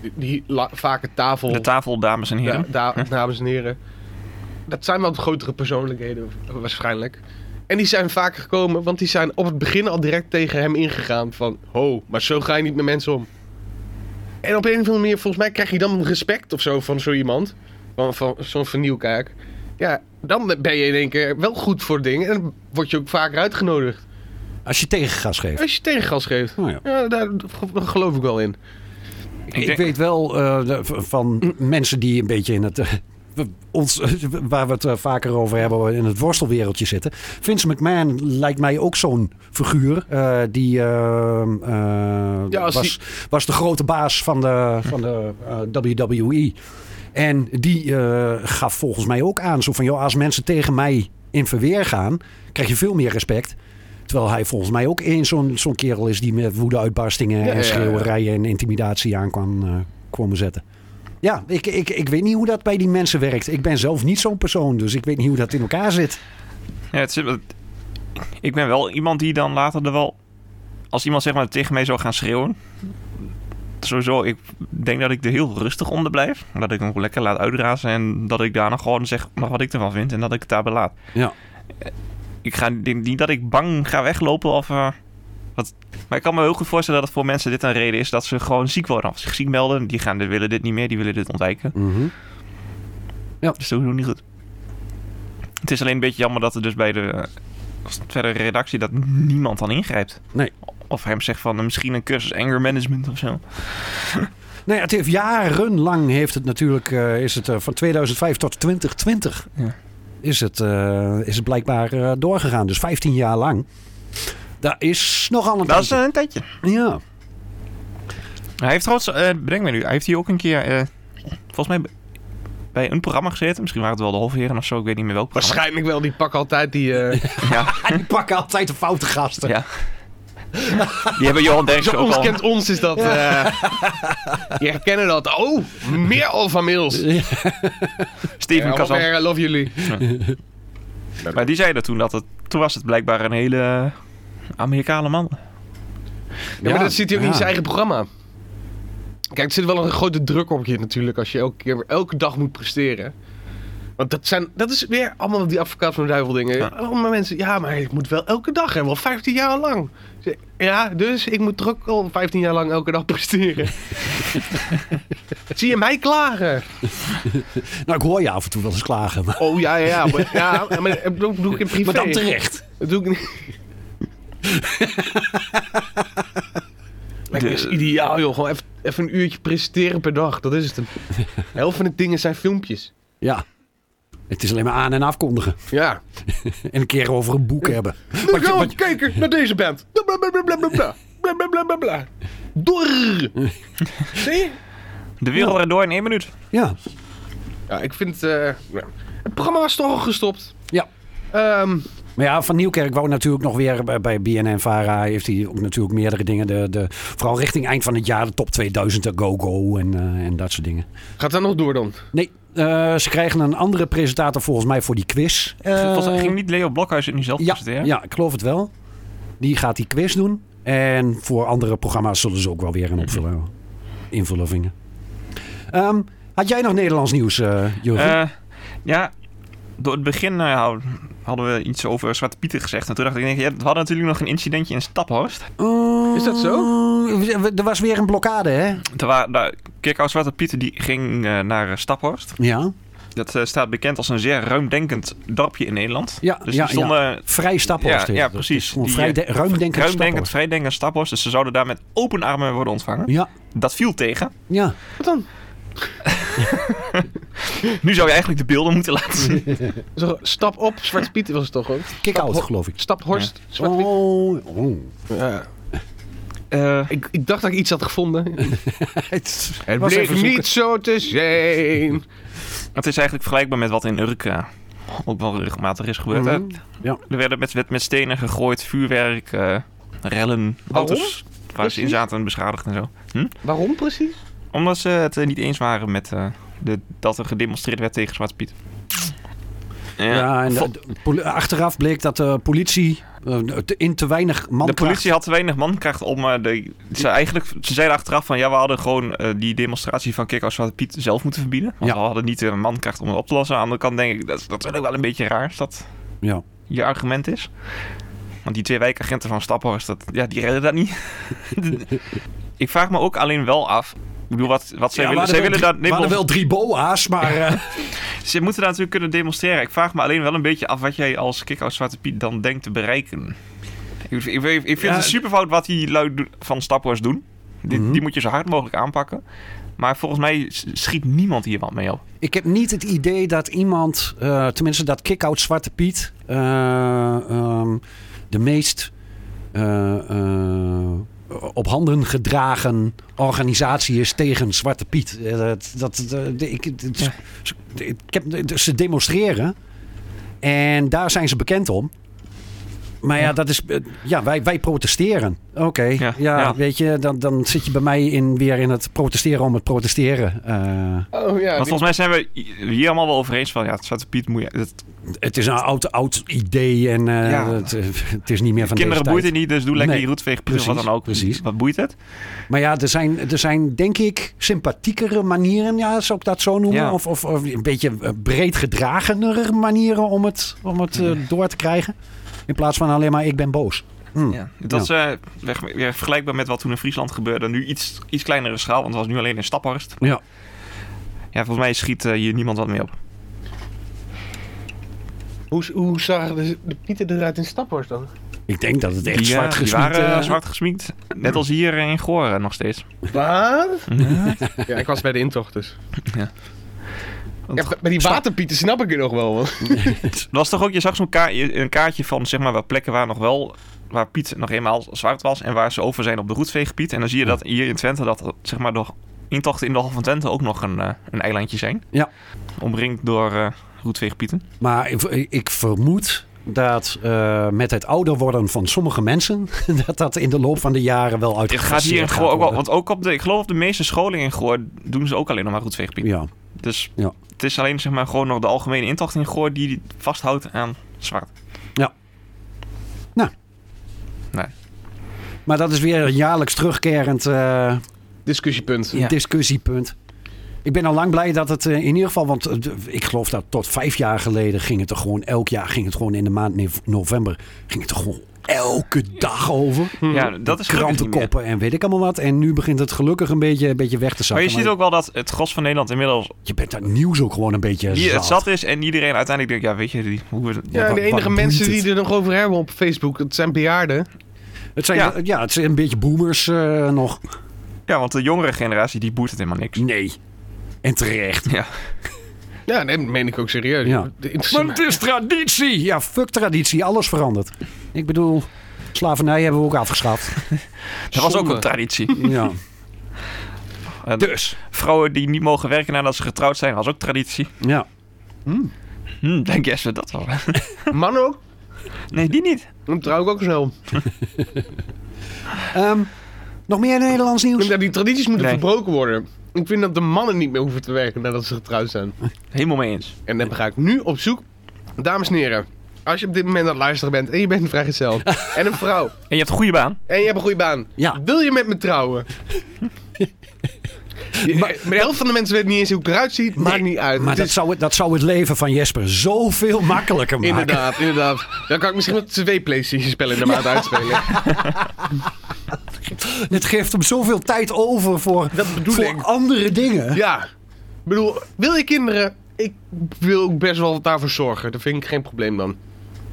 [SPEAKER 5] die die la- vaak een tafel.
[SPEAKER 3] De tafel, dames en heren.
[SPEAKER 5] da- da- dames en heren. Dat zijn wat grotere persoonlijkheden wa- waarschijnlijk. En die zijn vaker gekomen, want die zijn op het begin al direct tegen hem ingegaan van... Ho, maar zo ga je niet met mensen om. En op een of andere manier, volgens mij krijg je dan respect of zo van zo iemand. Van, van zo'n vernieuwkijk. Ja, dan ben je in één keer wel goed voor dingen en dan word je ook vaker uitgenodigd.
[SPEAKER 4] Als je tegengas geeft.
[SPEAKER 5] Als je tegengas geeft.
[SPEAKER 4] Nou ja.
[SPEAKER 5] Ja, daar geloof ik wel in.
[SPEAKER 3] Ik
[SPEAKER 4] Ik,
[SPEAKER 3] denk-
[SPEAKER 4] weet wel eh, de- v- van mensen die een beetje in het. eh, we- ons, eh, waar we het eh, vaker over hebben, waar we in het worstelwereldje zitten. Vince McMahon lijkt mij ook zo'n figuur. eh, die eh, eh,
[SPEAKER 5] Ja, als
[SPEAKER 4] was,
[SPEAKER 5] die-
[SPEAKER 4] was de grote baas van de, van de eh, WWE. En die eh, gaf volgens mij ook aan, zo van, joh, als mensen tegen mij in verweer gaan, krijg je veel meer respect. Terwijl hij volgens mij ook één zo'n zo'n kerel is die met woedeuitbarstingen
[SPEAKER 5] Ja,
[SPEAKER 4] en
[SPEAKER 5] ja, ja.
[SPEAKER 4] schreeuwerijen en intimidatie aan kwam eh, kwam zetten. Ja, ik, ik, ik weet niet hoe dat bij die mensen werkt. Ik ben zelf niet zo'n persoon, dus ik weet niet hoe dat in elkaar zit.
[SPEAKER 3] Ja, het zit- het- ik ben wel iemand die dan later er wel... Als iemand zeg maar tegen mij zou gaan schreeuwen... Sowieso, ik denk dat ik er heel rustig onder blijf. Dat ik hem ook lekker laat uitrazen. En dat ik daarna gewoon zeg nog wat ik ervan vind. En dat ik het daarbij laat.
[SPEAKER 4] Ja.
[SPEAKER 3] Ik ga ik denk niet dat ik bang ga weglopen of... eh, wat. Maar ik kan me heel goed voorstellen dat het voor mensen dit een reden is... dat ze gewoon ziek worden of zich ziek melden. Die gaan, die willen dit niet meer, die willen dit ontwijken.
[SPEAKER 4] Mhm.
[SPEAKER 3] Dat is sowieso niet goed. Het is alleen een beetje jammer dat er dus bij de eh, verdere redactie dat niemand dan ingrijpt.
[SPEAKER 4] Nee.
[SPEAKER 3] Of hem zegt van eh, misschien een cursus anger management of zo.
[SPEAKER 4] Nou ja, het heeft jarenlang heeft het natuurlijk, eh, is het eh, van 2005 tot 2020
[SPEAKER 3] Ja.
[SPEAKER 4] is, het, eh, is het blijkbaar eh, doorgegaan. Dus 15 jaar lang. Daar is nogal een
[SPEAKER 3] Dat is
[SPEAKER 4] tijdje.
[SPEAKER 3] eh, een tijdje.
[SPEAKER 4] Ja.
[SPEAKER 3] Hij heeft trouwens, eh breng me nu, hij heeft hier ook een keer, eh, volgens mij bij- bij een programma gezeten. Misschien waren het wel de Hofheren of zo, ik weet niet meer welk programma.
[SPEAKER 5] Waarschijnlijk wel, die pak altijd die... eh,
[SPEAKER 3] Ja,
[SPEAKER 4] Die pakken altijd de foute gasten.
[SPEAKER 3] ja. Die hebben Johan Derks
[SPEAKER 5] Zo
[SPEAKER 3] ook
[SPEAKER 5] ons
[SPEAKER 3] al.
[SPEAKER 5] kent ons is dat. eh je herkennen dat. Oh, meer Alfa Mils.
[SPEAKER 3] Steven
[SPEAKER 5] Ja,
[SPEAKER 3] Kazan.
[SPEAKER 5] Albert, I eh, love jullie.
[SPEAKER 3] Maar die zeiden toen dat het, toen was het blijkbaar een hele eh, Amerikaanse man.
[SPEAKER 5] Ja, maar dat zit hij ook in
[SPEAKER 4] ja.
[SPEAKER 5] zijn eigen programma. Kijk, er zit wel een grote druk op je natuurlijk als je elke keer elke dag moet presteren. Want dat, zijn, dat is weer allemaal die advocaat van de duivel dingen.
[SPEAKER 3] Ja.
[SPEAKER 5] Allemaal mensen, ja, maar ik moet wel elke dag en wel 15 jaar lang. Ik zeg, Ja, dus ik moet er ook al 15 jaar lang elke dag presteren. Zie je mij klagen?
[SPEAKER 4] Nou, ik hoor je af en toe wel eens klagen. Maar,
[SPEAKER 5] Oh ja, ja, ja. Maar, ja, maar dat doe, doe ik in privé.
[SPEAKER 4] maar dan terecht.
[SPEAKER 5] Dat doe ik niet. Lekker is ideaal, joh. Gewoon even even een uurtje presenteren per dag. Dat is het. De helft van de dingen zijn filmpjes.
[SPEAKER 4] Ja. Het is alleen maar aan- en afkondigen.
[SPEAKER 5] Ja.
[SPEAKER 4] En een keer over een boek hebben.
[SPEAKER 5] Nu
[SPEAKER 4] Wat je-
[SPEAKER 5] gaan
[SPEAKER 4] wat
[SPEAKER 5] we
[SPEAKER 4] je-
[SPEAKER 5] kijken naar deze band. Blablabla. Blablabla. Door. Zie je?
[SPEAKER 3] De wereld rent door in één minuut.
[SPEAKER 4] ja.
[SPEAKER 5] Ja, ik vind... eh, ja. Het programma was toch al gestopt.
[SPEAKER 4] ja.
[SPEAKER 5] Ehm,
[SPEAKER 4] Maar ja, Van Nieuwkerk wou natuurlijk nog weer bij- bij BNN-Vara. Heeft hij ook natuurlijk meerdere dingen. De, de, vooral richting eind van het jaar de top 2000, de go-go en, eh, en dat soort dingen.
[SPEAKER 5] gaat dat nog door dan?
[SPEAKER 4] Nee, eh, ze krijgen een andere presentator volgens mij voor die quiz. Eh,
[SPEAKER 3] Volgens mij ging niet Leo Blokhuis het nu zelf
[SPEAKER 4] ja,
[SPEAKER 3] presenteren?
[SPEAKER 4] ja, ik geloof het wel. Die gaat die quiz doen. En voor andere programma's zullen ze ook wel
[SPEAKER 3] Mhm.
[SPEAKER 4] weer een opvullen. Invullen vingen. Ehm, had jij nog Nederlands nieuws, eh Jurgen?
[SPEAKER 3] Eh, ja, door het begin eh, hadden we iets over Zwarte Pieter gezegd. En toen dacht ik, nee, ja, we hadden natuurlijk nog een incidentje in Staphorst.
[SPEAKER 5] Is dat zo?
[SPEAKER 4] Eh, Er was weer een blokkade, hè?
[SPEAKER 3] Toen waren nou, Kirkhout Zwarte Pieter die ging eh, naar eh, Staphorst.
[SPEAKER 4] Ja.
[SPEAKER 3] Dat eh, staat bekend als een zeer ruimdenkend dorpje in Nederland.
[SPEAKER 4] Ja,
[SPEAKER 3] dus
[SPEAKER 4] ja,
[SPEAKER 3] die stonden
[SPEAKER 4] Vrij Staphorst.
[SPEAKER 3] Ja,
[SPEAKER 4] heet
[SPEAKER 3] ja,
[SPEAKER 4] het.
[SPEAKER 3] precies.
[SPEAKER 4] Het is gewoon
[SPEAKER 3] Die,
[SPEAKER 4] vrij
[SPEAKER 3] eh,
[SPEAKER 4] de- ruimdenkend
[SPEAKER 3] ruimdenkend,
[SPEAKER 4] Staphorst.
[SPEAKER 3] vrijdenkend Staphorst. Dus ze zouden daar met open armen worden ontvangen.
[SPEAKER 4] Ja,
[SPEAKER 3] Dat viel tegen.
[SPEAKER 4] ja.
[SPEAKER 5] Wat dan?
[SPEAKER 3] Nu zou je eigenlijk de beelden moeten laten zien.
[SPEAKER 5] Zo, Stap op, Zwarte Piet was het toch ook?
[SPEAKER 4] Kick-out,
[SPEAKER 5] Staphorst.
[SPEAKER 4] geloof ik.
[SPEAKER 5] Stap Horst, Zwarte Piet.
[SPEAKER 4] Oh, oh.
[SPEAKER 5] Ja.
[SPEAKER 3] Eh,
[SPEAKER 5] Ik, ik dacht dat ik iets had gevonden.
[SPEAKER 4] Het
[SPEAKER 5] Het
[SPEAKER 4] was
[SPEAKER 5] bleek
[SPEAKER 4] even zoeken.
[SPEAKER 5] niet zo te zijn.
[SPEAKER 3] het is eigenlijk vergelijkbaar met wat in Urk eh, ook wel regelmatig is gebeurd. hè.
[SPEAKER 4] Ja.
[SPEAKER 3] Er werden met, met, met stenen gegooid, vuurwerk, eh, rellen,
[SPEAKER 5] Waarom?
[SPEAKER 3] auto's waar ze in
[SPEAKER 5] Precies?
[SPEAKER 3] zaten beschadigd en zo.
[SPEAKER 5] Waarom precies?
[SPEAKER 3] Omdat ze het eh, niet eens waren met eh, de, dat er gedemonstreerd werd tegen Zwarte Piet. Ja,
[SPEAKER 4] Ja, en
[SPEAKER 3] vo-
[SPEAKER 4] de- de poli- achteraf bleek dat de politie eh, te- in te weinig man
[SPEAKER 3] de politie had te weinig mankracht om eh, de, ze, eigenlijk, ze zeiden achteraf van ja, we hadden gewoon eh, die demonstratie van Kick als Zwarte Piet zelf moeten verbieden. Want
[SPEAKER 4] Ja.
[SPEAKER 3] we hadden niet de mankracht om het op te lossen. Aan de andere kant denk ik, dat, is- dat is ook wel een beetje raar als dat
[SPEAKER 4] Ja.
[SPEAKER 3] je argument is. Want die twee wijkagenten van Staphorst, dat, ja, die redden dat niet. ik vraag me ook alleen wel af. Ik bedoel, wat, wat zij
[SPEAKER 4] Ja,
[SPEAKER 3] willen.
[SPEAKER 4] waren
[SPEAKER 3] Zij,
[SPEAKER 4] wel
[SPEAKER 3] willen
[SPEAKER 4] drie-
[SPEAKER 3] daar, nee,
[SPEAKER 4] waren
[SPEAKER 3] maar-
[SPEAKER 4] wel drie boa's, maar... eh,
[SPEAKER 3] ze moeten daar natuurlijk kunnen demonstreren. Ik vraag me alleen wel een beetje af wat jij als Kick-Out Zwarte Piet dan denkt te bereiken. Ik, ik, ik vind
[SPEAKER 4] Ja,
[SPEAKER 3] het een superfout wat die lui do- van Staphorst doen. Die,
[SPEAKER 4] Mhm.
[SPEAKER 3] die moet je zo hard mogelijk aanpakken. Maar volgens mij s- schiet niemand hier wat mee op.
[SPEAKER 4] ik heb niet het idee dat iemand... eh, tenminste, dat kick-out Zwarte Piet... eh, ehm, de meest eh, eh, op handen gedragen organisatie is tegen Zwarte Piet. Eh, dat, dat, dat- ik, het-
[SPEAKER 3] Ja.
[SPEAKER 4] ze- ik heb, ze demonstreren. En daar zijn ze bekend om. Maar ja, dat is, eh, ja wij, wij protesteren. Oké, ja,
[SPEAKER 3] Ja, ja.
[SPEAKER 4] weet je, dan, dan zit je bij mij in, weer in het protesteren om het protesteren. Eh,
[SPEAKER 5] Oh ja,
[SPEAKER 3] Want
[SPEAKER 5] die-
[SPEAKER 3] volgens mij zijn we i- hier allemaal wel over eens van... Ja, Zwarte Piet moet je... dat-
[SPEAKER 4] het is een oud, oud idee en eh,
[SPEAKER 3] Ja.
[SPEAKER 4] het, het is niet meer
[SPEAKER 3] kinderen
[SPEAKER 4] van deze tijd.
[SPEAKER 3] boeit het niet, dus doe lekker
[SPEAKER 4] Nee,
[SPEAKER 3] je roetveeg. Precies, wat
[SPEAKER 4] precies,
[SPEAKER 3] dan ook.
[SPEAKER 4] precies.
[SPEAKER 3] Wat boeit het?
[SPEAKER 4] Maar ja, er zijn, er zijn denk ik sympathiekere manieren, ja, zou ik dat zo noemen?
[SPEAKER 3] Ja.
[SPEAKER 4] Of, of, of een beetje eh, breed gedragenere manieren om het, om het eh, door te krijgen. In plaats van alleen maar ik ben boos. Hm.
[SPEAKER 3] Ja. Dat is eh, weg- weer vergelijkbaar met wat toen in Friesland gebeurde. Nu iets, iets kleinere schaal, want het was nu alleen in Staphorst.
[SPEAKER 4] Ja.
[SPEAKER 3] Ja, volgens mij schiet eh, hier niemand wat mee op.
[SPEAKER 5] hoe, hoe zagen de, de pieten eruit in Staphorst dan?
[SPEAKER 4] Ik denk dat het echt
[SPEAKER 3] ja,
[SPEAKER 4] zwart
[SPEAKER 3] die
[SPEAKER 4] gesmied
[SPEAKER 3] waren eh,
[SPEAKER 4] eh,
[SPEAKER 3] zwart gesminkt. Net als hier eh, in Goren nog steeds.
[SPEAKER 5] Wat? ja, ik was bij de intocht dus.
[SPEAKER 3] Ja.
[SPEAKER 5] Ja, bij- bij die waterpieten snap ik het nog wel. want-
[SPEAKER 3] Er was toch ook, je zag zo'n ka- een kaartje van zeg maar, waar plekken waar nog wel... waar Piet nog eenmaal zwart was en waar ze over zijn op de roetveegpiet. En dan zie je dat hier in Twente, dat zeg maar, de intochten in de Hal van Twente ook nog een, eh, een eilandje zijn.
[SPEAKER 4] Ja.
[SPEAKER 3] Omringd door eh roetveegpieten.
[SPEAKER 4] Maar ik, ik vermoed dat eh, met het ouder worden van sommige mensen, dat dat in de loop van de jaren wel
[SPEAKER 3] Het
[SPEAKER 4] uitgefaseerd
[SPEAKER 3] gaat hier in
[SPEAKER 4] gaat
[SPEAKER 3] Goor ook wel,
[SPEAKER 4] worden.
[SPEAKER 3] want ook op de, ik geloof op de meeste scholen in Goor doen ze ook alleen nog maar roetveegpiet.
[SPEAKER 4] Ja,
[SPEAKER 3] Dus
[SPEAKER 4] Ja.
[SPEAKER 3] het is alleen zeg maar gewoon nog de algemene intocht in Goor die die vasthoudt aan zwart.
[SPEAKER 4] maar dat is weer een jaarlijks terugkerend eh,
[SPEAKER 5] Discussiepunt.
[SPEAKER 3] Ja.
[SPEAKER 4] discussiepunt. Ik ben al lang blij dat het eh, in ieder geval, want eh, d- ik geloof dat tot vijf jaar geleden ging het er gewoon elk jaar, ging het gewoon in de maand nev- november, ging het er gewoon elke dag over.
[SPEAKER 3] Hm. Ja, Dus dat is gelukkig niet meer.
[SPEAKER 4] Krantenkoppen en weet ik allemaal wat. En nu begint het gelukkig een beetje, een beetje weg te
[SPEAKER 3] Maar
[SPEAKER 4] zakken.
[SPEAKER 3] je ziet ook wel dat het gros van Nederland inmiddels
[SPEAKER 4] je bent daar nieuws ook gewoon een beetje
[SPEAKER 3] die, het
[SPEAKER 4] zat.
[SPEAKER 3] zat is en iedereen uiteindelijk denkt, ja weet je, die, hoe we,
[SPEAKER 5] Ja,
[SPEAKER 4] wa-
[SPEAKER 5] de enige
[SPEAKER 4] wat
[SPEAKER 5] mensen
[SPEAKER 4] boeit
[SPEAKER 5] die
[SPEAKER 4] het?
[SPEAKER 5] er nog over hebben op Facebook, dat zijn bejaarden.
[SPEAKER 4] Het zijn, ja.
[SPEAKER 3] Ja.
[SPEAKER 4] het zijn een beetje boomers eh, nog.
[SPEAKER 3] Ja, want de jongere generatie die boert het helemaal niks.
[SPEAKER 4] Nee. En terecht.
[SPEAKER 3] Ja.
[SPEAKER 5] Ja, nee, dat meen ik ook serieus.
[SPEAKER 4] Ja.
[SPEAKER 5] Het interesseert
[SPEAKER 4] Maar
[SPEAKER 5] me-
[SPEAKER 4] het is traditie. Ja, fuck traditie. Alles verandert. Ik bedoel, slavernij hebben we ook afgeschaft.
[SPEAKER 3] Dat was ook
[SPEAKER 5] Zonde.
[SPEAKER 3] een traditie.
[SPEAKER 4] Ja.
[SPEAKER 3] En
[SPEAKER 4] Dus.
[SPEAKER 3] Vrouwen die niet mogen werken nadat ze getrouwd zijn, was ook traditie.
[SPEAKER 4] Ja.
[SPEAKER 3] Hm, denk je we dat wel?
[SPEAKER 5] Mannen ook?
[SPEAKER 3] Nee, die niet.
[SPEAKER 5] Dan trouw ik ook snel.
[SPEAKER 4] Ehm, nog meer Nederlands nieuws?
[SPEAKER 5] Ja, die tradities moeten
[SPEAKER 3] Nee.
[SPEAKER 5] verbroken worden. Ik vind dat de mannen niet meer hoeven te werken nadat ze getrouwd zijn.
[SPEAKER 3] Helemaal mee eens.
[SPEAKER 5] En dan ga ik nu op zoek. Dames en heren, als je op dit moment aan het luisteren bent en je bent een vrijgezel en een vrouw
[SPEAKER 3] En je hebt een goede baan.
[SPEAKER 5] en je hebt een goede baan,
[SPEAKER 4] Ja.
[SPEAKER 5] wil je met me trouwen? maar, de helft van de mensen weet niet eens hoe ik eruit zie, maakt niet uit.
[SPEAKER 4] Maar
[SPEAKER 5] Het
[SPEAKER 4] dat
[SPEAKER 5] is-
[SPEAKER 4] zou, het, dat zou het leven van Jesper zoveel makkelijker maken.
[SPEAKER 5] Inderdaad, inderdaad. Dan kan ik misschien wel twee PlayStation spellen in de maand uitspelen.
[SPEAKER 4] Het geeft hem zoveel tijd over voor,
[SPEAKER 5] Dat bedoel
[SPEAKER 4] voor
[SPEAKER 5] ik.
[SPEAKER 4] andere dingen.
[SPEAKER 5] Ja. Ik bedoel, wil je kinderen? Ik wil ook best wel daarvoor zorgen. Daar vind ik geen probleem dan.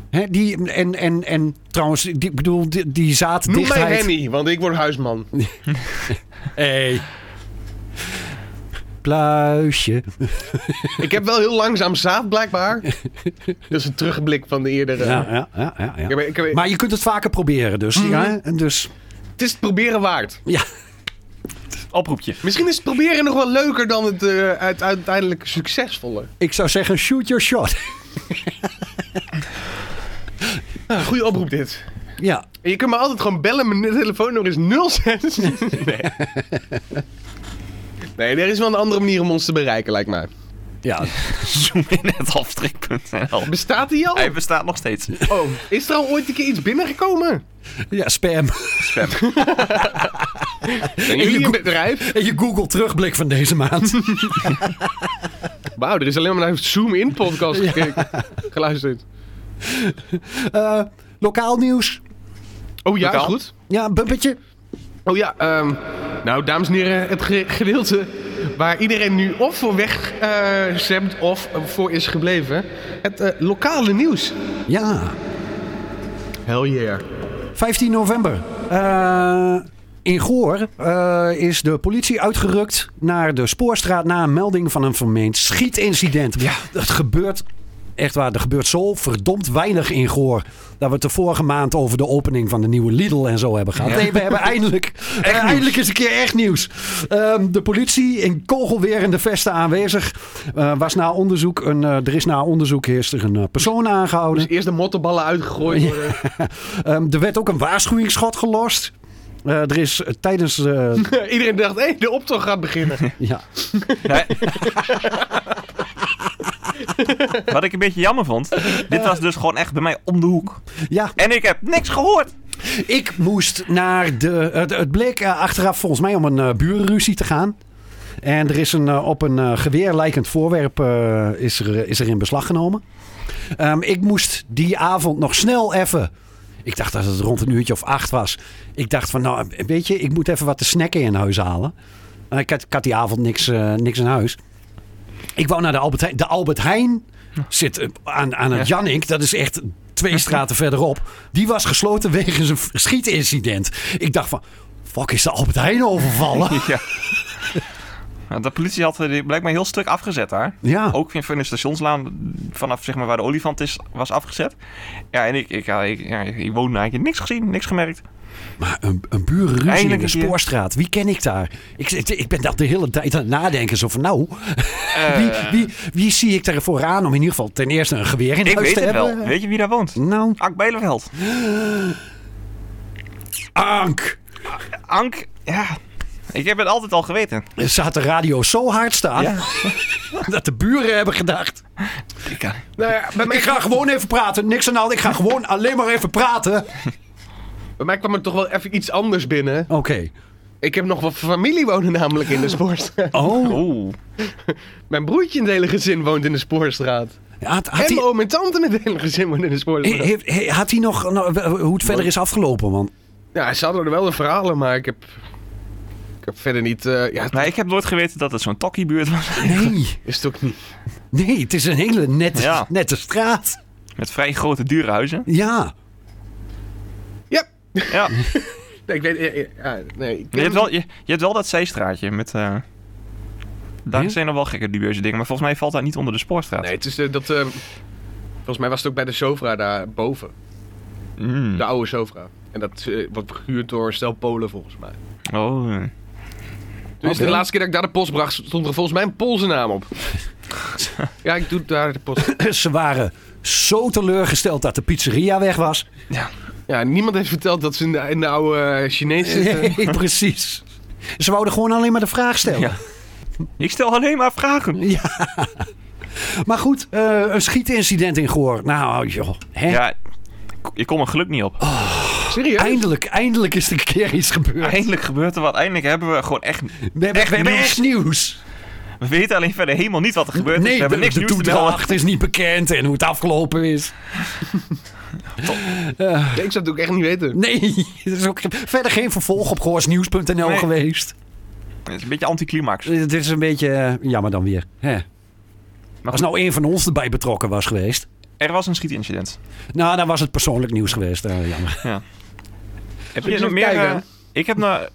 [SPEAKER 4] Hè, die, en, en, en trouwens, die, ik bedoel, die, die
[SPEAKER 5] Noem mij
[SPEAKER 4] zaaddichtheid.
[SPEAKER 5] Henny, want ik word huisman.
[SPEAKER 4] Hey. Pluisje.
[SPEAKER 5] ik heb wel heel langzaam zaad, blijkbaar. Dat is een terugblik van de eerdere.
[SPEAKER 4] Ja, ja, ja, ja, ja.
[SPEAKER 5] Ik heb- ik heb-
[SPEAKER 4] Maar je kunt het vaker proberen, dus. Ja, en dus
[SPEAKER 5] Het is het proberen waard.
[SPEAKER 4] ja.
[SPEAKER 3] Oproepje.
[SPEAKER 5] Misschien is het proberen nog wel leuker dan het eh, uit- uiteindelijk succesvolle.
[SPEAKER 4] ik zou zeggen, shoot your shot.
[SPEAKER 5] Goeie oproep dit.
[SPEAKER 4] ja.
[SPEAKER 5] En je kunt me altijd gewoon bellen. Mijn telefoonnummer is 06. nee. Nee, er is wel een andere manier om ons te bereiken, lijkt mij.
[SPEAKER 4] ja.
[SPEAKER 3] Zoom in het halftrik.nl.
[SPEAKER 5] Bestaat die al?
[SPEAKER 3] Hij bestaat nog steeds.
[SPEAKER 5] Oh, is er al ooit een keer iets binnengekomen?
[SPEAKER 4] Ja, spam.
[SPEAKER 3] Spam.
[SPEAKER 5] Zijn jullie een bedrijf?
[SPEAKER 4] En je Google terugblik van deze maand.
[SPEAKER 5] Wauw, er is alleen maar naar een Zoom-in podcast gekeken. geluisterd.
[SPEAKER 4] Eh, lokaal nieuws.
[SPEAKER 5] Oh ja,
[SPEAKER 3] Lokaal?
[SPEAKER 5] is goed.
[SPEAKER 4] Ja, een bumpetje.
[SPEAKER 5] Oh ja, ehm, nou dames en heren, het ge- gedeelte waar iedereen nu of voor weg eh, zwemt of voor is gebleven. Het eh, lokale nieuws.
[SPEAKER 4] Ja.
[SPEAKER 5] Hell yeah.
[SPEAKER 4] 15 november. Eh, in Goor eh, is de politie uitgerukt naar de spoorstraat na een melding van een vermeend schietincident. Ja. Dat gebeurt. Echt waar, er gebeurt zo verdomd weinig in Goor. Dat we het de vorige maand over de opening van de nieuwe Lidl en zo hebben gehad. Nee, we hebben eindelijk, eh, eindelijk is een keer echt nieuws. Ehm, de politie in kogelwerende vesten aanwezig. Eh, was na onderzoek een, eh, er is na onderzoek is er een eh, persoon aangehouden.
[SPEAKER 5] Dus eerst de mottenballen uitgegooid worden.
[SPEAKER 4] Ehm, er werd ook een waarschuwingsschot gelost. Eh, er is eh, tijdens. eh,
[SPEAKER 5] iedereen dacht, hé, de optocht gaat beginnen.
[SPEAKER 4] ja.
[SPEAKER 3] Nee. Wat ik een beetje jammer vond, dit was dus gewoon echt bij mij om de hoek.
[SPEAKER 4] ja,
[SPEAKER 3] En ik heb niks gehoord.
[SPEAKER 4] ik moest naar de. het- het bleek eh, achteraf volgens mij om een eh, burenruzie te gaan. En er is een, eh, op een eh, geweer lijkend voorwerp eh, is, er, is er in beslag genomen. Ehm, ik moest die avond nog snel even. Ik dacht dat het rond een uurtje of acht was. Ik dacht van, nou, weet je, ik moet even wat te snacken in huis halen. Eh, ik, had, ik had die avond niks, eh, niks in huis. Ik wou naar de Albert Heijn. De Albert Heijn zit eh, aan, aan het Jannik. Dat is echt twee straten verderop. Die was gesloten wegens een schietincident. Ik dacht van, fuck, is de Albert Heijn overvallen?
[SPEAKER 3] Ja. Nou, De politie had eh, die blijkbaar een heel stuk afgezet daar.
[SPEAKER 4] Ja.
[SPEAKER 3] Ook weer van de stationslaan, vanaf zeg maar, waar de olifant is, was afgezet. Ja, en ik, ik, ja, ik, ja, ik woonde eigenlijk niks gezien, niks gemerkt.
[SPEAKER 4] Maar een, een burenruzie
[SPEAKER 3] Eindelijk
[SPEAKER 4] in
[SPEAKER 3] een
[SPEAKER 4] de
[SPEAKER 3] keer.
[SPEAKER 4] spoorstraat. Wie ken ik daar? Ik, ik, ik ben daar de hele tijd aan het nadenken. Zo van, nou, wie,
[SPEAKER 3] Eh.
[SPEAKER 4] wie, wie zie ik daar vooraan om in ieder geval ten eerste een geweer in
[SPEAKER 3] Ik
[SPEAKER 4] huis
[SPEAKER 3] weet
[SPEAKER 4] te
[SPEAKER 3] het wel.
[SPEAKER 4] hebben?
[SPEAKER 3] Weet je wie daar woont?
[SPEAKER 4] Nou,
[SPEAKER 3] Ank Bijleveld.
[SPEAKER 4] Ank!
[SPEAKER 3] Ank, ja, ik heb het altijd al geweten.
[SPEAKER 4] Er Zat de radio zo hard staan
[SPEAKER 3] Ja.
[SPEAKER 4] dat de buren hebben gedacht.
[SPEAKER 3] Ik kan-
[SPEAKER 5] Nou ja, bij mij,
[SPEAKER 4] Ik ga gewoon even praten. Niks aan de hand. Ik ga gewoon alleen maar even praten. Oké.
[SPEAKER 5] bij mij kwam er toch wel even iets anders binnen. Ik heb nog wat familie wonen namelijk in de spoorstraat.
[SPEAKER 4] Oh.
[SPEAKER 3] Oeh.
[SPEAKER 5] Mijn broertje in het hele gezin woont in de spoorstraat.
[SPEAKER 4] Ja, had, had
[SPEAKER 5] en
[SPEAKER 4] hij,
[SPEAKER 5] mijn oom en tante in het hele gezin woont in de spoorstraat.
[SPEAKER 4] heeft- he- had hij nog nou, hoe het verder is afgelopen? Want
[SPEAKER 5] Ja, ze hadden er wel de verhalen, maar ik heb, ik heb verder niet... eh, ja,
[SPEAKER 3] Maar ik heb nooit geweten dat het zo'n tokkiebuurt was.
[SPEAKER 4] nee,
[SPEAKER 5] is het ook niet.
[SPEAKER 4] nee, het is een hele nette,
[SPEAKER 3] Ja.
[SPEAKER 4] nette straat.
[SPEAKER 3] Met vrij grote dure huizen.
[SPEAKER 4] Ja.
[SPEAKER 5] Ja,
[SPEAKER 3] Ja.
[SPEAKER 5] Nee, ik weet... eh, eh, ja, nee, ik
[SPEAKER 3] Je hebt, wel, je, je hebt wel dat zeestraatje met... eh daar
[SPEAKER 4] Hm?
[SPEAKER 3] zijn er wel gekke dubieuze dingen. Maar volgens mij valt dat niet onder de spoorstraat.
[SPEAKER 5] Nee, het is eh, dat... eh, volgens mij was het ook bij de Sofra daarboven.
[SPEAKER 3] Mm.
[SPEAKER 5] De oude Sofra. En dat eh, wordt gehuurd door een stel Polen volgens mij.
[SPEAKER 3] Oh, eh.
[SPEAKER 5] Dus
[SPEAKER 4] Oké.
[SPEAKER 5] de laatste keer dat ik daar de post bracht, stond er volgens mij een Poolse naam op. ja, ik doe daar de post.
[SPEAKER 4] Ze waren zo teleurgesteld dat de pizzeria weg was.
[SPEAKER 5] Ja, niemand heeft verteld dat ze in de, in de oude eh, Chinees zitten.
[SPEAKER 4] Nee, precies. Ze wouden gewoon alleen maar de vraag stellen.
[SPEAKER 3] Ja. ik stel alleen maar vragen.
[SPEAKER 4] Maar goed, eh, een schietincident in Goor. Nou, joh. Hè?
[SPEAKER 3] Ja, ik- ik kom er geluk niet op.
[SPEAKER 5] Serieus?
[SPEAKER 4] Eindelijk, eindelijk is er een keer iets gebeurd.
[SPEAKER 3] Eindelijk gebeurt er wat. Eindelijk hebben we gewoon echt...
[SPEAKER 4] We hebben
[SPEAKER 3] Echt
[SPEAKER 4] we hebben
[SPEAKER 3] nieuws.
[SPEAKER 4] echt nieuws.
[SPEAKER 3] We weten alleen verder helemaal niet wat er gebeurt.
[SPEAKER 4] nee,
[SPEAKER 3] we hebben niks
[SPEAKER 4] de, de
[SPEAKER 3] nieuws te melden.
[SPEAKER 4] toedracht is niet bekend en hoe het afgelopen is.
[SPEAKER 5] Ja, ik zou het ook echt niet weten.
[SPEAKER 4] Nee, er is ook verder geen vervolg op goorsnieuws.nl
[SPEAKER 3] Nee.
[SPEAKER 4] geweest.
[SPEAKER 3] Het is een beetje anticlimax.
[SPEAKER 4] Eh, Dit is een beetje eh, jammer dan weer. Hè. Als nou een van ons erbij betrokken was geweest.
[SPEAKER 3] Er was een schietincident.
[SPEAKER 4] Nou, dan was het persoonlijk nieuws geweest. eh, jammer.
[SPEAKER 3] Heb
[SPEAKER 5] je
[SPEAKER 3] je nog
[SPEAKER 5] eens
[SPEAKER 3] meer...
[SPEAKER 5] kijken?
[SPEAKER 3] eh, ik heb nou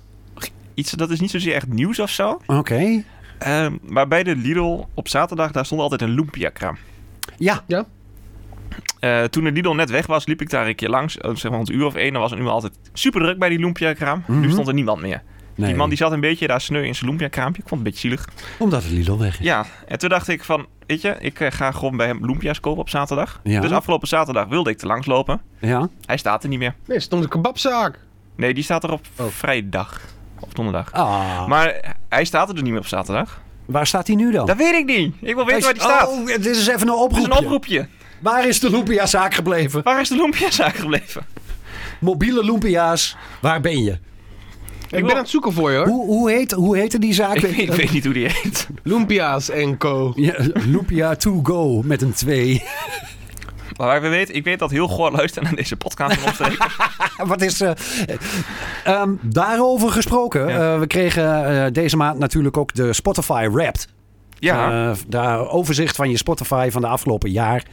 [SPEAKER 3] iets... Dat is niet zozeer echt nieuws of zo.
[SPEAKER 4] Oké.
[SPEAKER 3] Ehm, maar bij de Lidl op zaterdag, daar stond altijd een lumpia-kraam.
[SPEAKER 4] Ja.
[SPEAKER 3] Eh, toen de Lidl net weg was, liep ik daar een keer langs. eh, zeg maar rond een uur of één. Dan was het nu altijd super druk bij die lumpia-kraam. Nu
[SPEAKER 4] Mhm.
[SPEAKER 3] stond er niemand meer.
[SPEAKER 4] Nee,
[SPEAKER 3] Die man die zat een beetje daar sneu in zijn lumpia-kraampje. Ik vond het een beetje zielig.
[SPEAKER 4] Omdat het Lidl weg is.
[SPEAKER 3] Ja, en toen dacht ik van... Weet je, ik eh, ga gewoon bij hem lumpia's kopen op zaterdag.
[SPEAKER 4] Ja.
[SPEAKER 3] Dus afgelopen zaterdag wilde ik er langs lopen.
[SPEAKER 4] Ja.
[SPEAKER 3] Hij staat er niet meer.
[SPEAKER 5] Nee, er stond een kebabzaak.
[SPEAKER 3] Nee, die staat er op vrijdag. Of donderdag.
[SPEAKER 4] Oh. Ah,
[SPEAKER 3] Maar hij staat er dus niet meer op zaterdag.
[SPEAKER 4] waar staat hij nu dan?
[SPEAKER 3] Dat weet ik niet. Ik wil weten waar die
[SPEAKER 4] Hij-
[SPEAKER 3] staat.
[SPEAKER 4] Oh, dit is even een
[SPEAKER 3] Het
[SPEAKER 4] oproep.
[SPEAKER 3] is een oproepje.
[SPEAKER 4] Waar is de Lumpia-zaak gebleven?
[SPEAKER 3] Waar is de lumpia-zaak gebleven?
[SPEAKER 4] Mobiele Lumpia's, waar ben je?
[SPEAKER 5] Ik, ben aan het zoeken voor je hoor.
[SPEAKER 4] Hoe, hoe, heet, hoe heette die zaak?
[SPEAKER 3] Ik, weet, ik weet niet hoe die heet.
[SPEAKER 5] Lumpia's en co.
[SPEAKER 4] Ja, Lumpia to go met een 2.
[SPEAKER 3] Maar waar we weten, ik weet dat heel Goor luistert naar deze podcast van omstreken.
[SPEAKER 4] Wat is. eh, ehm, daarover gesproken.
[SPEAKER 3] Ja.
[SPEAKER 4] eh, we kregen eh, deze maand natuurlijk ook de Spotify Wrapped.
[SPEAKER 3] Ja,
[SPEAKER 4] Eh, daar overzicht van je Spotify van de afgelopen jaar.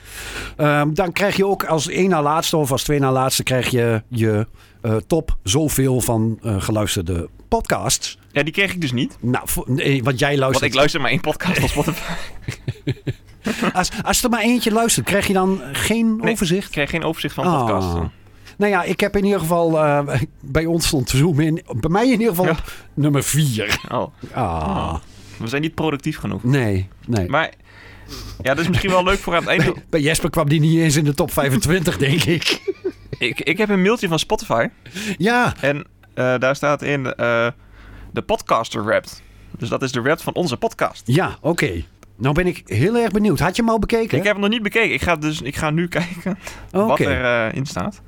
[SPEAKER 4] Ehm, dan krijg je ook als één na laatste of als twee na laatste krijg je je eh, top zoveel van eh, geluisterde podcasts.
[SPEAKER 3] ja, die kreeg ik dus niet.
[SPEAKER 4] Nou, vo- nee, want jij
[SPEAKER 3] Want
[SPEAKER 4] luistert.
[SPEAKER 3] ik luister maar één podcast op Spotify.
[SPEAKER 4] als, als er maar eentje luistert, krijg je dan geen
[SPEAKER 3] Nee. Ik
[SPEAKER 4] overzicht?
[SPEAKER 3] kreeg geen overzicht van
[SPEAKER 4] Ah.
[SPEAKER 3] podcasts.
[SPEAKER 4] Nou ja, ik heb in ieder geval. eh, bij ons stond Zoom in. Bij mij in ieder geval
[SPEAKER 3] Ja.
[SPEAKER 4] op nummer 4.
[SPEAKER 3] Oh,
[SPEAKER 4] Ah,
[SPEAKER 3] we zijn niet productief genoeg.
[SPEAKER 4] nee, nee.
[SPEAKER 3] Maar ja, dat is misschien wel leuk voor aan het einde.
[SPEAKER 4] Bij Jesper kwam die niet eens in de top 25, denk ik.
[SPEAKER 3] Ik, ik heb een mailtje van Spotify
[SPEAKER 4] Ja,
[SPEAKER 3] en eh, daar staat in eh, de podcaster wrapped. Dus dat is de rap van onze podcast.
[SPEAKER 4] ja, oké. Nou ben ik heel erg benieuwd. Had je hem al bekeken?
[SPEAKER 3] Ik heb hem nog niet bekeken. Ik ga, dus, ik ga nu kijken
[SPEAKER 4] Oh, Oké.
[SPEAKER 3] wat er eh in staat.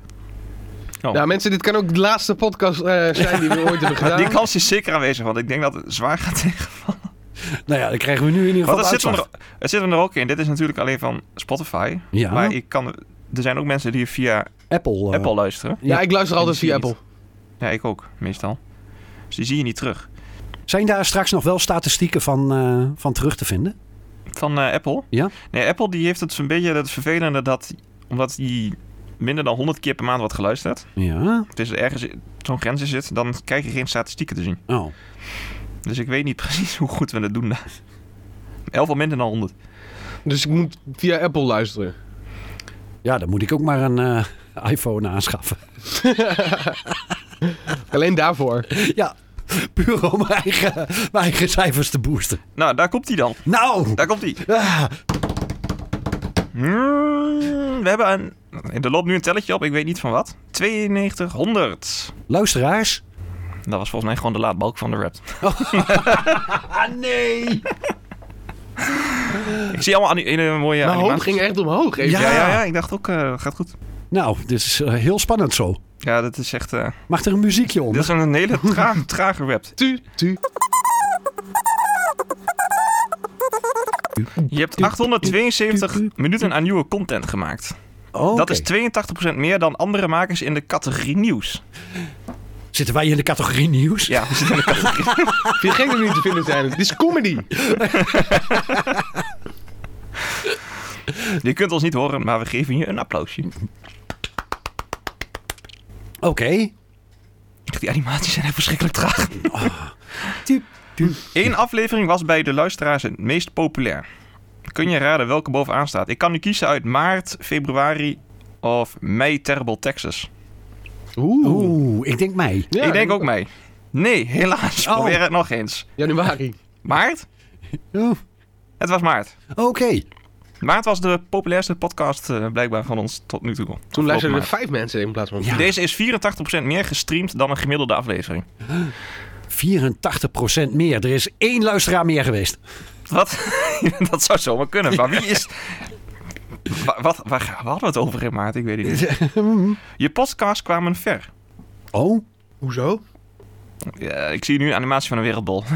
[SPEAKER 3] Oh.
[SPEAKER 5] Nou mensen, dit kan ook de laatste podcast eh, zijn die we ooit hebben
[SPEAKER 3] Maar
[SPEAKER 5] gedaan.
[SPEAKER 3] die kans is zeker aanwezig, want ik denk dat het zwaar gaat tegen.
[SPEAKER 4] Nou ja, dan krijgen we nu in ieder geval
[SPEAKER 3] Want
[SPEAKER 4] de
[SPEAKER 3] het zit, hem
[SPEAKER 4] uitslag.
[SPEAKER 3] er, het zit hem er ook in. Dit is natuurlijk alleen van Spotify.
[SPEAKER 4] Ja.
[SPEAKER 3] Maar ik kan, er zijn ook mensen die via
[SPEAKER 4] Apple. eh,
[SPEAKER 3] Apple luisteren.
[SPEAKER 5] Ja, ik luister altijd via Apple.
[SPEAKER 3] Ja, ik ook, meestal. Dus die zie je niet terug.
[SPEAKER 4] Zijn daar straks nog wel statistieken van, eh, van terug te vinden?
[SPEAKER 3] Van eh, Apple?
[SPEAKER 4] Ja.
[SPEAKER 3] Nee, Apple die heeft het zo'n beetje het vervelende dat... Omdat die minder dan 100 keer per maand wordt geluisterd.
[SPEAKER 4] Ja.
[SPEAKER 3] Dus er ergens zo'n grens in zit, dan krijg je geen statistieken te zien.
[SPEAKER 4] Oh.
[SPEAKER 3] Dus ik weet niet precies hoe goed we dat doen daar. 11 of minder dan 100.
[SPEAKER 5] Dus ik moet via Apple luisteren.
[SPEAKER 4] Ja, dan moet ik ook maar een eh, iPhone aanschaffen.
[SPEAKER 5] Alleen daarvoor.
[SPEAKER 4] Ja, puur om mijn eigen, mijn eigen cijfers te boosten.
[SPEAKER 3] Nou, daar komt hij dan.
[SPEAKER 4] Nou!
[SPEAKER 3] Daar komt hij.
[SPEAKER 4] Ah,
[SPEAKER 3] Hmm, we hebben een... Er loopt nu een telletje op, ik weet niet van wat. 9200.
[SPEAKER 4] luisteraars.
[SPEAKER 3] Dat was volgens mij gewoon de laadbalk van de rap.
[SPEAKER 4] Ah, nee!
[SPEAKER 3] Ik zie allemaal anu- hele mooie
[SPEAKER 5] Mijn hoofd
[SPEAKER 3] animaties.
[SPEAKER 5] ging echt omhoog. Even.
[SPEAKER 3] Ja, ja, ja, ik dacht ook, eh, gaat goed.
[SPEAKER 4] Nou, dit is eh, heel spannend zo.
[SPEAKER 3] Ja, dat is echt... eh,
[SPEAKER 4] Mag er een muziekje onder?
[SPEAKER 3] dit is een hele traag, trage rap.
[SPEAKER 5] Tu, tu.
[SPEAKER 3] Je hebt 872 minuten aan nieuwe content gemaakt.
[SPEAKER 4] Oh,
[SPEAKER 3] Dat
[SPEAKER 4] oké.
[SPEAKER 3] is 82% meer dan andere makers in de categorie nieuws.
[SPEAKER 4] Zitten wij in de categorie nieuws?
[SPEAKER 3] Ja, we zitten in de categorie.
[SPEAKER 5] Vind je gek dat we niet te vinden zijn? Dit is comedy.
[SPEAKER 3] Je kunt ons niet horen, maar we geven je een applausje.
[SPEAKER 4] Oké.
[SPEAKER 3] Die animaties zijn echt verschrikkelijk traag. Eén aflevering was bij de luisteraars het meest populair. Kun je raden welke bovenaan staat? Ik kan nu kiezen uit maart, februari of mei Terrible Texas.
[SPEAKER 5] Oeh.
[SPEAKER 4] Oeh, ik denk mij.
[SPEAKER 5] Ja,
[SPEAKER 3] ik denk ook mei. Nee, helaas.
[SPEAKER 4] Oh.
[SPEAKER 3] Probeer het nog eens.
[SPEAKER 5] Januari.
[SPEAKER 3] Maart?
[SPEAKER 4] Oh,
[SPEAKER 3] Het was maart.
[SPEAKER 4] Oké.
[SPEAKER 3] Maart was de populairste podcast eh, blijkbaar van ons tot nu toe.
[SPEAKER 5] Toen
[SPEAKER 3] Afgelopen
[SPEAKER 5] luisterden er
[SPEAKER 3] maart.
[SPEAKER 5] vijf mensen in plaats van...
[SPEAKER 4] Ja.
[SPEAKER 3] Deze is 84% meer gestreamd dan een gemiddelde aflevering.
[SPEAKER 4] 84% meer. Er is één luisteraar meer geweest.
[SPEAKER 3] Wat? dat zou zomaar kunnen. Maar wie is... Wa- Wat, waar, waar hadden we het over in maart? Ik weet het niet. Je podcasts kwamen ver.
[SPEAKER 4] Oh,
[SPEAKER 5] Hoezo?
[SPEAKER 3] Ja, ik zie nu een animatie van een wereldbol.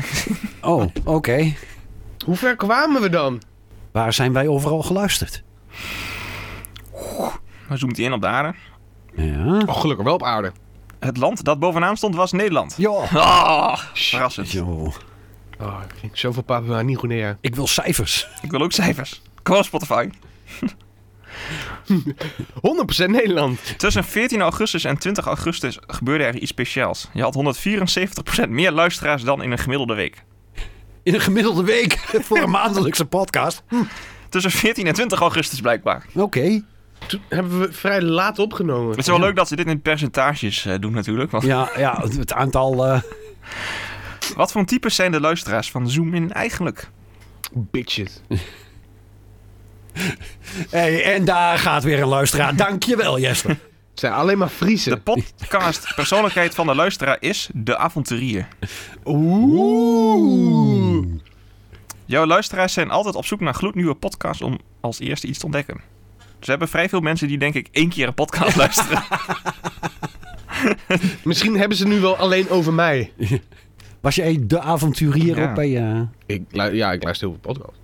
[SPEAKER 4] oh, oké.
[SPEAKER 5] Hoe ver kwamen we dan?
[SPEAKER 4] Waar zijn wij overal geluisterd?
[SPEAKER 3] Dan zoomt hij in op de aarde.
[SPEAKER 4] Ja.
[SPEAKER 5] Oh, gelukkig wel op aarde.
[SPEAKER 3] Het land dat bovenaan stond was Nederland.
[SPEAKER 4] Ja.
[SPEAKER 3] Ah, verrassend.
[SPEAKER 4] Zo.
[SPEAKER 5] Oh, ik vind zoveel Papua Nieuw-Guinea.
[SPEAKER 4] Ik wil cijfers.
[SPEAKER 3] Ik wil ook cijfers. Kom op Spotify.
[SPEAKER 5] 100% Nederland.
[SPEAKER 3] Tussen 14 augustus en 20 augustus gebeurde er iets speciaals. Je had 174% meer luisteraars dan in een gemiddelde week.
[SPEAKER 4] In een gemiddelde week voor een maandelijkse podcast.
[SPEAKER 3] Tussen 14 en 20 augustus blijkbaar.
[SPEAKER 4] Oké.
[SPEAKER 5] Toen hebben we vrij laat opgenomen.
[SPEAKER 3] Het is wel leuk dat ze dit in percentages eh, doen natuurlijk. Want
[SPEAKER 4] Ja, ja, het- het aantal. eh,
[SPEAKER 3] Wat voor types zijn de luisteraars van Zoom in eigenlijk?
[SPEAKER 5] Bitches.
[SPEAKER 4] hey, en daar gaat weer een luisteraar. Dankjewel, Jesper.
[SPEAKER 5] Het zijn alleen maar
[SPEAKER 3] De
[SPEAKER 5] Friese.
[SPEAKER 3] podcast persoonlijkheid van de luisteraar is de avonturier.
[SPEAKER 5] Oeh.
[SPEAKER 3] Jouw luisteraars zijn altijd op zoek naar gloednieuwe podcasts om als eerste iets te ontdekken. Ze hebben vrij veel mensen die denk ik één keer een podcast luisteren.
[SPEAKER 5] Misschien hebben ze nu wel alleen over mij.
[SPEAKER 4] Was jij de avonturier
[SPEAKER 3] Ja.
[SPEAKER 4] ook bij eh, je?
[SPEAKER 5] Ik, lu- ja, ik luister heel veel podcasts.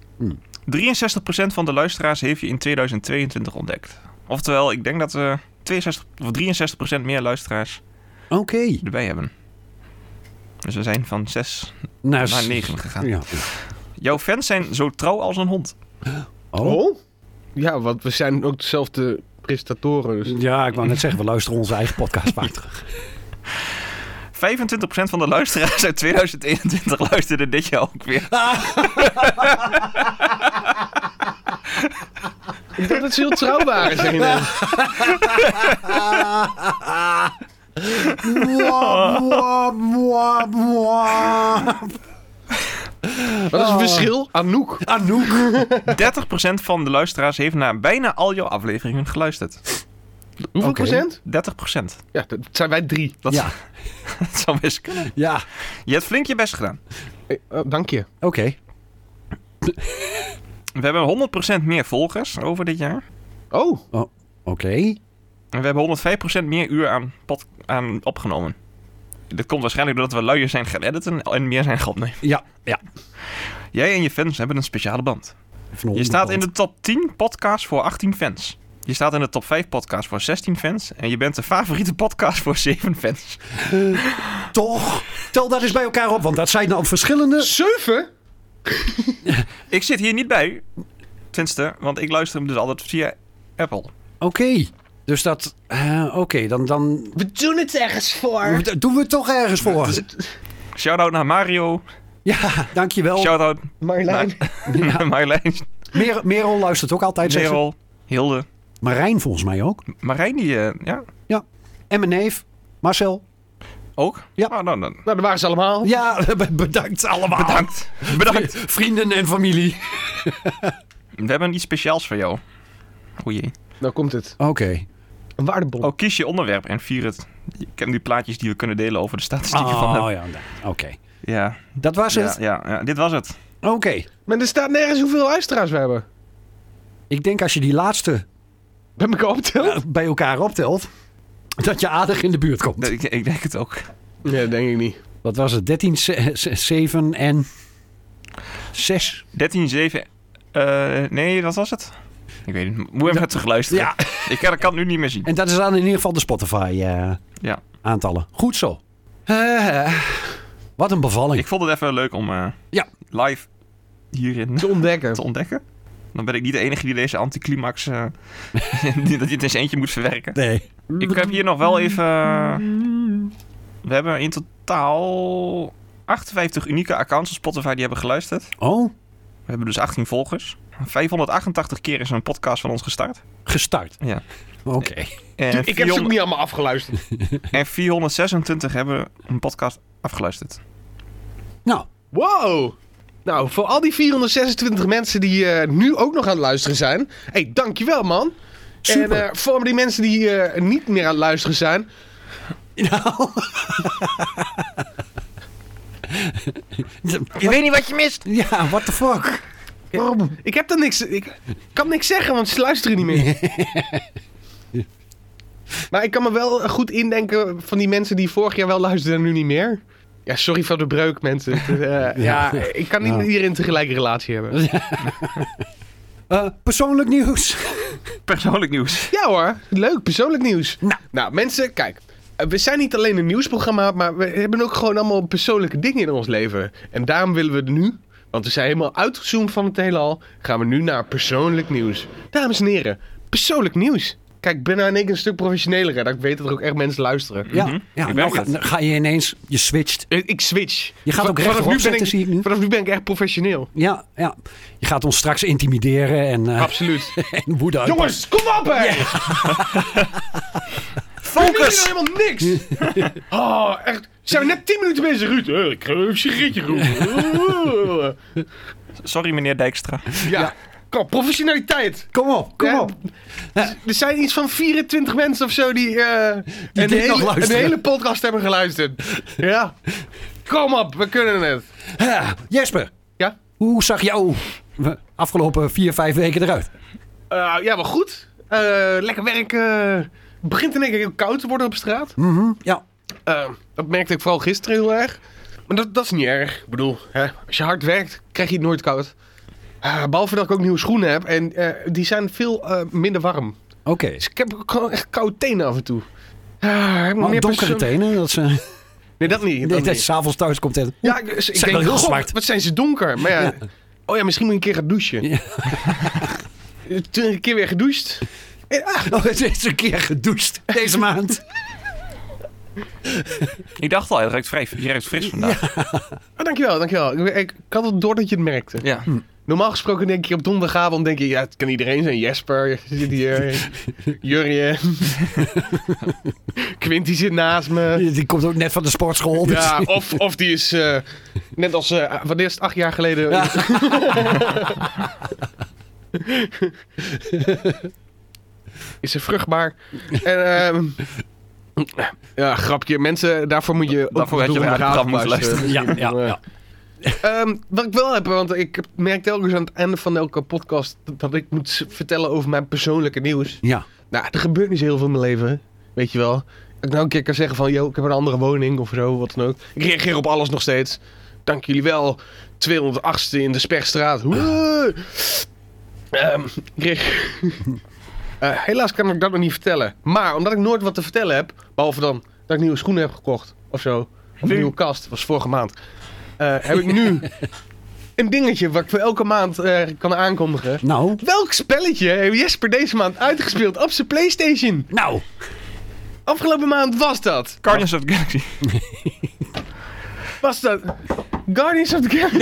[SPEAKER 3] 63% van de luisteraars heeft je in 2022 ontdekt. Oftewel, ik denk dat we 62 of 63% meer luisteraars
[SPEAKER 4] Oké.
[SPEAKER 3] erbij hebben. Dus we zijn van 6
[SPEAKER 4] Nou,
[SPEAKER 3] naar
[SPEAKER 4] s-
[SPEAKER 3] 9 gegaan.
[SPEAKER 4] Ja.
[SPEAKER 3] Jouw fans zijn zo trouw als een hond.
[SPEAKER 4] Oh.
[SPEAKER 5] Ja, want we zijn ook dezelfde prestatoren. Dus.
[SPEAKER 4] Ja, ik wou net zeggen, we luisteren onze eigen podcast vaak terug.
[SPEAKER 3] 25% van de luisteraars uit 2021 luisterde dit jaar ook weer.
[SPEAKER 5] Ik dacht dat ze heel trouw waren, zeg je net.
[SPEAKER 4] Wap, wap, wap, wap.
[SPEAKER 5] Wat is het verschil? Oh. Anouk.
[SPEAKER 4] Anouk.
[SPEAKER 3] 30% van de luisteraars heeft naar bijna al jouw afleveringen geluisterd. 30%.
[SPEAKER 5] Hoeveel
[SPEAKER 4] Oké.
[SPEAKER 5] procent? Ja, dat zijn wij drie.
[SPEAKER 3] Dat,
[SPEAKER 4] Ja,
[SPEAKER 3] dat zou best kunnen.
[SPEAKER 4] ja.
[SPEAKER 3] Je hebt flink je best gedaan.
[SPEAKER 5] Eh, oh, dank je.
[SPEAKER 4] Oké.
[SPEAKER 3] We hebben 100% meer volgers over dit jaar.
[SPEAKER 5] Oh,
[SPEAKER 4] Oké.
[SPEAKER 3] En we hebben 105% meer uur aan, pod- aan opgenomen. Dat komt waarschijnlijk doordat we luier zijn gaan editen en meer zijn gaan opnemen.
[SPEAKER 4] Ja, ja.
[SPEAKER 3] Jij en je fans hebben een speciale band.
[SPEAKER 4] Van
[SPEAKER 3] Je staat in de top 10 podcast voor 18 fans. Je staat in de top 5 podcast voor 16 fans. En je bent de favoriete podcast voor 7 fans.
[SPEAKER 4] Toch? Tel dat eens bij elkaar op, want dat zijn dan verschillende...
[SPEAKER 5] zeven?
[SPEAKER 3] Ik zit hier niet bij. Tenminste, want ik luister hem dus altijd via Apple.
[SPEAKER 4] Oké. Dus dat... eh, Oké, dan, dan...
[SPEAKER 5] We doen het ergens voor.
[SPEAKER 4] Dat doen we het toch ergens voor.
[SPEAKER 3] dus- Shout-out naar Mario.
[SPEAKER 4] Ja, dankjewel.
[SPEAKER 3] Shout-out
[SPEAKER 5] Marjolein.
[SPEAKER 3] naar Marjolein,
[SPEAKER 4] Mer Merel luistert ook altijd. zegt ze.
[SPEAKER 3] Cheryl, Hilde.
[SPEAKER 4] Marijn volgens mij ook.
[SPEAKER 3] Marijn die, eh, ja,
[SPEAKER 4] En mijn neef, Marcel.
[SPEAKER 3] ook.
[SPEAKER 4] Ja.
[SPEAKER 3] Nou, dan, dan.
[SPEAKER 5] Nou, dat waren ze allemaal.
[SPEAKER 4] Ja, bedankt allemaal.
[SPEAKER 3] Bedankt. Bedankt.
[SPEAKER 4] Vrienden en familie.
[SPEAKER 3] We hebben iets speciaals voor jou. O jee.
[SPEAKER 5] Nou komt het.
[SPEAKER 4] Oké.
[SPEAKER 5] Een waardebon.
[SPEAKER 3] Oh, kies je onderwerp en vier het. Ik ken die plaatjes die we kunnen delen over de statistieken van hem.
[SPEAKER 4] Oh ja, nou, oké.
[SPEAKER 3] Ah, Ja,
[SPEAKER 4] Dat was
[SPEAKER 3] ja,
[SPEAKER 4] het?
[SPEAKER 3] ja, ja, dit was het.
[SPEAKER 4] Oké.
[SPEAKER 5] Maar er staat nergens hoeveel luisteraars we hebben.
[SPEAKER 4] Ik denk als je die laatste
[SPEAKER 5] Ben ik al opteld?
[SPEAKER 4] eh, bij elkaar optelt, dat je aardig in de buurt komt.
[SPEAKER 3] Ik, ik denk het ook.
[SPEAKER 5] Nee, dat denk ik niet.
[SPEAKER 4] Wat was het? 13, 7 en 6.
[SPEAKER 3] 13, 7. eh, nee, dat was het. Ik weet het. niet. Moet even terug luisteren.
[SPEAKER 4] Ja.
[SPEAKER 3] Ik kan, ik kan het nu niet meer zien.
[SPEAKER 4] En dat is dan in ieder geval de Spotify-aantallen.
[SPEAKER 3] Ja.
[SPEAKER 4] Goed zo. Eh, wat een bevalling.
[SPEAKER 3] Ik vond het even leuk om eh,
[SPEAKER 4] Ja.
[SPEAKER 3] live hierin
[SPEAKER 5] Te ontdekken.
[SPEAKER 3] te ontdekken. Dan ben ik niet de enige die deze anticlimax. eh, die dat je het eens eentje moet verwerken.
[SPEAKER 4] Nee.
[SPEAKER 3] Ik heb hier nog wel even. eh, We hebben in totaal 58 unieke accounts op Spotify die hebben geluisterd.
[SPEAKER 4] Oh,
[SPEAKER 3] We hebben dus 18 volgers. 588 keer is een podcast van ons gestart.
[SPEAKER 4] gestart.
[SPEAKER 3] Ja.
[SPEAKER 4] Oké.
[SPEAKER 3] En,
[SPEAKER 5] Ik heb ze
[SPEAKER 3] 400
[SPEAKER 5] ook niet allemaal afgeluisterd.
[SPEAKER 3] en 426 hebben een podcast afgeluisterd.
[SPEAKER 4] Nou,
[SPEAKER 5] Wow! Nou, voor al die 426 mensen die eh, nu ook nog aan het luisteren zijn. Hé, hey, dankjewel man.
[SPEAKER 4] super.
[SPEAKER 5] En eh voor die mensen die eh, niet meer aan het luisteren zijn.
[SPEAKER 4] nou.
[SPEAKER 3] Je weet niet wat je mist.
[SPEAKER 4] ja, what the fuck?
[SPEAKER 5] Waarom? Ik heb dan niks. Ik kan niks zeggen, want ze luisteren niet meer. maar ik kan me wel goed indenken van die mensen die vorig jaar wel luisterden en nu niet meer. Ja, sorry voor de breuk, mensen. Het, eh, ja. ik kan niet
[SPEAKER 4] Ja.
[SPEAKER 5] met iedereen tegelijk een relatie hebben.
[SPEAKER 4] Eh, persoonlijk nieuws.
[SPEAKER 3] Mhm. Persoonlijk nieuws.
[SPEAKER 5] Ja hoor, leuk, persoonlijk nieuws.
[SPEAKER 4] Nou.
[SPEAKER 5] mensen, kijk. eh, We zijn niet alleen een nieuwsprogramma, maar we hebben ook gewoon allemaal persoonlijke dingen in ons leven. En daarom willen we het nu, want we zijn helemaal uitgezoomd van het heelal, gaan we nu naar persoonlijk nieuws. Dames en heren, persoonlijk nieuws. Kijk, ik ben nou in één keer een stuk professioneler, hè, dat ik weet dat er ook echt mensen luisteren.
[SPEAKER 4] Ja,
[SPEAKER 3] Mhm,
[SPEAKER 4] ja
[SPEAKER 3] ik
[SPEAKER 4] nou
[SPEAKER 3] merk
[SPEAKER 4] ga,
[SPEAKER 3] het.
[SPEAKER 4] nou ga je ineens, je switcht.
[SPEAKER 5] Ik ik switch.
[SPEAKER 4] Je gaat
[SPEAKER 5] Va-
[SPEAKER 4] ook rechtop
[SPEAKER 5] vanaf nu, ben
[SPEAKER 4] zitten, zie ik nu.
[SPEAKER 5] vanaf nu ben ik echt professioneel.
[SPEAKER 4] Ja, ja. Je gaat ons straks intimideren en, eh
[SPEAKER 5] Absoluut.
[SPEAKER 4] en woede uitbarsten.
[SPEAKER 5] Jongens, kom op hè!
[SPEAKER 3] Focus!
[SPEAKER 5] Ik helemaal niks. Oh, echt. Zijn we net 10 minuten bezig, Ruud? Eh, ik ga even een sigaretje roepen.
[SPEAKER 3] Sorry meneer Dijkstra.
[SPEAKER 5] Ja. Kom, professionaliteit.
[SPEAKER 4] Kom op, kom
[SPEAKER 5] Ja.
[SPEAKER 4] op.
[SPEAKER 5] Er zijn iets van 24 mensen of zo die, eh een,
[SPEAKER 4] dit nog
[SPEAKER 5] hele, een
[SPEAKER 4] luisteren.
[SPEAKER 5] hele podcast hebben geluisterd. Ja. Kom op, we kunnen het.
[SPEAKER 4] Eh, Jesper,
[SPEAKER 5] Ja?
[SPEAKER 4] hoe zag jouw afgelopen vier, vijf weken eruit?
[SPEAKER 5] Eh, ja, maar goed. Eh, lekker werken. Het begint in één keer heel koud te worden op straat.
[SPEAKER 4] Mhm, ja.
[SPEAKER 5] Eh, dat merkte ik vooral gisteren heel erg. Maar dat, dat is niet erg. Ik bedoel, hè, als je hard werkt, krijg je het nooit koud. Ah, behalve dat ik ook nieuwe schoenen heb. En eh, die zijn veel eh, minder warm.
[SPEAKER 4] Oké.
[SPEAKER 5] Dus ik heb ook gewoon echt koude tenen af en toe. Ah, ik moet
[SPEAKER 4] Maar
[SPEAKER 5] meer
[SPEAKER 4] donkere
[SPEAKER 5] persoon-
[SPEAKER 4] tenen, dat ze,
[SPEAKER 5] Nee, dat niet. Dat
[SPEAKER 4] nee,
[SPEAKER 5] niet.
[SPEAKER 4] dat je s'avonds thuis komt en...
[SPEAKER 5] Ja, ik, ik
[SPEAKER 4] zijn
[SPEAKER 5] denk,
[SPEAKER 4] wel heel
[SPEAKER 5] "God,
[SPEAKER 4] zwart."
[SPEAKER 5] wat zijn ze donker. Maar ja, oh ja, misschien moet ik een keer gaan douchen.
[SPEAKER 4] Ja.
[SPEAKER 5] Toen ik een keer weer gedoucht. En, ah,
[SPEAKER 4] Oh, het is een keer gedoucht deze maand.
[SPEAKER 3] Ik dacht al, het ruikt vrij, je ruikt fris vandaag.
[SPEAKER 5] ah, dankjewel, dankjewel. Ik, ik, ik had het door dat je het merkte.
[SPEAKER 3] Ja.
[SPEAKER 5] Normaal gesproken denk je op donderdagavond, denk je, ja, het kan iedereen zijn. Jesper zit hier, Jurje, Quinty zit naast me.
[SPEAKER 4] Die komt ook net van de sportschool. dus-
[SPEAKER 5] Ja, of, of die is, eh, net als, eh wat is het, acht jaar geleden.
[SPEAKER 4] Ja.
[SPEAKER 5] is ze vruchtbaar. En, ehm, ja, grapje. Mensen, daarvoor moet je ook
[SPEAKER 3] Daarvoor had je
[SPEAKER 5] bedoelde
[SPEAKER 3] naar het
[SPEAKER 5] raad
[SPEAKER 3] programma moeten
[SPEAKER 4] ja, ja, ja.
[SPEAKER 5] Ehm, wat ik wel heb, want ik merk telkens aan het einde van elke podcast dat ik moet s- vertellen over mijn persoonlijke nieuws.
[SPEAKER 4] Ja.
[SPEAKER 5] Nou, er gebeurt niet zo heel veel in mijn leven, weet je wel. Dat ik nou een keer kan zeggen van, yo, ik heb een andere woning of zo, wat dan ook. Ik reageer op alles nog steeds. Dank jullie wel, 208ste in de Sperstraat. Hoera! Ehm, ik reageer- Eh, helaas kan ik dat nog niet vertellen. Maar omdat ik nooit wat te vertellen heb, behalve dan dat ik nieuwe schoenen heb gekocht of zo. Of een nieuwe kast, was vorige maand. eh, heb ik nu een dingetje wat ik voor elke maand eh, kan aankondigen.
[SPEAKER 4] Nou,
[SPEAKER 5] Welk spelletje heeft Jesper deze maand uitgespeeld op zijn PlayStation?
[SPEAKER 4] nou.
[SPEAKER 5] Afgelopen maand was dat.
[SPEAKER 3] Guardians of the Galaxy.
[SPEAKER 5] Was dat Guardians of the Galaxy?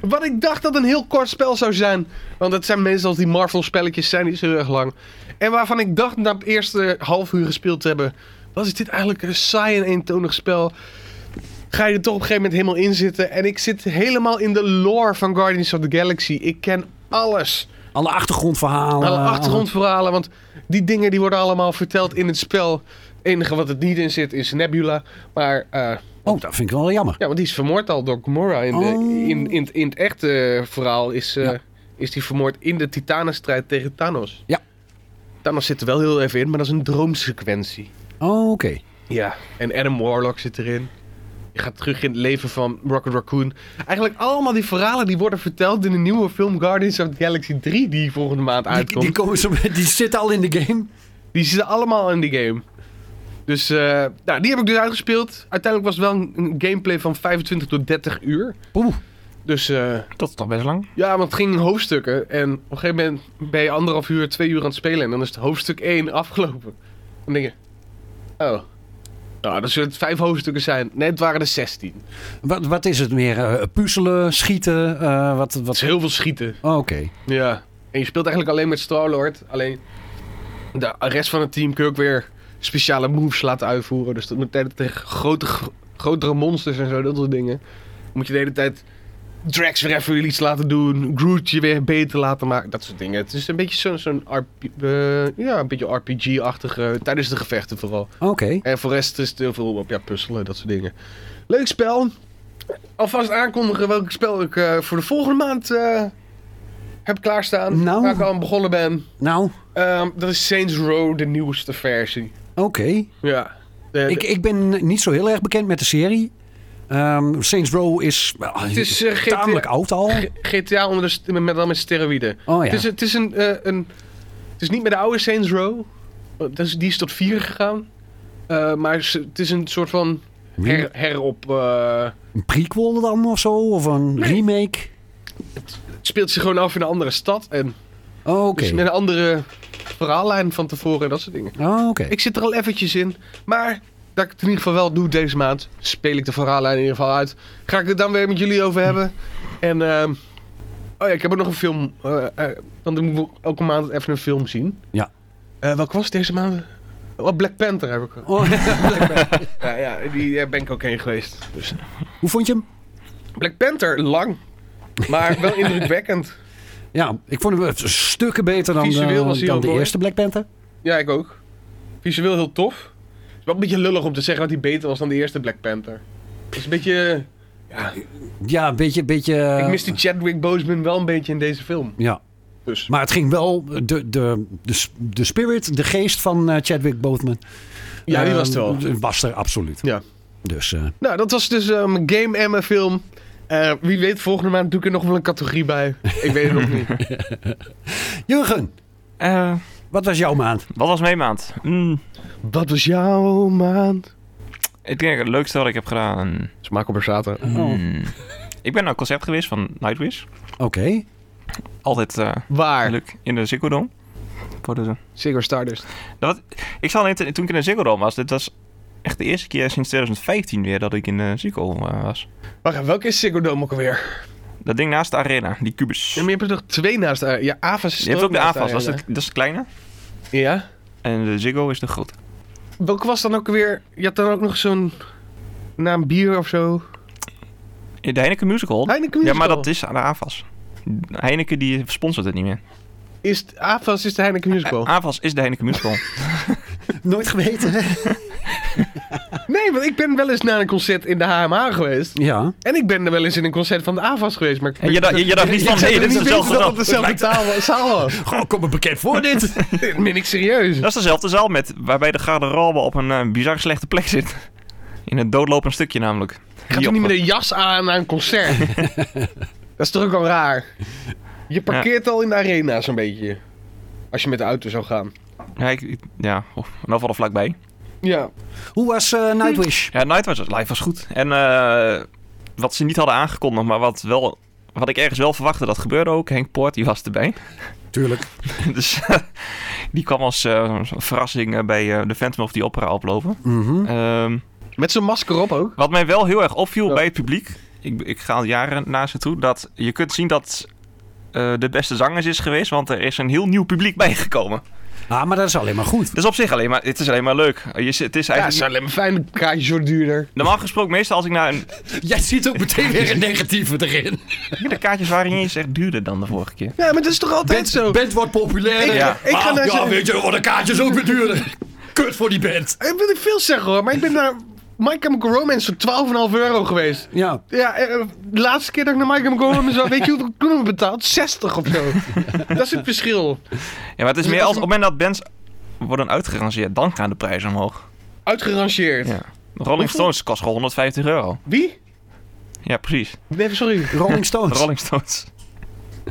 [SPEAKER 5] Wat ik dacht dat een heel kort spel zou zijn. Want het zijn meestal die Marvel spelletjes zijn niet zo heel erg lang. En waarvan ik dacht na het eerste half uur gespeeld te hebben. Was dit eigenlijk een saai en eentonig spel? Ga je er toch op een gegeven moment helemaal in zitten. En ik zit helemaal in de lore van Guardians of the Galaxy. Ik ken alles.
[SPEAKER 4] Alle achtergrondverhalen.
[SPEAKER 5] Alle achtergrondverhalen, want die dingen die worden allemaal verteld in het spel. Het enige wat het niet in zit is Nebula. Maar eh,
[SPEAKER 4] alle- Oh, dat vind ik wel jammer.
[SPEAKER 5] ja, want die is vermoord al door Gamora. In, de-
[SPEAKER 4] Oh.
[SPEAKER 5] in, in, in het echte verhaal is, eh,
[SPEAKER 4] Ja.
[SPEAKER 5] is die vermoord in de titanenstrijd tegen Thanos.
[SPEAKER 4] Ja.
[SPEAKER 5] Thanos zit er wel heel even in, maar dat is een droomsequentie.
[SPEAKER 4] Oh, oké.
[SPEAKER 5] Ja, en Adam Warlock zit erin. Je gaat terug in het leven van Rocket Raccoon. Eigenlijk allemaal die verhalen die worden verteld in de nieuwe film Guardians of the Galaxy 3 die volgende maand
[SPEAKER 4] Die,
[SPEAKER 5] uitkomt.
[SPEAKER 4] die, komen zo, die zitten al in de game.
[SPEAKER 5] Die zitten allemaal in die game. Dus eh, nou, die heb ik dus uitgespeeld. Uiteindelijk was het wel een, een gameplay van 25 tot 30 uur.
[SPEAKER 4] Oeh.
[SPEAKER 5] Dus eh,
[SPEAKER 3] Dat is toch best lang?
[SPEAKER 5] ja, want het ging in hoofdstukken. En op een gegeven moment ben je anderhalf uur, twee uur aan het spelen. En dan is het hoofdstuk 1 afgelopen. Dan denk je, Oh. Nou, dat zullen het vijf hoofdstukken zijn. Nee, het waren er zestien.
[SPEAKER 4] Wat, wat is het meer? Eh, puzzelen, schieten? eh, wat,
[SPEAKER 5] Dat is
[SPEAKER 4] wat...
[SPEAKER 5] heel veel schieten.
[SPEAKER 4] Oh, Oké.
[SPEAKER 5] Ja. En je speelt eigenlijk alleen met Starlord. Alleen de rest van het team kun je ook weer speciale moves laten uitvoeren. Dus dat moet de hele tijd tegen grote, grotere monsters en zo, dat soort dingen. Moet je de hele tijd Drax weer even iets laten doen. Groot je weer beter laten maken. Dat soort dingen. Het is een beetje zo'n zo'n RP eh, ja, een beetje RPG-achtige. Tijdens de gevechten vooral.
[SPEAKER 4] Oké.
[SPEAKER 5] En voor de rest is het heel veel op ja, puzzelen, dat soort dingen. Leuk spel. Alvast aankondigen welk spel ik eh, voor de volgende maand eh, heb klaarstaan.
[SPEAKER 4] Nou.
[SPEAKER 5] Waar ik al aan begonnen ben.
[SPEAKER 4] Nou,
[SPEAKER 5] Ehm, dat is Saints Row, de nieuwste versie.
[SPEAKER 4] oké.
[SPEAKER 5] Ja. De-
[SPEAKER 4] Ik, ik ben niet zo heel erg bekend met de serie. Ehm, Saints Row is, ah,
[SPEAKER 5] Het is, eh, GTA
[SPEAKER 4] tamelijk oud al.
[SPEAKER 5] G- GTA onder de st- met, dan met steroïden.
[SPEAKER 4] Oh ja.
[SPEAKER 5] Het, is, het, is een, eh, een, het is niet meer de oude Saints Row. Dat is, die is tot 4 gegaan. Eh, maar ze- het is een soort van her, herop... eh,
[SPEAKER 4] Een prequel dan of zo? Of een remake?
[SPEAKER 5] het speelt zich gewoon af in een andere stad. En
[SPEAKER 4] Oh, Oké.
[SPEAKER 5] Dus met een andere verhaallijn van tevoren en dat soort dingen.
[SPEAKER 4] Oh, oké.
[SPEAKER 5] Ik zit er al eventjes in, maar dat ik het in ieder geval wel doe deze maand, speel ik de verhaallijn in ieder geval uit. Ga ik het dan weer met jullie over hebben. En, ehm, oh ja, ik heb ook nog een film, eh, eh, want ik moet elke maand even een film zien.
[SPEAKER 4] Ja.
[SPEAKER 5] Eh, welke was deze maand? Oh, Black Panther heb ik.
[SPEAKER 4] Oh,
[SPEAKER 5] Ja, ja die eh, ben ik ook heen geweest.
[SPEAKER 4] eh.
[SPEAKER 5] Dus.
[SPEAKER 4] hoe vond je hem?
[SPEAKER 5] Black Panther, lang, maar wel indrukwekkend.
[SPEAKER 4] Ja, ik vond hem eh, stukken beter dan,
[SPEAKER 5] Visueel
[SPEAKER 4] de,
[SPEAKER 5] was
[SPEAKER 4] dan
[SPEAKER 5] hij heel
[SPEAKER 4] de
[SPEAKER 5] mooi.
[SPEAKER 4] eerste Black Panther.
[SPEAKER 5] Ja, ik ook. Visueel heel tof. Het is wel een beetje lullig om te zeggen dat hij beter was dan de eerste Black Panther. Het is een beetje... Ja,
[SPEAKER 4] Ja, een beetje... beetje eh,
[SPEAKER 5] ik mis die Chadwick Boseman wel een beetje in deze film.
[SPEAKER 4] Ja.
[SPEAKER 5] Dus.
[SPEAKER 4] Maar het ging wel, eh, de, de, de, s- de spirit, de geest van eh, Chadwick Boseman.
[SPEAKER 5] Ja, die was er
[SPEAKER 4] eh,
[SPEAKER 5] wel.
[SPEAKER 4] Was er absoluut.
[SPEAKER 5] Ja.
[SPEAKER 4] Dus eh,
[SPEAKER 5] Nou, dat was dus eh, mijn game en mijn film. Eh, wie weet, volgende maand doe ik er nog wel een categorie bij. Ik weet het nog niet.
[SPEAKER 4] Jurgen,
[SPEAKER 3] Eh,
[SPEAKER 4] wat was jouw maand?
[SPEAKER 3] wat was mijn maand? Mm,
[SPEAKER 5] Wat was jouw maand?
[SPEAKER 3] ik denk het leukste wat ik heb gedaan.
[SPEAKER 5] Smaak op zaten.
[SPEAKER 3] Mm, ik ben naar een concert geweest van Nightwish.
[SPEAKER 4] Oké.
[SPEAKER 3] Altijd eh,
[SPEAKER 5] Waar?
[SPEAKER 3] leuk in de Ziggo Dome. Voor de-
[SPEAKER 5] Ziggo Stardust.
[SPEAKER 3] Dat, ik zal net, toen ik in de Ziggo Dome was, dit was echt de eerste keer sinds 2015 weer dat ik in de Ziggo eh, was.
[SPEAKER 5] Wacht, even, welke is Ziggo Dome ook alweer?
[SPEAKER 3] Dat ding naast de arena, die kubus.
[SPEAKER 5] Ja, maar je hebt er nog twee naast de... Ja, Avas is
[SPEAKER 3] je hebt ook de
[SPEAKER 5] naast
[SPEAKER 3] AFAS, dat is,
[SPEAKER 5] arena.
[SPEAKER 3] de- dat is de kleine.
[SPEAKER 5] Ja?
[SPEAKER 3] En de Ziggo is de grote.
[SPEAKER 5] Welke was dan ook weer? Je had dan ook nog zo'n naam bier of zo.
[SPEAKER 3] Eh, De Heineken Musical.
[SPEAKER 5] Heineken
[SPEAKER 3] Ja, maar
[SPEAKER 5] Musical.
[SPEAKER 3] dat is aan de AFAS. Heineken die sponsort het niet meer.
[SPEAKER 5] Is het AFAS is de Heineken Musical?
[SPEAKER 3] AFAS is de Heineken Musical.
[SPEAKER 4] Nooit geweten.
[SPEAKER 5] Nee, want ik ben wel eens naar een concert in de HMA geweest.
[SPEAKER 4] ja.
[SPEAKER 5] En ik ben er wel eens in een concert van de AFAS geweest. Maar ik-
[SPEAKER 3] En je, dacht- je, je dacht niet van,
[SPEAKER 5] Ik zou
[SPEAKER 3] nee,
[SPEAKER 5] er
[SPEAKER 3] dit is
[SPEAKER 5] niet
[SPEAKER 3] dezelfde
[SPEAKER 5] weten dat
[SPEAKER 3] zaal.
[SPEAKER 5] het dezelfde taal, zaal was.
[SPEAKER 4] Gewoon, kom me bekend voor dit.
[SPEAKER 5] Dat meen ik serieus.
[SPEAKER 3] Dat is dezelfde zaal met, waarbij de garderobe op een eh, bizar slechte plek zit. In een doodlopend stukje namelijk.
[SPEAKER 5] Ik ga toch niet met een jas aan naar een concert? dat is toch ook al raar? Je parkeert al in de arena zo'n beetje. Als je met de auto zou gaan.
[SPEAKER 3] Ja, ik, ik- ja of, in ieder geval er vlakbij.
[SPEAKER 5] Ja.
[SPEAKER 4] Hoe was eh, Nightwish?
[SPEAKER 3] Ja, Nightwish live was goed. En eh, wat ze niet hadden aangekondigd, maar wat, wel, wat ik ergens wel verwachtte, dat gebeurde ook. Henk Poort, die was erbij.
[SPEAKER 4] Tuurlijk.
[SPEAKER 3] dus die kwam als eh, verrassing eh, bij eh, de Phantom of the Opera oplopen.
[SPEAKER 4] Mhm.
[SPEAKER 5] Hm.
[SPEAKER 3] Ehm,
[SPEAKER 5] Met zo'n masker op ook.
[SPEAKER 3] wat mij wel heel erg opviel
[SPEAKER 5] Ja.
[SPEAKER 3] bij het publiek, ik, ik ga al jaren naar ze toe, dat je kunt zien dat eh, de beste zangers is geweest, want er is een heel nieuw publiek bijgekomen.
[SPEAKER 4] Ah, maar dat is alleen maar goed.
[SPEAKER 3] Dat is op zich alleen maar, het is alleen maar leuk. Je, zit- het is
[SPEAKER 5] Ja, dat is
[SPEAKER 3] eigenlijk,
[SPEAKER 5] alleen maar fijn. Een kaartje wordt duurder.
[SPEAKER 3] normaal gesproken, meestal als ik naar een...
[SPEAKER 4] Jij ziet ook meteen weer een negatieve erin.
[SPEAKER 3] De kaartjes waren niet eens echt duurder dan de vorige keer.
[SPEAKER 5] Ja, maar dat is toch altijd zo?
[SPEAKER 4] Band wordt populairder.
[SPEAKER 3] Ja.
[SPEAKER 5] Ik ga
[SPEAKER 4] Ah,
[SPEAKER 5] naar
[SPEAKER 4] ja,
[SPEAKER 5] zijn-
[SPEAKER 4] weet je, worden de kaartjes ook weer duurder. Kut voor die band.
[SPEAKER 5] Ik Eh, wil niet veel zeggen hoor, maar ik ben naar My Chemical Romance voor 12,5 euro geweest.
[SPEAKER 4] Ja,
[SPEAKER 5] Ja, eh, de laatste keer dat ik naar My Chemical Romance was, weet je hoeveel ik toen heb betaald? 60 of zo. dat is het verschil.
[SPEAKER 3] Ja, maar het
[SPEAKER 4] Dus
[SPEAKER 3] is meer als op het moment dat bands worden uitgerangeerd, dan gaan de prijzen omhoog.
[SPEAKER 5] Uitgerangeerd.
[SPEAKER 3] Ja. Rolling Stones kost gewoon 150 euro.
[SPEAKER 5] Wie?
[SPEAKER 3] Ja, precies.
[SPEAKER 5] Nee, sorry.
[SPEAKER 4] Rolling Stones.
[SPEAKER 3] Rolling Stones.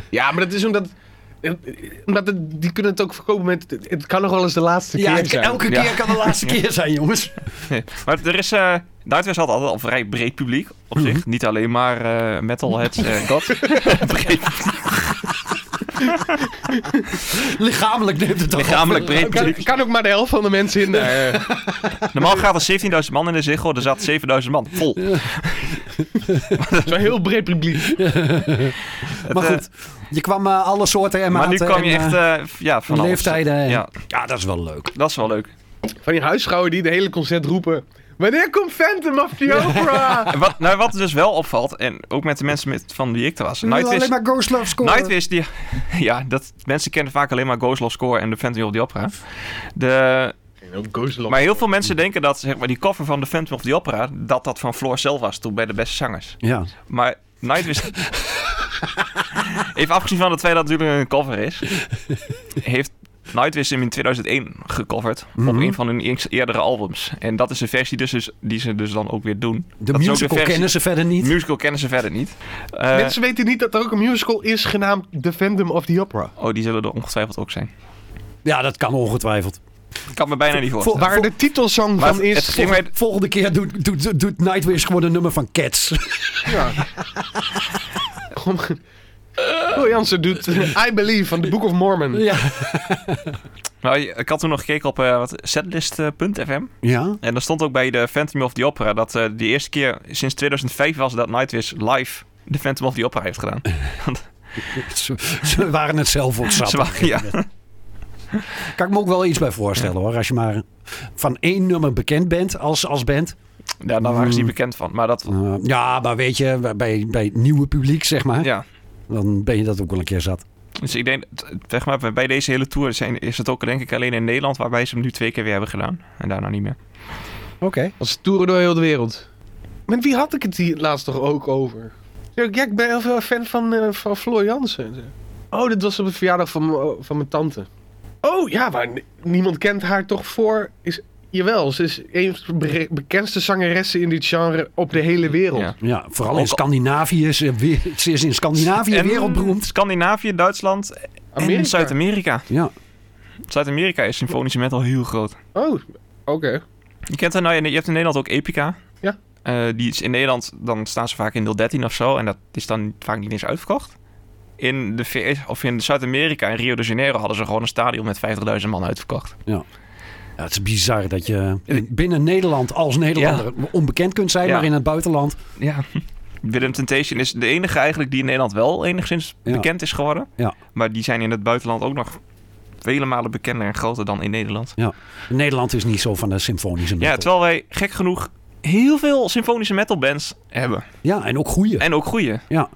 [SPEAKER 5] Ja, maar dat is omdat... eh, Omdat het- die kunnen het ook verkopen met... Het kan nog wel eens de laatste
[SPEAKER 4] ja,
[SPEAKER 5] keer zijn.
[SPEAKER 4] elke
[SPEAKER 3] Ja.
[SPEAKER 4] keer kan de laatste keer zijn, jongens.
[SPEAKER 3] Nee, Maar er is... eh Nightwish had altijd al een vrij breed publiek
[SPEAKER 4] Mhm.
[SPEAKER 3] op zich. Niet alleen maar eh metalheads en dat. breed.
[SPEAKER 4] Lichamelijk neemt het toch
[SPEAKER 3] Lichamelijk
[SPEAKER 4] af.
[SPEAKER 3] breed publiek.
[SPEAKER 5] Er kan ook maar de helft van de mensen in daar. eh.
[SPEAKER 3] Normaal gaat er 17.000 man in de zichel, er zaten 7.000 man vol.
[SPEAKER 5] Dat is wel heel breed publiek.
[SPEAKER 4] Maar
[SPEAKER 3] Het, eh,
[SPEAKER 4] goed, je kwam eh, alle soorten en
[SPEAKER 3] maar nu
[SPEAKER 4] maten
[SPEAKER 3] kwam je
[SPEAKER 4] en,
[SPEAKER 3] echt
[SPEAKER 4] eh,
[SPEAKER 3] eh, ja, van alles.
[SPEAKER 4] leeftijden. en-
[SPEAKER 3] Ja,
[SPEAKER 4] ja, dat is wel leuk.
[SPEAKER 3] dat is wel leuk.
[SPEAKER 5] Van die huisvrouwen die de hele concert roepen. Wanneer komt Phantom of the Opera?
[SPEAKER 3] En Wat, nou, wat dus wel opvalt, en ook met de mensen met, van wie ik er was.
[SPEAKER 4] Alleen
[SPEAKER 3] Nightwish,
[SPEAKER 4] maar Ghost Love scoren.
[SPEAKER 3] Nightwish die, ja, dat, mensen kennen vaak alleen maar Ghost Love Score en de Phantom of the Opera. De,
[SPEAKER 5] En ook Ghost Lock.
[SPEAKER 3] maar heel veel mensen denken dat zeg maar, die cover van de Phantom of the Opera, dat dat van Floor zelf was toen bij de beste zangers.
[SPEAKER 4] Ja.
[SPEAKER 3] Maar Nightwish. Even afgezien van het feit dat het natuurlijk een cover is. Heeft Nightwish hem in 2001 gecoverd.
[SPEAKER 4] Mhm.
[SPEAKER 3] Op een van hun eer- eerdere albums. En dat is een versie dus, dus- die ze dus dan ook weer doen.
[SPEAKER 4] De
[SPEAKER 3] dat is ook
[SPEAKER 4] musical
[SPEAKER 3] versie-
[SPEAKER 4] kennen ze verder niet.
[SPEAKER 3] Musical kennen ze verder niet. Eh,
[SPEAKER 5] Mensen weten niet dat er ook een musical is genaamd The Phantom of the Opera.
[SPEAKER 3] Oh, die zullen er ongetwijfeld ook zijn.
[SPEAKER 4] Ja, dat kan ongetwijfeld.
[SPEAKER 3] Ik kan me bijna niet voorstellen.
[SPEAKER 5] Waar de titelsong
[SPEAKER 3] Maar
[SPEAKER 5] van is.
[SPEAKER 3] het ging mij,
[SPEAKER 4] Volgende keer doet, doet, doet Nightwish gewoon een nummer van Cats.
[SPEAKER 5] Ja. Wil Jansen doet eh, I Believe van The Book of Mormon.
[SPEAKER 4] ja.
[SPEAKER 3] nou, ik had toen nog gekeken op eh, wat setlist.fm.
[SPEAKER 4] Ja?
[SPEAKER 3] En daar stond ook bij de Phantom of the Opera dat eh de eerste keer sinds 2005 was dat Nightwish live de Phantom of the Opera heeft gedaan.
[SPEAKER 4] Ze, ze waren het zelf ook zat.
[SPEAKER 3] Ze waren- ja.
[SPEAKER 4] Kan ik me ook wel iets bij voorstellen hoor. Als je maar van één nummer bekend bent als, als band.
[SPEAKER 3] Ja, daar waren ze niet bekend van. Maar dat,
[SPEAKER 4] Eh, ja, maar weet je, bij, bij het nieuwe publiek zeg maar.
[SPEAKER 3] ja.
[SPEAKER 4] Dan ben je dat ook wel een keer zat.
[SPEAKER 3] Dus ik denk, t- zeg maar, bij deze hele tour zijn, is het ook denk ik alleen in Nederland... waarbij ze hem nu twee keer weer hebben gedaan. En daarna niet meer.
[SPEAKER 4] Oké.
[SPEAKER 5] Als toeren door heel de wereld. Met wie had ik het hier laatst toch ook over? Ja, ik- ja, ik ben heel veel fan van, eh, van Floor Jansen. Oh, dit was op het verjaardag van, m'n- van mijn tante. Oh ja, maar n- niemand kent haar toch voor. Is, jawel, ze is een van de be- bekendste zangeressen in dit genre op de hele wereld.
[SPEAKER 3] Ja.
[SPEAKER 4] Ja, vooral
[SPEAKER 3] Ook
[SPEAKER 4] in
[SPEAKER 3] al-
[SPEAKER 4] Scandinavië. is Ze, weer- ze is in Scandinavië
[SPEAKER 3] En
[SPEAKER 4] wereldberoemd.
[SPEAKER 3] Scandinavië, Duitsland en
[SPEAKER 5] Amerika.
[SPEAKER 3] Zuid-Amerika.
[SPEAKER 4] Ja.
[SPEAKER 3] Zuid-Amerika is symfonische metal heel groot.
[SPEAKER 5] Oh, oké.
[SPEAKER 3] Je kent er nou, je hebt in Nederland ook Epica.
[SPEAKER 5] Ja.
[SPEAKER 3] Eh, die is in Nederland, dan staan ze vaak in deel 13 of zo. En dat is dan vaak niet eens uitverkocht. In de VS, of in Zuid-Amerika, in Rio de Janeiro, hadden ze gewoon een stadion met 50.000 man uitverkocht.
[SPEAKER 4] Ja, het is bizar dat je binnen Nederland als Nederlander onbekend kunt zijn,
[SPEAKER 3] Ja.
[SPEAKER 4] maar in het buitenland.
[SPEAKER 3] Ja. Willem Temptation is de enige eigenlijk die in Nederland wel enigszins
[SPEAKER 4] Ja.
[SPEAKER 3] bekend is geworden.
[SPEAKER 4] Ja.
[SPEAKER 3] Maar die zijn in het buitenland ook nog vele malen bekender en groter dan in Nederland.
[SPEAKER 4] Ja. Nederland is niet zo van de symfonische
[SPEAKER 3] Ja,
[SPEAKER 4] metal.
[SPEAKER 3] terwijl wij gek genoeg heel veel symfonische metalbands hebben.
[SPEAKER 4] Ja, en ook goeie.
[SPEAKER 3] En ook goede.
[SPEAKER 4] Ja.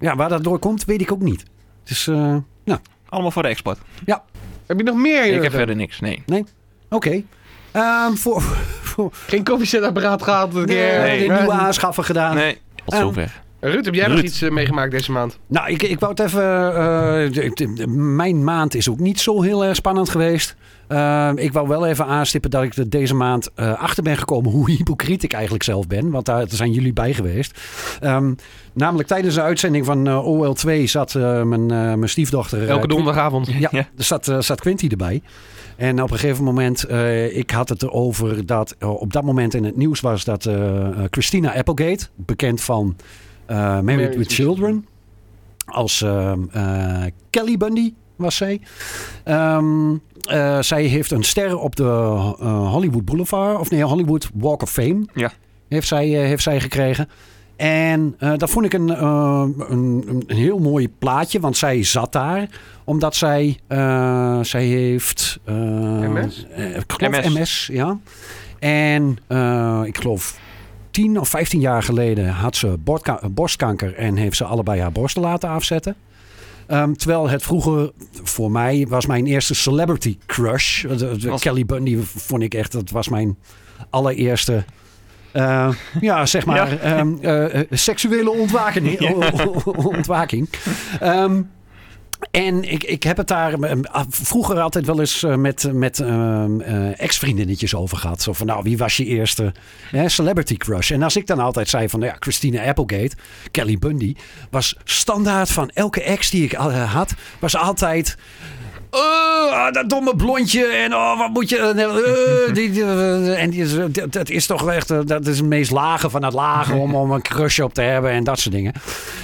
[SPEAKER 4] ja, waar dat door komt, weet ik ook niet. Het is, eh, nou,
[SPEAKER 3] Allemaal voor de export.
[SPEAKER 5] Heb je nog meer?
[SPEAKER 3] Ik heb
[SPEAKER 5] Jurgen?
[SPEAKER 3] verder niks, nee.
[SPEAKER 4] nee. Oké. Ehm, voor, voor
[SPEAKER 5] Geen koffiezetapparaat gehad. dit keer.
[SPEAKER 3] Nee.
[SPEAKER 4] de nieuwe aanschaffen gedaan.
[SPEAKER 3] Nee. Tot
[SPEAKER 4] Ehm,
[SPEAKER 3] zover.
[SPEAKER 5] Ruud, heb jij nog
[SPEAKER 3] Ruud.
[SPEAKER 5] iets eh, meegemaakt deze maand?
[SPEAKER 4] Nou, ik, ik wou het even. eh, de- de- de- mijn maand is ook niet zo heel erg spannend geweest. Eh, ik wou wel even aanstippen dat ik er deze maand eh, achter ben gekomen hoe hypocriet ik eigenlijk zelf ben. Want daar zijn jullie bij geweest. Ehm, namelijk tijdens de uitzending van eh, OL2 zat eh, mijn, eh, mijn stiefdochter. eh,
[SPEAKER 5] Elke donderdagavond.
[SPEAKER 4] ja,
[SPEAKER 3] Ja.
[SPEAKER 4] er staat, eh, staat Quinty erbij. En op een gegeven moment, eh, ik had het erover dat eh, op dat moment in het nieuws was dat eh, eh, Christina Applegate, bekend van eh, Married, with,
[SPEAKER 5] with
[SPEAKER 4] Children, als ehm, eh, Kelly Bundy was zij. Ehm, eh, zij heeft een ster op de eh, Hollywood Boulevard, of nee, Hollywood Walk of Fame.
[SPEAKER 3] Ja.
[SPEAKER 4] Heeft zij, eh, heeft zij gekregen. En eh, dat vond ik een, eh, een, een- een heel mooi plaatje, want zij zat daar omdat zij, eh, zij heeft... eh,
[SPEAKER 5] MS?
[SPEAKER 4] eh, ik geloof MS.
[SPEAKER 3] MS.
[SPEAKER 4] ja. En eh, ik geloof 10 of 15 jaar geleden had ze bordka- eh, borstkanker en heeft ze allebei haar borsten laten afzetten. Ehm, terwijl het vroeger voor mij was mijn eerste celebrity crush. De- de
[SPEAKER 3] Was-
[SPEAKER 4] Kelly Bundy vond ik echt, dat was mijn allereerste. eh, ja, zeg maar.
[SPEAKER 3] Ja.
[SPEAKER 4] ehm, eh, eh, seksuele ontwaking. ontwaking. Ehm, en ik, ik heb het daar ehm, af- vroeger altijd wel eens eh, met, met ehm, eh, ex-vriendinnetjes over gehad. Zo van, nou, wie was je eerste hè, celebrity crush? En als ik dan altijd zei van, nou ja, Christina Applegate, Kelly Bundy, was standaard van elke ex die ik al- eh, had, was altijd... "Eh, ah, dat domme blondje. En oh, wat moet je. eh, eh, die, die, eh, en die, is- dat- dat is toch echt. eh, Dat is het meest lage van het lage. Om, om een crush op te hebben en dat soort dingen.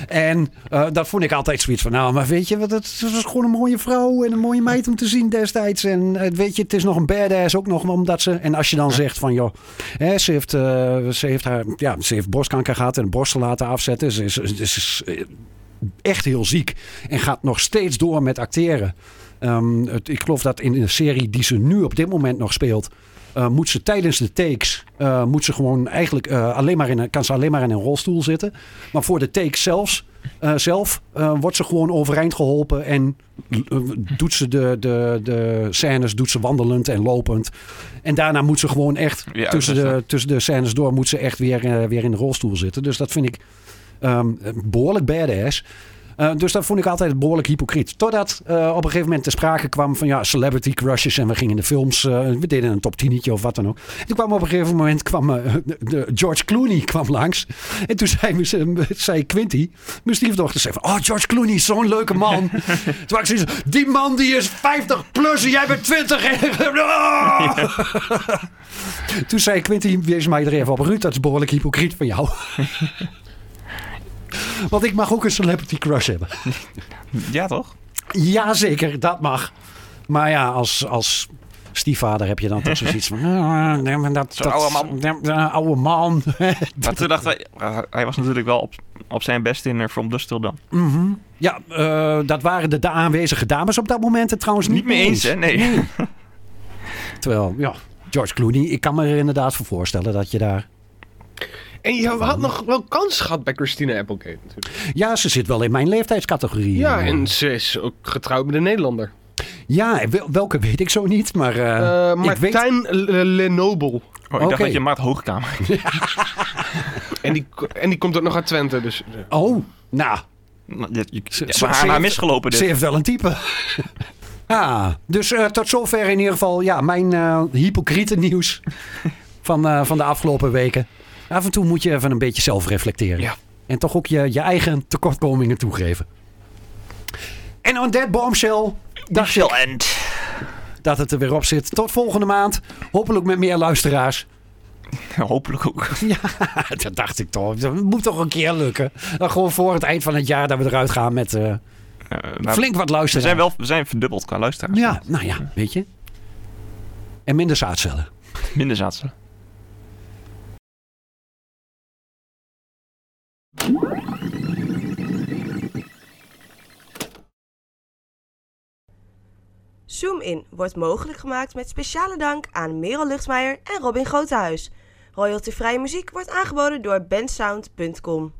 [SPEAKER 4] En eh, dat vond ik altijd zoiets van. Nou, maar weet je, wat, het was gewoon een mooie vrouw. En een mooie meid om te zien destijds. En eh, weet je, het is nog een badass ook nog. Omdat ze. En als je dan zegt van. joh, hè, ze, heeft, eh, ze, heeft haar, ja, ze heeft borstkanker gehad. En de borsten laten afzetten. Ze is. Ze is, ze is echt heel ziek. En gaat nog steeds door met acteren. Ehm, het, ik geloof dat in de serie die ze nu op dit moment nog speelt. eh, moet ze tijdens de takes. eh, moet ze gewoon eigenlijk. eh, alleen maar in een, kan ze alleen maar in een rolstoel zitten. Maar voor de takes zelfs. eh, zelf eh, wordt ze gewoon overeind geholpen. En eh, doet ze de, de, de scènes. Doet ze wandelend en lopend. En daarna moet ze gewoon echt.
[SPEAKER 3] Ja,
[SPEAKER 4] tussen,
[SPEAKER 3] dat is
[SPEAKER 4] de, tussen de scènes door. Moet ze echt weer, eh, weer in de rolstoel zitten. Dus dat vind ik. ehm, behoorlijk badass. Eh, dus dat vond ik altijd behoorlijk hypocriet. Totdat eh, op een gegeven moment ter sprake kwam van ja, celebrity crushes en we gingen de films, eh, we deden een top 10 of wat dan ook. Toen kwam op een gegeven moment kwam, eh, de- de George Clooney kwam langs. En toen zei, we- ze- zei Quinty, mijn stiefdochter, zei van, oh George Clooney is zo'n leuke man. toen had ik zoiets, die man die is 50 plus en jij bent 20. en- Ah! Toen zei Quinty, wees mij er even op. Ruud, dat is behoorlijk hypocriet van jou. Want ik mag ook een celebrity crush hebben.
[SPEAKER 3] Ja, toch?
[SPEAKER 4] Jazeker, dat mag. Maar ja, als, als stiefvader heb je dan toch zoiets van... "Ah, nee, maar dat,
[SPEAKER 3] Zo'n
[SPEAKER 4] dat-
[SPEAKER 3] oude man."
[SPEAKER 4] nee, maar een oude man.
[SPEAKER 3] Maar toen dachten wij... eh, Hij was natuurlijk wel op, op zijn best in eh, From Dust Till Dawn.
[SPEAKER 4] Mhm. Ja, eh, dat waren de da- aanwezige dames op dat moment het trouwens niet,
[SPEAKER 3] Niet mee eens, hè? Nee. Oh,
[SPEAKER 4] Terwijl, ja, George Clooney, ik kan me er inderdaad voor voorstellen dat je daar...
[SPEAKER 5] En je had nog wel kans gehad bij Christina Applegate natuurlijk.
[SPEAKER 4] Ja, ze zit wel in mijn leeftijdscategorie.
[SPEAKER 5] Ja,
[SPEAKER 4] Eh,
[SPEAKER 5] en ze is ook getrouwd met een Nederlander.
[SPEAKER 4] Ja, wel- welke weet ik zo niet, maar... eh,
[SPEAKER 5] Eh
[SPEAKER 4] ik weet...
[SPEAKER 5] Martijn Le- Lenoble.
[SPEAKER 3] Oh, ik dacht
[SPEAKER 4] Oké.
[SPEAKER 3] dat je Maart Hoogkamer...
[SPEAKER 5] En die, ko- en die komt ook nog uit Twente, dus... eh,
[SPEAKER 4] Oh, nou,
[SPEAKER 3] Je, je,
[SPEAKER 4] Ze-
[SPEAKER 3] ja,
[SPEAKER 4] ze-
[SPEAKER 3] we
[SPEAKER 4] ze
[SPEAKER 3] gaan haar
[SPEAKER 4] heeft-
[SPEAKER 3] misgelopen
[SPEAKER 4] Ze
[SPEAKER 3] dit.
[SPEAKER 4] heeft wel een type. Ah, dus eh, tot zover in ieder geval ja, mijn eh hypocriete nieuws van, eh, van de afgelopen weken. Af en toe moet je even een beetje zelf reflecteren.
[SPEAKER 3] Ja.
[SPEAKER 4] En toch ook je, je eigen tekortkomingen toegeven. En on that bombshell dacht ik
[SPEAKER 3] Shall end.
[SPEAKER 4] dat het er weer op zit. Tot volgende maand. Hopelijk met meer luisteraars.
[SPEAKER 3] Hopelijk ook.
[SPEAKER 4] dat dacht ik toch. Dat moet toch een keer lukken. Dan gewoon voor het eind van het jaar dat we eruit gaan met eh,
[SPEAKER 3] Eh, maar
[SPEAKER 4] flink wat
[SPEAKER 3] we
[SPEAKER 4] luisteraars.
[SPEAKER 3] zijn wel we zijn verdubbeld qua luisteraars.
[SPEAKER 4] Ja, nou ja, weet je. En minder zaadcellen.
[SPEAKER 3] Minder zaadcellen.
[SPEAKER 2] Zoom In wordt mogelijk gemaakt met speciale dank aan Merel Luchtmeijer en Robin Grotehuis. Royaltyvrije muziek wordt aangeboden door bensound.com.